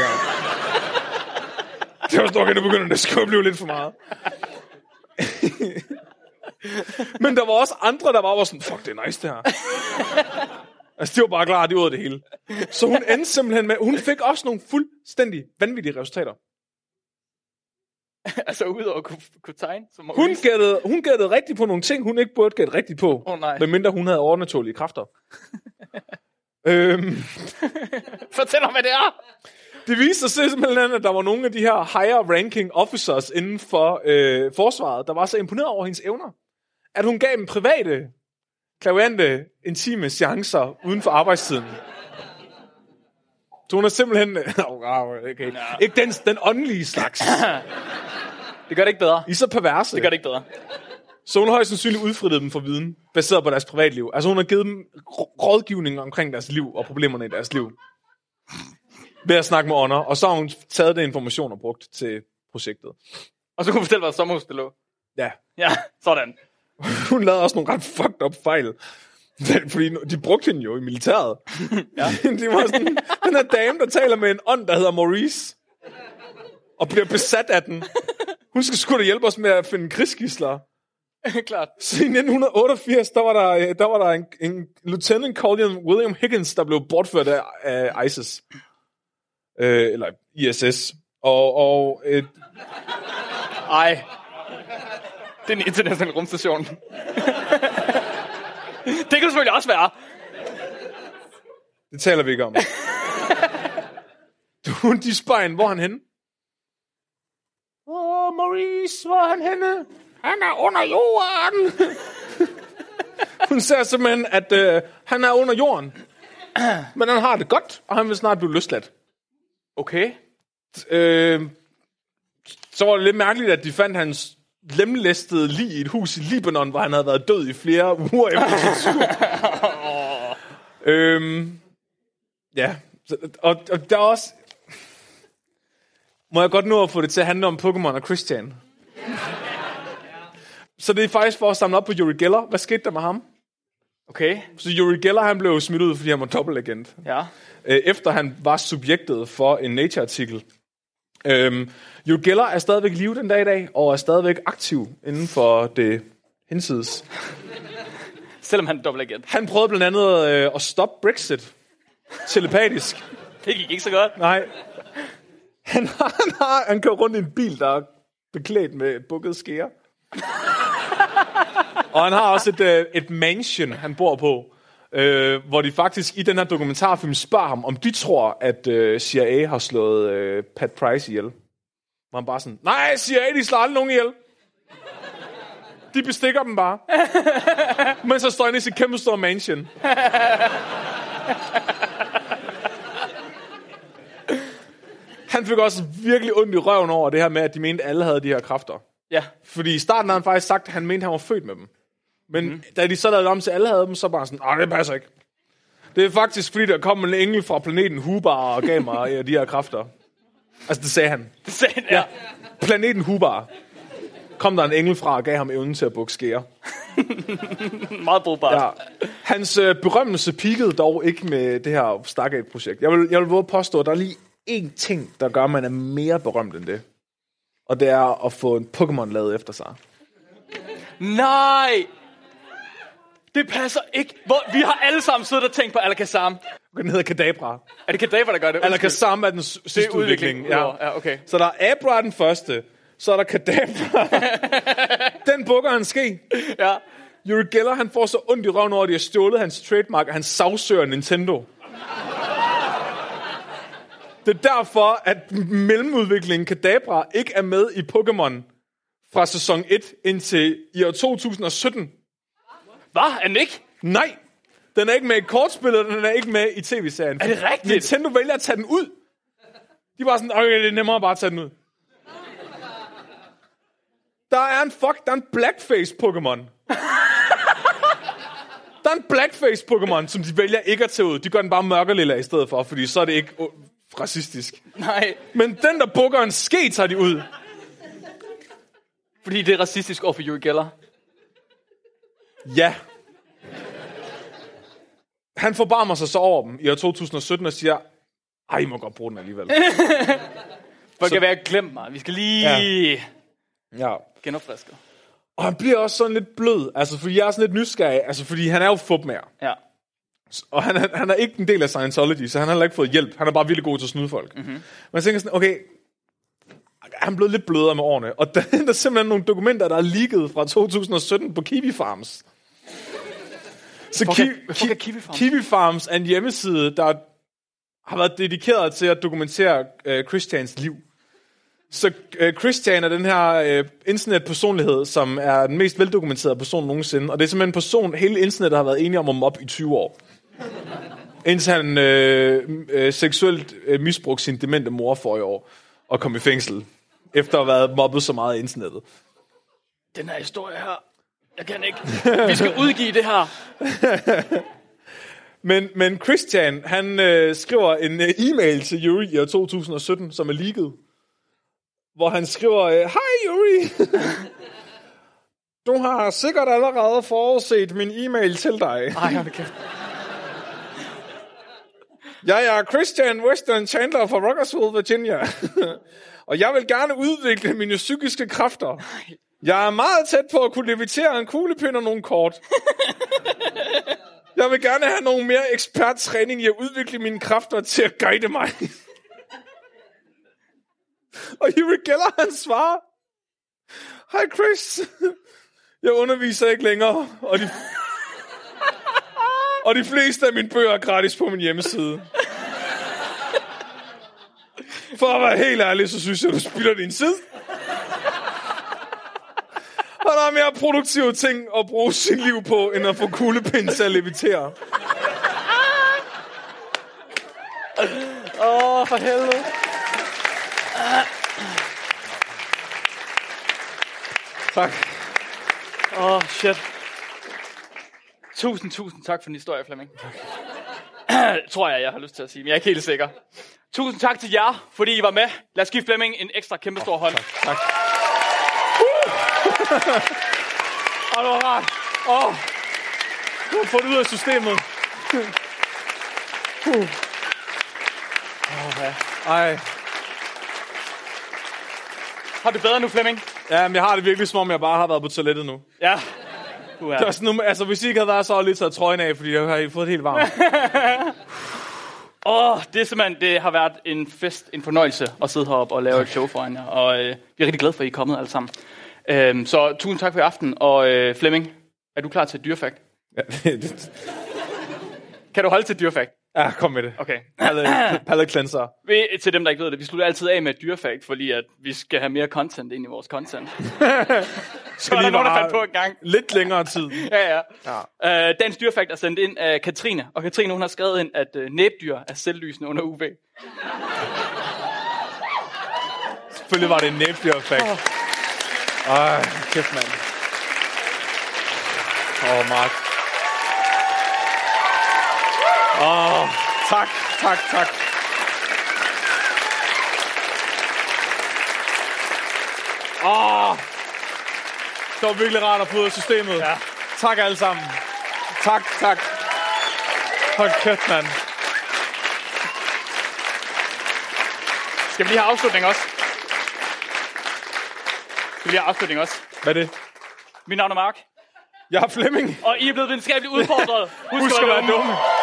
[SPEAKER 3] Det her." Det var sådan, okay, nu begynder det sgu at blive lidt for meget. Men der var også andre, der bare var sådan, fuck, det er nice det her. Altså, de var bare klar, de ud af det hele. Så hun endte simpelthen med, hun fik også nogle fuldstændig vanvittige resultater.
[SPEAKER 2] Altså, udover at kunne, kunne tegne. Som
[SPEAKER 3] Hun gættede, hun gættede rigtigt på nogle ting, hun ikke burde gætte rigtigt på.
[SPEAKER 2] Åh, nej.
[SPEAKER 3] Medmindre hun havde overnaturlige kræfter. øhm,
[SPEAKER 2] Fortæl mig, hvad det er.
[SPEAKER 3] Det viste sig simpelthen, at der var nogle af de her higher ranking officers inden for øh, forsvaret, der var så imponeret over hendes evner, at hun gav dem private, klaviante, intime seancer uden for arbejdstiden. Så hun er simpelthen... Au, au, okay. Ikke den, den åndelige slags.
[SPEAKER 2] Det gør det ikke bedre.
[SPEAKER 3] I er så perverse.
[SPEAKER 2] Det gør det ikke bedre.
[SPEAKER 3] Så hun har højst sandsynligt udfrittet dem for viden, baseret på deres privatliv. Altså hun har givet dem r- rådgivning omkring deres liv og problemerne i deres liv. Ved at snakke med Honor. Og så har hun taget den information og brugt til projektet.
[SPEAKER 2] Og så kunne hun fortælle, hvad sommerhus det lå.
[SPEAKER 3] Ja,
[SPEAKER 2] Ja, sådan.
[SPEAKER 3] hun lavede også nogle ret fucked up fejl. Men- Fordi nu- de brugte hende jo i militæret. Ja. de var sådan, den her dame, der taler med en ånd, der hedder Maurice. Og bliver besat af den. Hun skal sgu da hjælpe os med at finde krigsgisler.
[SPEAKER 2] Klart.
[SPEAKER 3] Så i 1988, der var der, øh, der, var der en, en lieutenant Colin William Higgins, der blev bortført af, af ISIS. Øh, eller ISS. Og, og øh,
[SPEAKER 2] Ej. Det er en international rumstation. det kan det selvfølgelig også være.
[SPEAKER 3] det taler vi ikke om. Hun, de spørger hende, hvor er han henne? Åh, oh, Maurice, hvor er han henne? Han er under jorden! Hun ser simpelthen, at øh, han er under jorden. Men han har det godt, og han vil snart blive løsladt.
[SPEAKER 2] Okay.
[SPEAKER 3] øh, så var det lidt mærkeligt, at de fandt hans lemlæstede lig i et hus i Libanon, hvor han havde været død i flere uger efter sin skud. øhm, ja, Så- og, og der er også... Må jeg godt nå at få det til at handle om Pokémon og Christian? Så det er faktisk for at samle op på Yuri Geller. Hvad skete der med ham?
[SPEAKER 2] Okay.
[SPEAKER 3] Så Yuri Geller han blev smidt ud, fordi han var dobbeltagent
[SPEAKER 2] Ja.
[SPEAKER 3] øh, efter han var subjektet for en Nature-artikel. Øhm, Joe Geller er stadigvæk i live den dag i dag, og er stadigvæk aktiv inden for det hinsides.
[SPEAKER 2] Selvom han er dobbelt agent.
[SPEAKER 3] Han prøvede blandt andet øh, at stoppe Brexit telepatisk.
[SPEAKER 2] Det gik ikke så godt.
[SPEAKER 3] Nej. Han, har, han, har, han kører rundt i en bil, der er beklædt med bukket skære. og han har også et, øh, et mansion, han bor på, øh, hvor de faktisk i den her dokumentarfilm spørger ham, om de tror, at øh, CIA har slået øh, Pat Price ihjel. Hvor han bare sådan, nej, CIA, de slår aldrig nogen ihjel. De bestikker dem bare. Men så står han i sit kæmpe store mansion. Han fik også virkelig ondt i røven over det her med, at de mente, at alle havde de her kræfter.
[SPEAKER 2] Ja.
[SPEAKER 3] Fordi i starten havde han faktisk sagt, at han mente, at han var født med dem. Men mm. da de så lavede det om til, at alle havde dem, så bare sådan, nej, det passer ikke. Det er faktisk, fordi der kom en engel fra planeten Hubar og gav mig ja, de her kræfter. Altså, det sagde han.
[SPEAKER 2] Det sagde han, ja.
[SPEAKER 3] Planeten Hubar kom der en engel fra og gav ham evnen til at bukke skære.
[SPEAKER 2] Meget brugbart.
[SPEAKER 3] Ja. Hans øh, berømmelse peakede dog ikke med det her Stargate-projekt. Jeg vil, jeg vil våge at påstå, at der er lige én ting, der gør, at man er mere berømt end det. Og det er at få en Pokémon lavet efter sig.
[SPEAKER 2] Nej! Det passer ikke. Hvor, vi har alle sammen siddet og tænkt på Alakazam.
[SPEAKER 3] Den hedder Kadabra.
[SPEAKER 2] Er det Kadaver, der gør det? Undskyld.
[SPEAKER 3] Alakazam er den s- sidste
[SPEAKER 2] udvikling.
[SPEAKER 3] udvikling. Ja.
[SPEAKER 2] Udover, ja, okay.
[SPEAKER 3] Så der er Abra den første. Så er der Kadabra. den bukker han ske.
[SPEAKER 2] Ja.
[SPEAKER 3] Yuri Geller, han får så ondt i røven over, at de har stjålet hans trademark, og han sagsøger Nintendo. Det er derfor, at mellemudviklingen Kadabra ikke er med i Pokémon fra sæson 1 indtil i år 2017.
[SPEAKER 2] Hvad? Er den ikke?
[SPEAKER 3] Nej, den er ikke med i kortspillet, og den er ikke med i tv-serien.
[SPEAKER 2] Er det rigtigt?
[SPEAKER 3] Nintendo vælger at tage den ud. De var sådan, okay, det er nemmere bare at tage den ud. Der er en fuck, der er en blackface-Pokémon. Der er en blackface-Pokémon, som de vælger ikke at tage ud. De gør den bare mørkerlilla i stedet for, fordi så er det ikke uh, racistisk.
[SPEAKER 2] Nej.
[SPEAKER 3] Men den, der bukker en ske, tager de ud.
[SPEAKER 2] Fordi det er racistisk over for Yuri Geller.
[SPEAKER 3] Ja. Han forbarmer sig så over dem i år 2017 og siger, ej, I må godt bruge den alligevel.
[SPEAKER 2] Folk kan være glemt mig. Vi skal lige ja.
[SPEAKER 3] ja.
[SPEAKER 2] genopfriske.
[SPEAKER 3] Og han bliver også sådan lidt blød, altså fordi jeg er sådan lidt nysgerrig, altså fordi han er jo fupmær.
[SPEAKER 2] Ja.
[SPEAKER 3] Og han er, han er ikke en del af Scientology, så han har heller ikke fået hjælp. Han er bare vildt god til at snyde folk. Mm-hmm. Men jeg tænker sådan, okay, han er blevet lidt blødere med årene. Og der, der er simpelthen nogle dokumenter, der er leaget fra 2017 på Kiwi Farms. Så
[SPEAKER 2] kan-
[SPEAKER 3] Ki-
[SPEAKER 2] hvorfor
[SPEAKER 3] Ki-
[SPEAKER 2] kan Kiwi Farms?
[SPEAKER 3] Kiwi Farms er en hjemmeside, der har været dedikeret til at dokumentere øh, Christians liv. Så øh, Christian er den her øh, internetpersonlighed, som er den mest veldokumenterede person nogensinde. Og det er simpelthen en person, hele internettet har været enige om at mobbe i 20 år. Indtil han øh, øh, seksuelt øh, misbrugte sin demente mor for i år og kom i fængsel. Efter at have været mobbet så meget af internettet.
[SPEAKER 2] Den her historie her, jeg kan ikke. Vi skal udgive det her.
[SPEAKER 3] Men, men Christian, han øh, skriver en øh, e-mail til Yuri i år 2017, som er leaget. Hvor han skriver, øh, Hej Yuri! du har sikkert allerede forudset min e-mail til dig.
[SPEAKER 2] Ej, hold da kæft.
[SPEAKER 3] Jeg er Christian Western Chandler fra Rockersville, Virginia. og jeg vil gerne udvikle mine psykiske kræfter. Jeg er meget tæt på at kunne levitere en kuglepind og nogle kort. jeg vil gerne have nogle mere eksperttræning i at udvikle mine kræfter til at guide mig. og Yuri Geller, han svarer. Hej Chris. Jeg underviser ikke længere, og de, og de fleste af mine bøger er gratis på min hjemmeside. For at være helt ærlig, så synes jeg, du spilder din tid. Og der er mere produktive ting at bruge sit liv på, end at få kuglepinde til at levitere.
[SPEAKER 2] Åh, oh, for helvede.
[SPEAKER 3] Tak.
[SPEAKER 2] Åh, oh, shit. Tusind, tusind tak for din historie, Flemming. Tror jeg, jeg har lyst til at sige, men jeg er ikke helt sikker. Tusind tak til jer, fordi I var med. Lad os give Flemming en ekstra kæmpe stor hånd. Tak. tak. Åh, det var rart. Åh, oh,
[SPEAKER 3] Du har fundet ud af systemet. Ej.
[SPEAKER 2] har du bedre nu, Flemming?
[SPEAKER 3] Ja, men jeg har det virkelig som om, jeg bare har været på toilettet nu.
[SPEAKER 2] Ja. Du er.
[SPEAKER 3] Det var sådan, nu- altså, hvis I ikke havde været så havde jeg lige taget trøjen af, fordi jeg har fået det helt varmt.
[SPEAKER 2] Åh, oh, det er simpelthen, det har været en fest, en fornøjelse at sidde heroppe og lave et show foran jer. Og øh, vi er rigtig glade for, at I er kommet alle sammen. Øhm, så tusind tak for i aften. Og øh, Flemming, er du klar til et dyrefakt? Kan du holde til et dyrefakt?
[SPEAKER 3] ja, kom med det.
[SPEAKER 2] Okay.
[SPEAKER 3] Palette, palette cleanser.
[SPEAKER 2] Vi, til dem, der ikke ved det, vi slutter altid af med et dyrefakt, fordi at vi skal have mere content ind i vores content. Så er der
[SPEAKER 3] lige
[SPEAKER 2] nogen, der
[SPEAKER 3] bare-
[SPEAKER 2] fandt på en gang.
[SPEAKER 3] Lidt længere tid.
[SPEAKER 2] Ja, ja. ja. Øh, dagens dyrefakt er sendt ind af Katrine, og Katrine hun har skrevet ind, at øh, næbdyr er selvlysende under UV.
[SPEAKER 3] Selvfølgelig var det en næbdyr fact. Ej, kæft mand. Åh, oh, Mark. Åh, oh, tak, tak, tak. Åh, oh, det var virkelig rart at få ud af systemet. Ja. Tak alle sammen. Tak, tak. Hold kæft, mand.
[SPEAKER 2] Skal vi lige have afslutning også? Skal vi lige have afslutning også?
[SPEAKER 3] Hvad er det?
[SPEAKER 2] Mit navn er Mark,
[SPEAKER 3] Jeg er Flemming.
[SPEAKER 2] og I er blevet videnskabeligt udfordret. Husk,
[SPEAKER 3] Husk at være dumme.